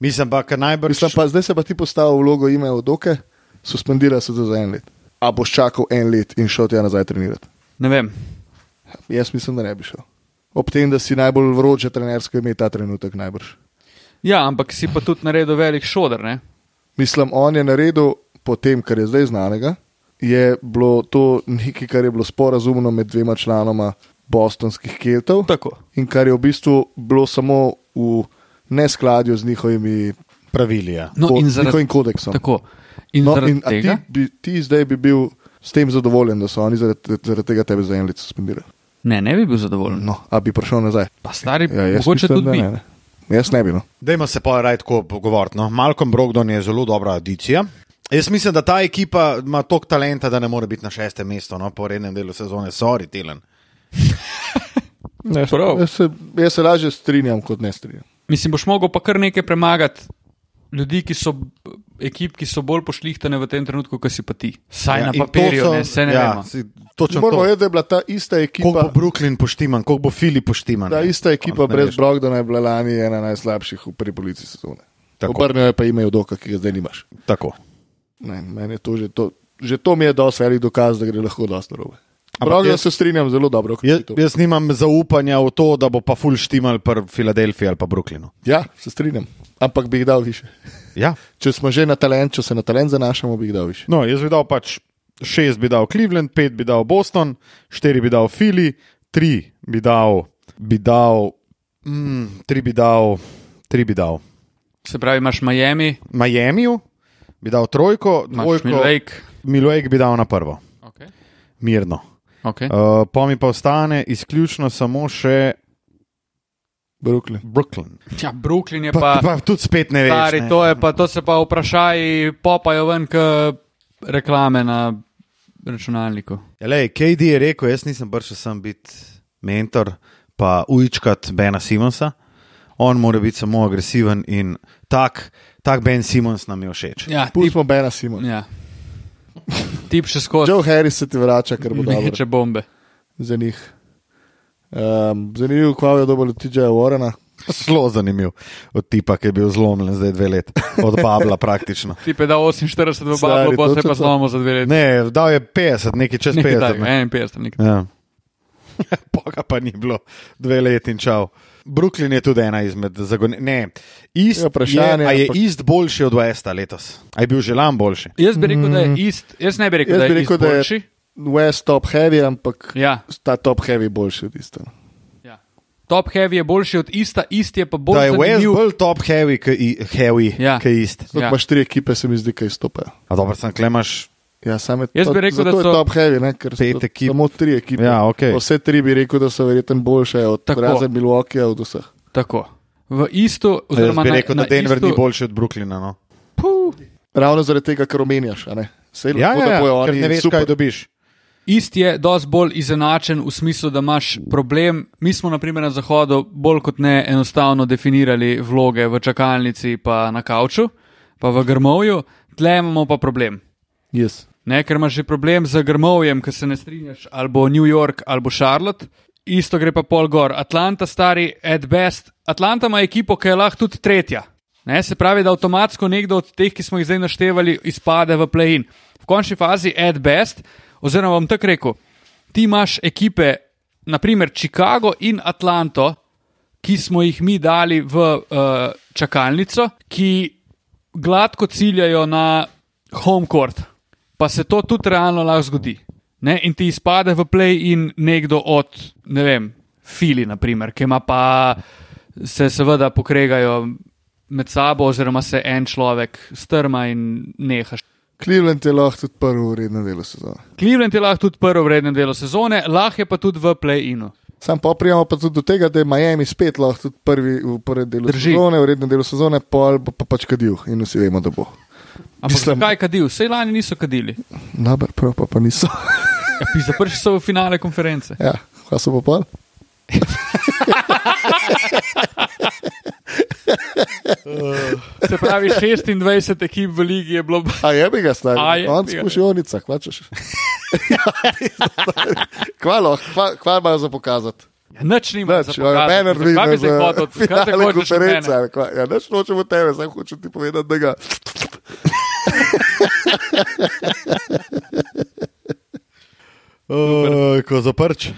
S1: Mislim pa, ker najbrž.
S2: Mislim pa, zdaj se pa ti postavi v vlogo ime Udoke, suspendira se to za en let. A boš čakal en let in šel tja nazaj trenirati?
S3: Ne vem.
S2: Jaz mislim, da ne bi šel. Ob tem, da si najbolj vroče trenersko ime ta trenutek najbrž.
S3: Ja, ampak si pa tudi naredil velik šodr. Ne?
S2: Mislim, on je naredil po tem, kar je zdaj znanega. Je bilo to nekaj, kar je bilo sporazumno med dvema članoma bostonskih Keltov
S3: Tako.
S2: in kar je v bistvu bilo samo v neskladju z njihovimi,
S1: pravili. Ja.
S3: No,
S2: ko-
S3: in
S2: z
S3: zaradi
S2: njihovim kodeksom.
S3: Tako. In
S2: No,
S3: zaradi
S2: in a ti,
S3: tega?
S2: bi, ti zdaj bi bil s tem zadovoljen, da so oni zaradi, zaradi tega tebe za en let suspendirali.
S3: Ne, ne bi bil zadovoljen.
S2: No, a bi prišel nazaj.
S3: Pa stari,
S2: Ja,
S3: ja,
S2: jaz
S3: mogoče
S2: mislim, da
S3: tudi
S2: ne,
S3: mi.
S2: ne. Jaz ne bi. No.
S1: Dajmo se pa raj tako pogovoriti. No. Malcolm Brogdon je zelo dobra adicija. Jaz mislim, da ta ekipa ima toliko talenta, da ne more biti na šestem mestu no, po rednem delu sezone. Sorry, Tilan.
S2: Ne,
S3: prav.
S2: jaz, se, jaz se lažje strinjam, kot ne strinjam.
S3: Mislim, boš mogel pa kar nekaj premagati. Ljudi, ki so, ekip, ki so bolj pošlihtane v tem trenutku, kot si pa ti. Saj ja, na
S1: in to
S3: papirju,
S1: so-
S3: ne, saj ne
S1: ja,
S3: vemo.
S1: si- Točno to.
S2: Moramo vedeti, da je bila ta ista
S1: Koliko
S2: ekipa.
S1: bo Brooklyn poštiman, koliko bo Filip poštiman.
S2: Ta
S1: ne.
S2: ista ekipa
S1: Konc ne
S2: brez
S1: veš.
S2: Brogdona je bila lani ena najslabših v prvi polici sezone.
S1: Tako.
S2: Obrnil je pa ime od oka, ki ga zdaj nimaš.
S1: Tako.
S2: Ne, meni je to že to. Že to mi je dosti velik dokaz, da gre lahko dosti narobe.
S1: Ampak
S2: Pravno
S1: jaz- Ja,
S2: se strinjam, zelo dobro.
S1: Jaz,
S2: okrepitev.
S1: jaz nimam zaupanja v to, da bo pa full štimal pri Filadelfiji ali pa Brooklynu.
S2: Ja, se strinjam, ampak bi jih dal više.
S1: Ja.
S2: Če smo že na talent, če se na talent zanašamo, bi jih dal više.
S1: No, jaz bi dal pač šest, bi dal Cleveland, pet bi dal Boston, štiri bi dal Fili, tri bi dal, bi dal, mm, tri bi dal, tri bi dal
S3: Se pravi, imaš Miami,
S1: Miamiju, bi dal trojko,
S3: imaš
S1: dvojko,
S3: Milwaukee.
S1: Milojek bi dal na prvo,
S3: Okay.
S1: mirno.
S3: Okay.
S1: Uh, pa mi pa ostane izključno samo še
S2: Brooklyn.
S1: Brooklyn.
S3: Ja, Brooklyn je
S1: Pa, pa,
S3: pa,
S1: pa tudi spet ne veš.
S3: stari,
S1: ne.
S3: to, je pa, to se pa vprašaj, popajo ven k reklame na računalniku.
S1: Ja, Lej, KD je rekel, jaz nisem bršel sem biti mentor, pa ujčkat Bena Simonsa. On mora biti samo agresiven in tak, tak Ben Simons nam je všeč.
S3: Ja, tip,
S2: Pustimo Bena Simona.
S3: ja. tip še skozi,
S2: Joe Harris se ti vrača, ker bo dobro
S3: meče bombe.
S2: za njih. Um, zanimivo, kva je dobil TJ Warrena.
S1: Zelo zanimiv od tipa, ki je bil zlomljen zdaj dve leti, od Babla praktično.
S3: Tip je dal 48 v
S2: Stari,
S3: Bablu, pa
S2: to so
S3: se pa
S2: to-
S3: zlomimo za dve leti.
S1: Ne, dal je 50, nekaj čez
S3: Nekaj
S1: 50.
S3: takega,
S1: Ne.
S3: 51, nekaj.
S1: Ja. Poga pa ni bilo dve leti in čau. Brooklyn je tudi ena izmed zagonih. Ne, East
S2: Ja,
S1: je,
S2: vprašanje,
S1: a je
S2: ampak-
S1: East boljši od Westa letos? A je bil že lani boljši?
S3: Jaz bi rekel, da
S1: Mm.
S3: je ist, jaz ne bi rekel,
S2: Jaz
S3: da
S2: bi
S3: je
S2: rekel,
S3: rekel,
S2: da je-
S3: boljši.
S2: West top heavy, ampak
S3: Ja,
S2: ta top heavy boljši od istega.
S3: ja. Top heavy je boljši od ista, ist je pa
S1: Da
S3: bolj
S1: je West
S3: zanimiv.
S1: bolj top heavy, ki i- heavy,
S3: Ja.
S1: ki je ist.
S2: Zato
S3: Ja.
S2: ja. imaš tri ekipe, se mi zdi, kaj stopajo.
S1: A dobro, sem klemaš.
S2: Ja, sam je
S3: Jaz
S2: to,
S3: bi rekel,
S2: zato
S3: da so
S2: je top heavy, ne, ker so
S1: pet ekip.
S2: samo tri ekipe.
S1: Ja, okej.
S2: Pa Vse tri bi rekel, da so verjetno boljše od
S3: Tako.
S2: razen Milwaukee od vseh.
S3: Tako. V istu,
S1: Jaz
S3: oziroma
S1: bi
S3: na-
S1: rekel, da
S3: na
S1: Denver
S3: istu-
S1: ni boljši od Brooklyna. No.
S3: Puh.
S2: Ravno zaradi tega, kar omenjaš. a ne. Sej
S1: Ja,
S2: lahko
S1: ja,
S2: tako je
S1: ja, ker
S2: oni
S1: ne veš,
S2: super.
S1: kaj dobiš.
S3: Ist je dosti bolj izenačen v smislu, da imaš problem. Mi smo, na primer, na Zahodu bolj kot ne enostavno definirali vloge v čakalnici, pa na kavču, pa v grmovju, tle imamo pa problem.
S2: Yes.
S3: Ne, ker imaš že problem z grmovjem, ker se ne strinjaš, ali bo New York ali bo Charlotte. Isto gre pa pol gor. Atlanta, stari, at best. Atlanta ima ekipo, ki je lahko tudi tretja. Ne, se pravi, da avtomatsko nekdo od teh, ki smo jih zdaj naštevali, izpade v play-in. V končni fazi, at best, oziroma bom tako rekel, ti imaš ekipe, naprimer Chicago in Atlanto, ki smo jih mi dali v uh, čakalnico, ki gladko ciljajo na home court, pa se to tudi realno lahko zgodi. Ne? In ti izpade v play in nekdo od, ne vem, Fili, naprimer, ki ima pa se seveda pokregajo med sabo, oziroma se en človek strma in neha.
S2: Cleveland je lahko tudi prvo redno delo sezone.
S3: Cleveland je lahko tudi prvo vredno delo sezone, lahko je pa tudi v play-inu.
S2: Sam pa prijemo pa tudi do tega, da je Miami spet lahko tudi prvi v prvem delu
S3: Drži.
S2: sezone, v rednem delu sezone, pol bo pa pač kadil in vsi vemo, da bo.
S3: Ampak
S2: Mislim-
S3: zakaj kadil? Vse lani niso kadili.
S2: Naber, prav pa, pa niso.
S3: Ja, pizda, prišli so v finale konference.
S2: Ja, kva so pa pol?
S3: Se pravi, 26 ekip v ligi je bilo.
S2: A je bi ga
S3: A
S2: stavil,
S3: je
S2: on
S3: bi ga. ja.
S2: spušionica, kvačeš. Ja, kva lahko, kva, kva imajo za pokazati.
S3: Ja, Nič nima.
S2: Nič, mene
S3: ne
S2: dvigne
S3: bi
S2: za
S3: hotel. Kaj
S2: finale
S3: hočeš od
S2: konference.
S3: mene?
S2: ali kva? Ja, nič nočem od tebe, zdaj hočem ti povedati, da ga.
S1: Uh, ko zaprč.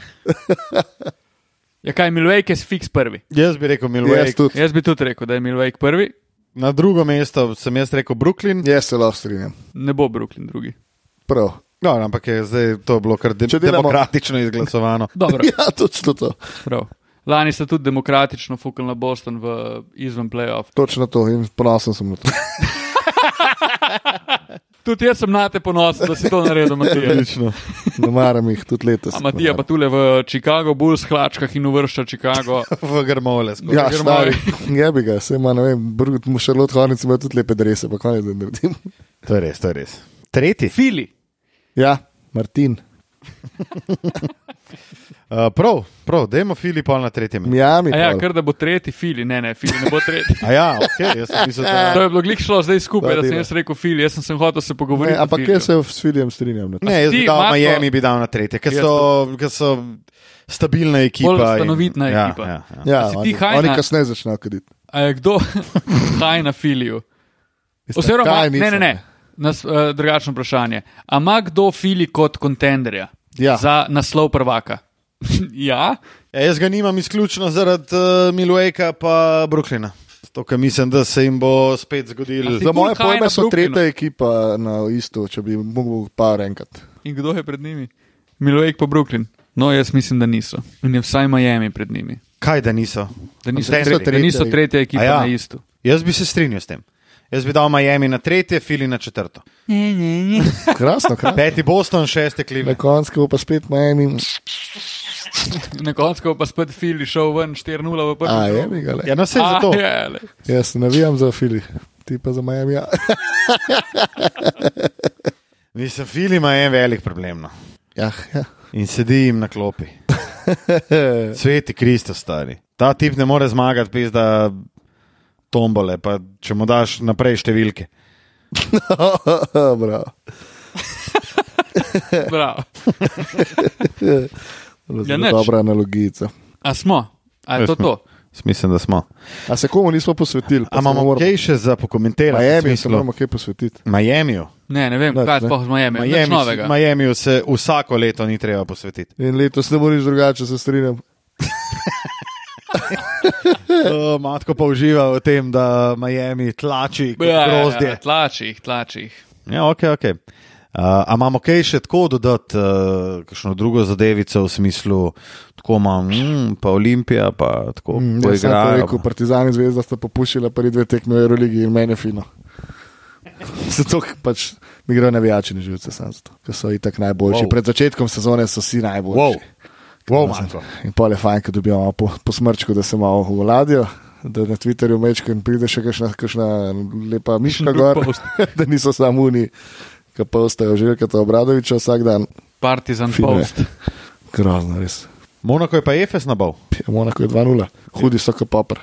S3: Ja, kaj Milwaukee je fiks prvi.
S1: Jaz bi rekel
S2: Jaz
S1: Milwaukee.
S2: tudi.
S3: Jaz bi tudi rekel, da je Milwaukee prvi,
S1: Na drugo mesto sem jaz rekel Brooklyn.
S2: Jaz se lahko strinjam.
S3: ne bo Brooklyn drugi.
S2: Prav.
S1: No, ampak je zdaj to bilo kar de
S2: Če delamo-
S1: demokratično izglasovano.
S3: Dobro,
S2: Ja, točno to.
S3: prav. Lani ste tudi demokratično fukali na Boston v izven playoff.
S2: Točno to in ponosen sem na to.
S3: Tudi jaz sem na te ponosen, da si to naredil, Matija.
S1: Odlično.
S2: Ne maram jih tudi letos.
S3: A Matija
S2: ne
S3: pa
S2: maram.
S3: tule v Chicago, Bulls, Hlačkah in uvršča Chicago.
S1: V grmole. skozi.
S2: Ja,
S3: Gremo.
S2: stari, je bi ga, se ima, ne vem, brud, mu še lot hornic ima tudi lepe drese, pa kaj zdaj naredim.
S1: To je res, to je res. Tretji.
S3: Fili,
S2: Ja, Martin.
S1: Uh, prav, prav, dajmo Filipa na tretje mesto.
S2: Miami.
S3: a ja,
S2: pol.
S3: kar da bo tretji, Fili, ne, ne, Fili ne bo tretji.
S1: A ja, ok, jaz sem mislil, da
S3: To je bilo glih šlo zdaj skupaj,
S2: To je
S3: da sem
S2: bilo.
S3: jaz rekel Fili, jaz sem se hotel se pogovoriti.
S2: Ne,
S3: o
S2: ampak
S3: Filiju.
S2: jaz se s Filjem strinjam. na to.
S1: Ne, jaz bi
S3: Ti,
S1: dal
S3: Marko-
S1: Miami, bi dal na tretje, ker
S3: Jaz
S1: so, ker so stabilna ekipa.
S3: Bolj
S1: in-
S3: stanovitna
S1: ja,
S3: ekipa.
S1: Ja, ja.
S2: Ja,
S3: si ti
S2: oni,
S3: hajna?
S2: oni kasneje začnejo kaditi.
S3: A je kdo kaj na filiju? Oziroma, ne, ne, ne. Nas, uh, drugačno vprašanje. A ima kdo fili kot kontenderja
S2: Ja.
S3: za naslov prvaka? ja,
S1: Ja, jaz ga nimam izključno zaradi uh, Milwaukee pa Brooklyna. Zato, ker mislim, da se jim bo spet zgodil.
S3: A si-
S2: Za moje
S3: Kaj na
S2: pojme so
S3: Brooklynu?
S2: tretja ekipa na isto, če bi mogel par enkrat.
S3: in kdo je pred njimi? Milwaukee pa Brooklyn. No, jaz mislim, da niso. In je vsaj Miami pred njimi.
S1: Kaj da niso?
S3: Da niso,
S1: Contender-
S3: tre, da niso tretja ekipa
S1: A
S3: ja.
S1: ja.
S3: na istu.
S1: Jaz bi se strinjal s tem. Jaz bi dal Miami na tretje, Fili na četrto.
S2: Krasno, krasno.
S1: Peti Boston, šesti
S2: Na
S1: Cleveland.
S2: koncu bo pa spet Miami.
S3: Na koncu bo pa spet Fili šel ven 4-0 v prvem.
S2: A je, bi ga le.
S1: Ja, no, vse
S3: A,
S1: zato.
S3: je, glej.
S2: Jaz navijam za Fili, ti pa za Miami. Ja,
S1: Mislim, Fili ima en velik problem. No.
S2: ja. ja.
S1: In sedi jim na klopi. Sveti Kristus, stari. Ta tip ne more zmagati, pizda tombole, pa če mu daš naprej številke.
S2: Bravo.
S3: Bravo.
S2: Zelo
S3: Ja, nič.
S2: dobra analogijica.
S3: A smo? A je to
S1: Smo.
S3: to?
S1: Mislim, da smo.
S2: A se komu nismo posvetili?
S1: A imamo kaj še za pokomentirati?
S2: Miami, se moramo kaj posvetiti.
S1: Miamiju.
S3: Ne, ne vem,
S2: Nič,
S3: kaj
S2: ne.
S3: sploh z Miami. Nič
S1: Miami,
S3: novega.
S1: Miamiju se vsako leto ni treba posvetiti.
S2: In letos ne bo nič drugače, se strinjam. Eh.
S1: Uh, matko pa uživa v tem, da Miami tlači
S3: Ja,
S1: kot grozdje.
S3: Tlači jih, tlači jih.
S1: Ja, ok, ok. Uh, a imamo kaj še tako dodati, uh, kakšno drugo zadevico v smislu, tako imamo, mm, pa Olimpija, pa tako mm,
S2: Jaz sem ja, to
S1: poigrajo.
S2: rekel, Partizan in Zvezda sta popušila prvi dve tekmi v Euroligi in meni je fino. Zato ker pač mi grejo navijači na živce, samo zato, ker so itak najboljši.
S1: Wow.
S2: Wow. Pred začetkom sezone so vsi najboljši.
S1: Wow. Wow,
S2: Razen-
S1: Marko.
S2: in pol je fajn, ko dobijo malo po, po smrčku, da se malo vladijo. Da na Twitterju mečkam pride še kakšna, kakšna lepa miška gor, da niso samo oni, ki pa ostajajo življenje, kot Obradoviča vsak dan.
S3: Partizan
S2: Fino je.
S3: Post.
S2: Grozno, res.
S1: Monako je pa Efes nabal.
S2: Ja, Monako je 2-0, hudi so kot papr.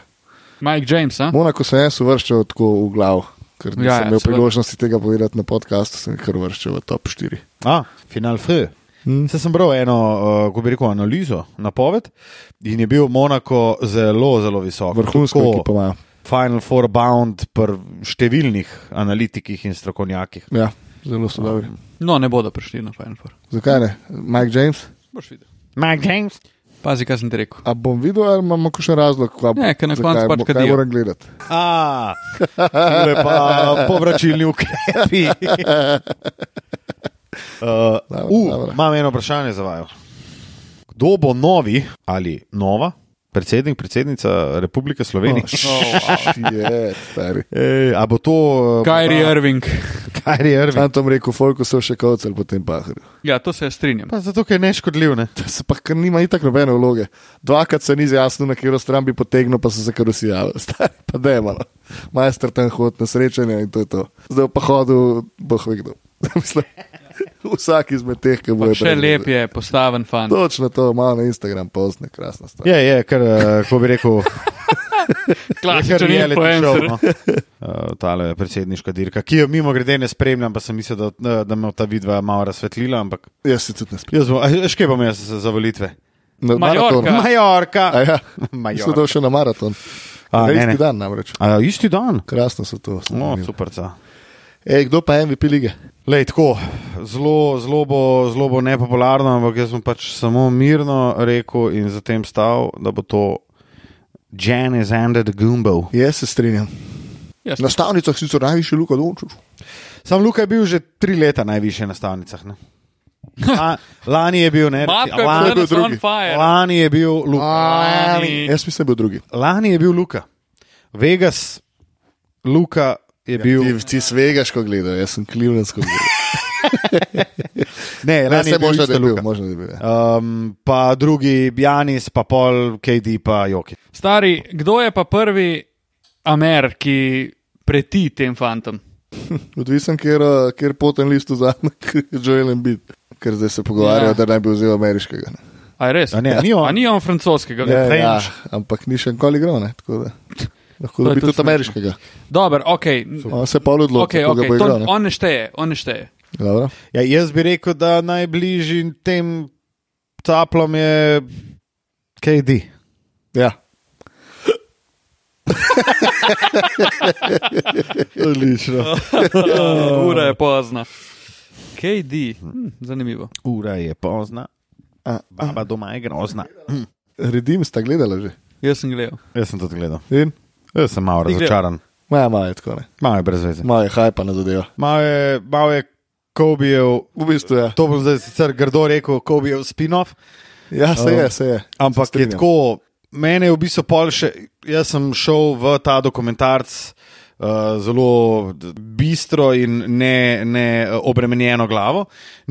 S3: Mike James, a?
S2: Monako se jaz uvrščal tako v glav, ker nisem
S3: Ja, ja,
S2: ja, imel
S3: seveda.
S2: priložnosti tega povedati na podkastu, sem jih kar uvrščal v top 4.
S1: A, final F. Mm.
S2: Hm?
S1: Sem, sem bral eno, uh, kako bi rekel, analizo, napoved in je bil Monako zelo, zelo visok.
S2: Vrhunsko
S1: Tako
S2: ekipo imajo.
S1: Final Four bound pri številnih analitikih in strokovnjakih.
S2: Ja, zelo so dobri.
S3: No, ne bodo prišli na Final Four.
S2: Zakaj ne? Mike James?
S3: Boš videl.
S1: Mike James.
S3: Pazi, kaj sem ti rekel.
S2: A bom videl, ali imamo kakšen razlog? kva-
S3: Ne, ker na
S2: zakaj
S3: koncu pač
S2: mo- Kaj
S3: kadijo.
S2: moram gledati?
S1: A, tule pa povračilni ukrepi. Uh, u,
S2: dobro.
S1: imam eno vprašanje za vaju. Kdo bo novi ali nova predsednik, predsednica Republike Slovenije?
S2: Oh, no.
S3: Oh,
S2: Je, stari.
S1: E, a bo to eh,
S3: Kyrie Irving.
S1: Kyrie Irving?
S2: Sam tam rekel, folko so še kavcel po tem pahrju.
S3: Ja, to se jaz strinjam.
S1: Pa zato, ker je neškodljiv. Ne?
S2: Se pa kar nima itak nobene vloge. Dvakrat se ni zjasnil, na katero stran bi potegnil, pa so se kar vsi javili. Stari, pa da je malo. Majster tam hod na srečanje in to je to. Zdaj pa hodil, boh ve kdo. Mislim, Vsak izmed teh, ki bo
S3: Pa še lep je, postaven fan.
S2: Točno to, malo na Instagram postne, krasna stvar.
S1: Je, je, ker, eh, ko bi rekel,
S3: Klasičen influencer.
S1: no. uh, tale predsedniška dirka, ki jo mimo grede ne spremljam, pa sem mislil, da, eh, da me ta vidva malo razsvetlila, ampak
S2: Jaz se tudi ne spim.
S1: Jaz bom, a veš, kaj bom jaz za volitve?
S2: Na
S3: Majorka.
S2: maratonu.
S1: Majorka.
S2: A Ja, Mislim, da
S1: Majorka.
S2: je še na maraton.
S1: A,
S2: Na
S1: ne,
S2: isti
S1: ne.
S2: dan namreč.
S1: A, isti dan.
S2: Krasno so to.
S1: No,
S2: zanimivo.
S1: superca.
S2: Ej, kdo pa je MVP lige?
S1: Lej, tako, zelo, zelo bo, zelo bo nepopularno, ampak jaz sem pač samo mirno rekel in zatem stal, da bo to Janis Ander the Gumbo.
S2: Jaz se strinjam.
S3: Jaz-
S2: Na stavnicah sicer najvišji Luka Dončić.
S1: Sam Luka je bil že tri leta najviše na stavnicah. Ne? La, lani je bil, ne,
S3: Matko je
S1: lani,
S3: bil danes
S2: drugi.
S3: on fire.
S1: lani je bil Luka.
S3: Lani.
S2: Jaz mislim, da je bil drugi.
S1: Lani je bil Luka. Vegas, Luka je bil.
S2: Ti, ti svegaš, ko gledaš, jaz sem klivljensko gledal.
S1: Ne,
S2: Ne,
S1: lani
S2: se
S1: je bil
S2: možno, da
S1: isto
S2: je bil.
S1: Luka.
S2: Možno, da je bil ja.
S1: Um, pa drugi, Janis, pa pol, KD, pa Joki.
S3: Stari, kdo je pa prvi Amer, ki preti tem fantom?
S2: Odvisen, kjer, eh, kjer poten list vzame Joel Embiid, ker zdaj se pogovarjajo,
S3: Ja.
S2: ja. da naj bi vzel ameriškega. Ne.
S3: A je res?
S1: A ne, ni on.
S3: A ni on francoskega?
S1: Ne.
S2: Ja, ja,
S1: French.
S2: ampak ni še nikoli igral, ne, tako da lahko
S3: To je
S2: dobi
S3: tudi
S2: tudi ameriškega.
S3: Dobro, ok.
S2: On se pa odloči,
S3: okay,
S2: okay, koga
S3: okay.
S2: okay, bo
S3: To,
S2: igral. ne.
S3: on ne šteje, on ne šteje.
S2: Dobro.
S1: Ja, jaz bi rekel, da najbližji tem taplom je KD.
S2: Ja.
S1: Odlično.
S3: Ura je pozna. KD, hm, zanimivo.
S1: Ura je pozna, baba doma je grozna.
S2: Redim sta gledala že.
S3: Jaz sem gledal.
S1: Jaz sem tudi gledal.
S2: In?
S1: Jaz sem malo
S3: Ti gledal?
S1: razočaran,
S2: Maja, maja, je tako ne.
S1: malo je brez veze.
S2: Maja, hajpa na zadeva.
S1: Malo je, malo je Kobijev,
S2: V bistvu ja. je.
S1: to bom zdaj sicer grdo rekel, Kobijev spin-off.
S2: Ja, se je, se je.
S1: Ampak je
S2: Strinjam.
S1: tako, mene je v bistvu pol še, jaz sem šel v ta dokumentarc. Uh, zelo d- bistro in ne, ne eh, obremenjeno glavo.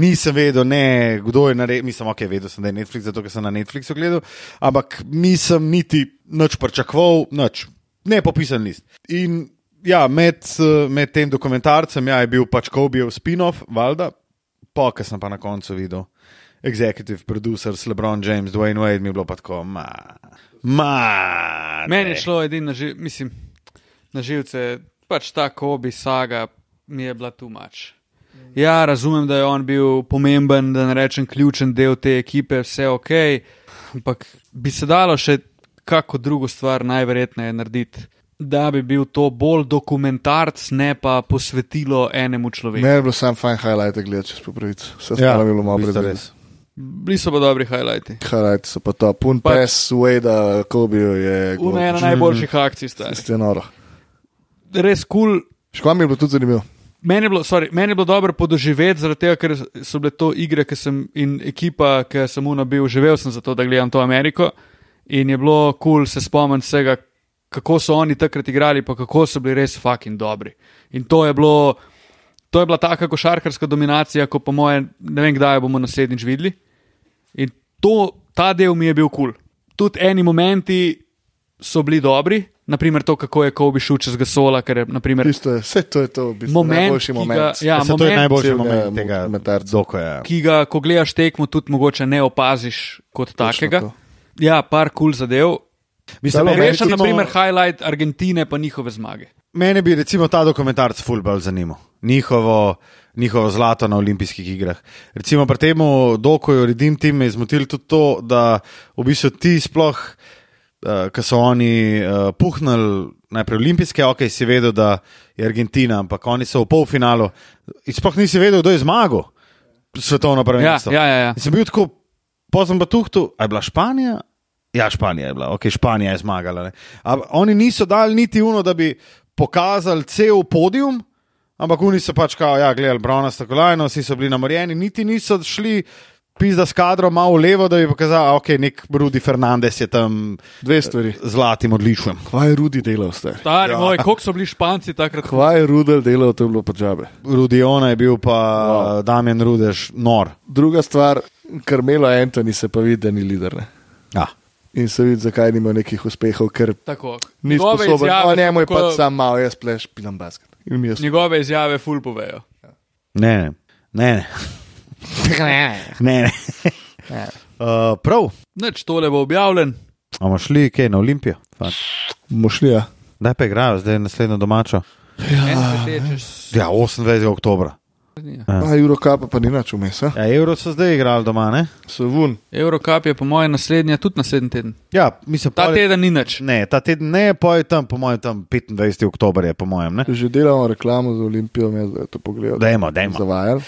S1: Nisem vedel, ne, kdo je naredil, mislim, ok, vedel sem, da je Netflix, zato ker sem na Netflixu gledal, ampak nisem niti nič pričakoval, nič, ne popisan list. In ja, med, eh, med tem dokumentarcem ja, je bil pač Kobijev spin-off, valjda, Po, kar sem pa na koncu videl, executive producer, LeBron James, Dwayne Wade, mi je bilo pa tako, ma. ma
S3: Meni je šlo edino na živce, mislim, na živce, pač ta kobi saga mi je bila tu mač. Ja, razumem, da je on bil pomemben, da ne rečem ključen del te ekipe, vse ok, ampak bi se dalo še kako drugo stvar najverjetneje narediti, da bi bil to bolj dokumentarc, ne pa posvetilo enemu človeku.
S2: Meni je bilo sam fajn highlight gledati, če se popraviti.
S1: Ja,
S2: Vse ostalo je bilo Ja. malo brez veze.
S3: Bili so pa dobri highlighti.
S2: Highlight so pa to. Pun
S3: Pa-
S2: pes, Wade, Kobijo je. gol.
S3: Una je ena najboljših akcij, stari.
S2: Tisto je noro.
S3: Res kul. Cool.
S2: Škoda mi je bilo tudi zanimivo.
S3: Meni je bilo, sorry, meni je bilo dobro podoživeti, zaradi tega, ker so bile to igre ki sem, in ekipa, ki sem mu nabil, živel sem zato, da gledam to Ameriko. In je bilo kul cool se spomniti vsega, kako so oni takrat igrali, pa kako so bili res fucking dobri. In to je bilo, to je bila taka košarkarska dominacija, ko po mojem, ne vem kdaj jo bomo naslednjič videli. In to, ta del mi je bil kul. Cool. Tudi eni momenti so bili dobri, naprimer to, kako je Kobi šel čez Gasola, ker je naprimer,
S2: Tisto je, vse to je to, v bistvu,
S3: Moment,
S2: najboljši
S3: ki ga-
S2: moment.
S3: ja,
S1: Se, to je
S3: moment
S1: najboljši
S2: celega
S1: moment tega ja.
S2: dokumentarca.
S1: dokoja.
S3: ki ga, ko gledaš tekmo, tudi mogoče ne opaziš kot takega.
S2: to.
S3: Ja, par kul cool zadev.
S1: Mislim,
S2: Dalo
S1: meni,
S3: Rešen,
S1: recimo,
S3: na primer, highlight Argentine pa njihove zmage.
S1: mene bi recimo ta dokumentarc fulbral zanimal. Njihovo, njihovo zlato na olimpijskih igrah. Recimo pri tem dokoju Redim Team me je zmotil tudi to, da v bistvu ti sploh, uh, ki so oni uh, puhnili najprej olimpijske, ok, si vedel, da je Argentina, ampak oni so v polfinalu. In sploh nisi vedel, kdo je zmagal svetovno prvenstvo.
S3: Ja, ja, ja, ja.
S1: In sem bil tako pozem batuhtu, a je bila Španija? Ja, Španija je bila, ok, Španija je zmagala. ne. A Oni niso dali niti uno, da bi pokazali cel podium. Ampak oni so pač, kao, ja, gledali bronasto kolajno, vsi so bili namorjeni, niti niso šli pizda s kadrom malo levo, da bi pokazali, ok, nek Rudi Fernandez je tam
S2: Dve stvari.
S1: z zlatim odličjem.
S2: Kvaj je Rudi delal, ste.
S3: Stari ja. moj, koliko so bili Španci takrat?
S2: Kvaj je Rudel delal, to je bilo podžabe.
S1: Rudiona je bil pa wow. Damien Rudež, nor.
S2: Druga stvar, Karmelo Antoni se pa vidi, da ni lider. Ne?
S1: Ja.
S2: In se vidi, zakaj nima nekih uspehov, ker
S3: Tako.
S2: ni
S3: Njegove
S2: sposoben.
S3: izjave
S2: O njemu je
S3: tako-
S2: pa sam malo, jaz pleš, pilam basket. In mi je spet.
S3: Njegove izjave ful povejo.
S1: Ne, ne, ne. ne. ne, ne. Uh, prav,
S3: Nič, tole bo objavljen.
S1: bomo šli kaj na Olimpijo. Fak.
S2: Mošlija.
S1: Kdaj pa igrajo, zdaj je naslednjo domačo?
S3: Ja. Tečeš,
S1: Ja, 28. oktober.
S2: A Eurocapa pa ni nič vmes, a?
S1: Ja, evro so zdaj igrali doma, ne?
S2: so vun.
S3: Eurocup je po mojem naslednja, tudi naslednji teden.
S1: Ja, mislim,
S3: Ta
S1: pol je-
S3: teden ni nič.
S1: Ne, ta teden ne, pa je tam, po mojem, tam 25. oktober je, po mojem. ne.
S2: Že delamo reklamo za Olimpijo, me zdaj to pogledal.
S1: Dajmo, dajmo.
S2: Zavajal.
S1: Uh,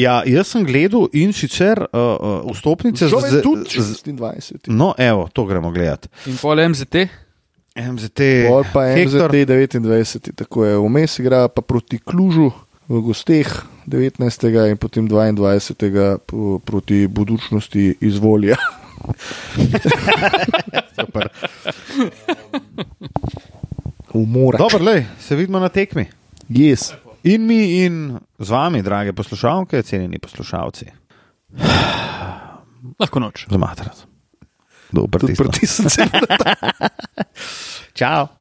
S1: ja, jaz sem gledal in sicer uh, uh, vstopnice
S2: Šel je
S1: z-
S2: tudi
S1: z-
S2: 26.
S1: No, evo, to gremo gledat.
S3: In pol MZT,
S1: MZT,
S2: Pol pa
S1: Hector,
S2: MZT 29, tako je vmes igra, pa proti Klužu v gosteh 19. in potem 22. po- proti budučnosti izvolja.
S1: Super.
S2: Umora.
S1: Dobro, lej, se vidimo na tekmi.
S2: Yes.
S1: In mi, in z vami, drage poslušalke, cenjeni poslušalci,
S3: lahko noč.
S1: zmatrat. Dobro,
S2: Tudi pritisnite.
S1: Čau.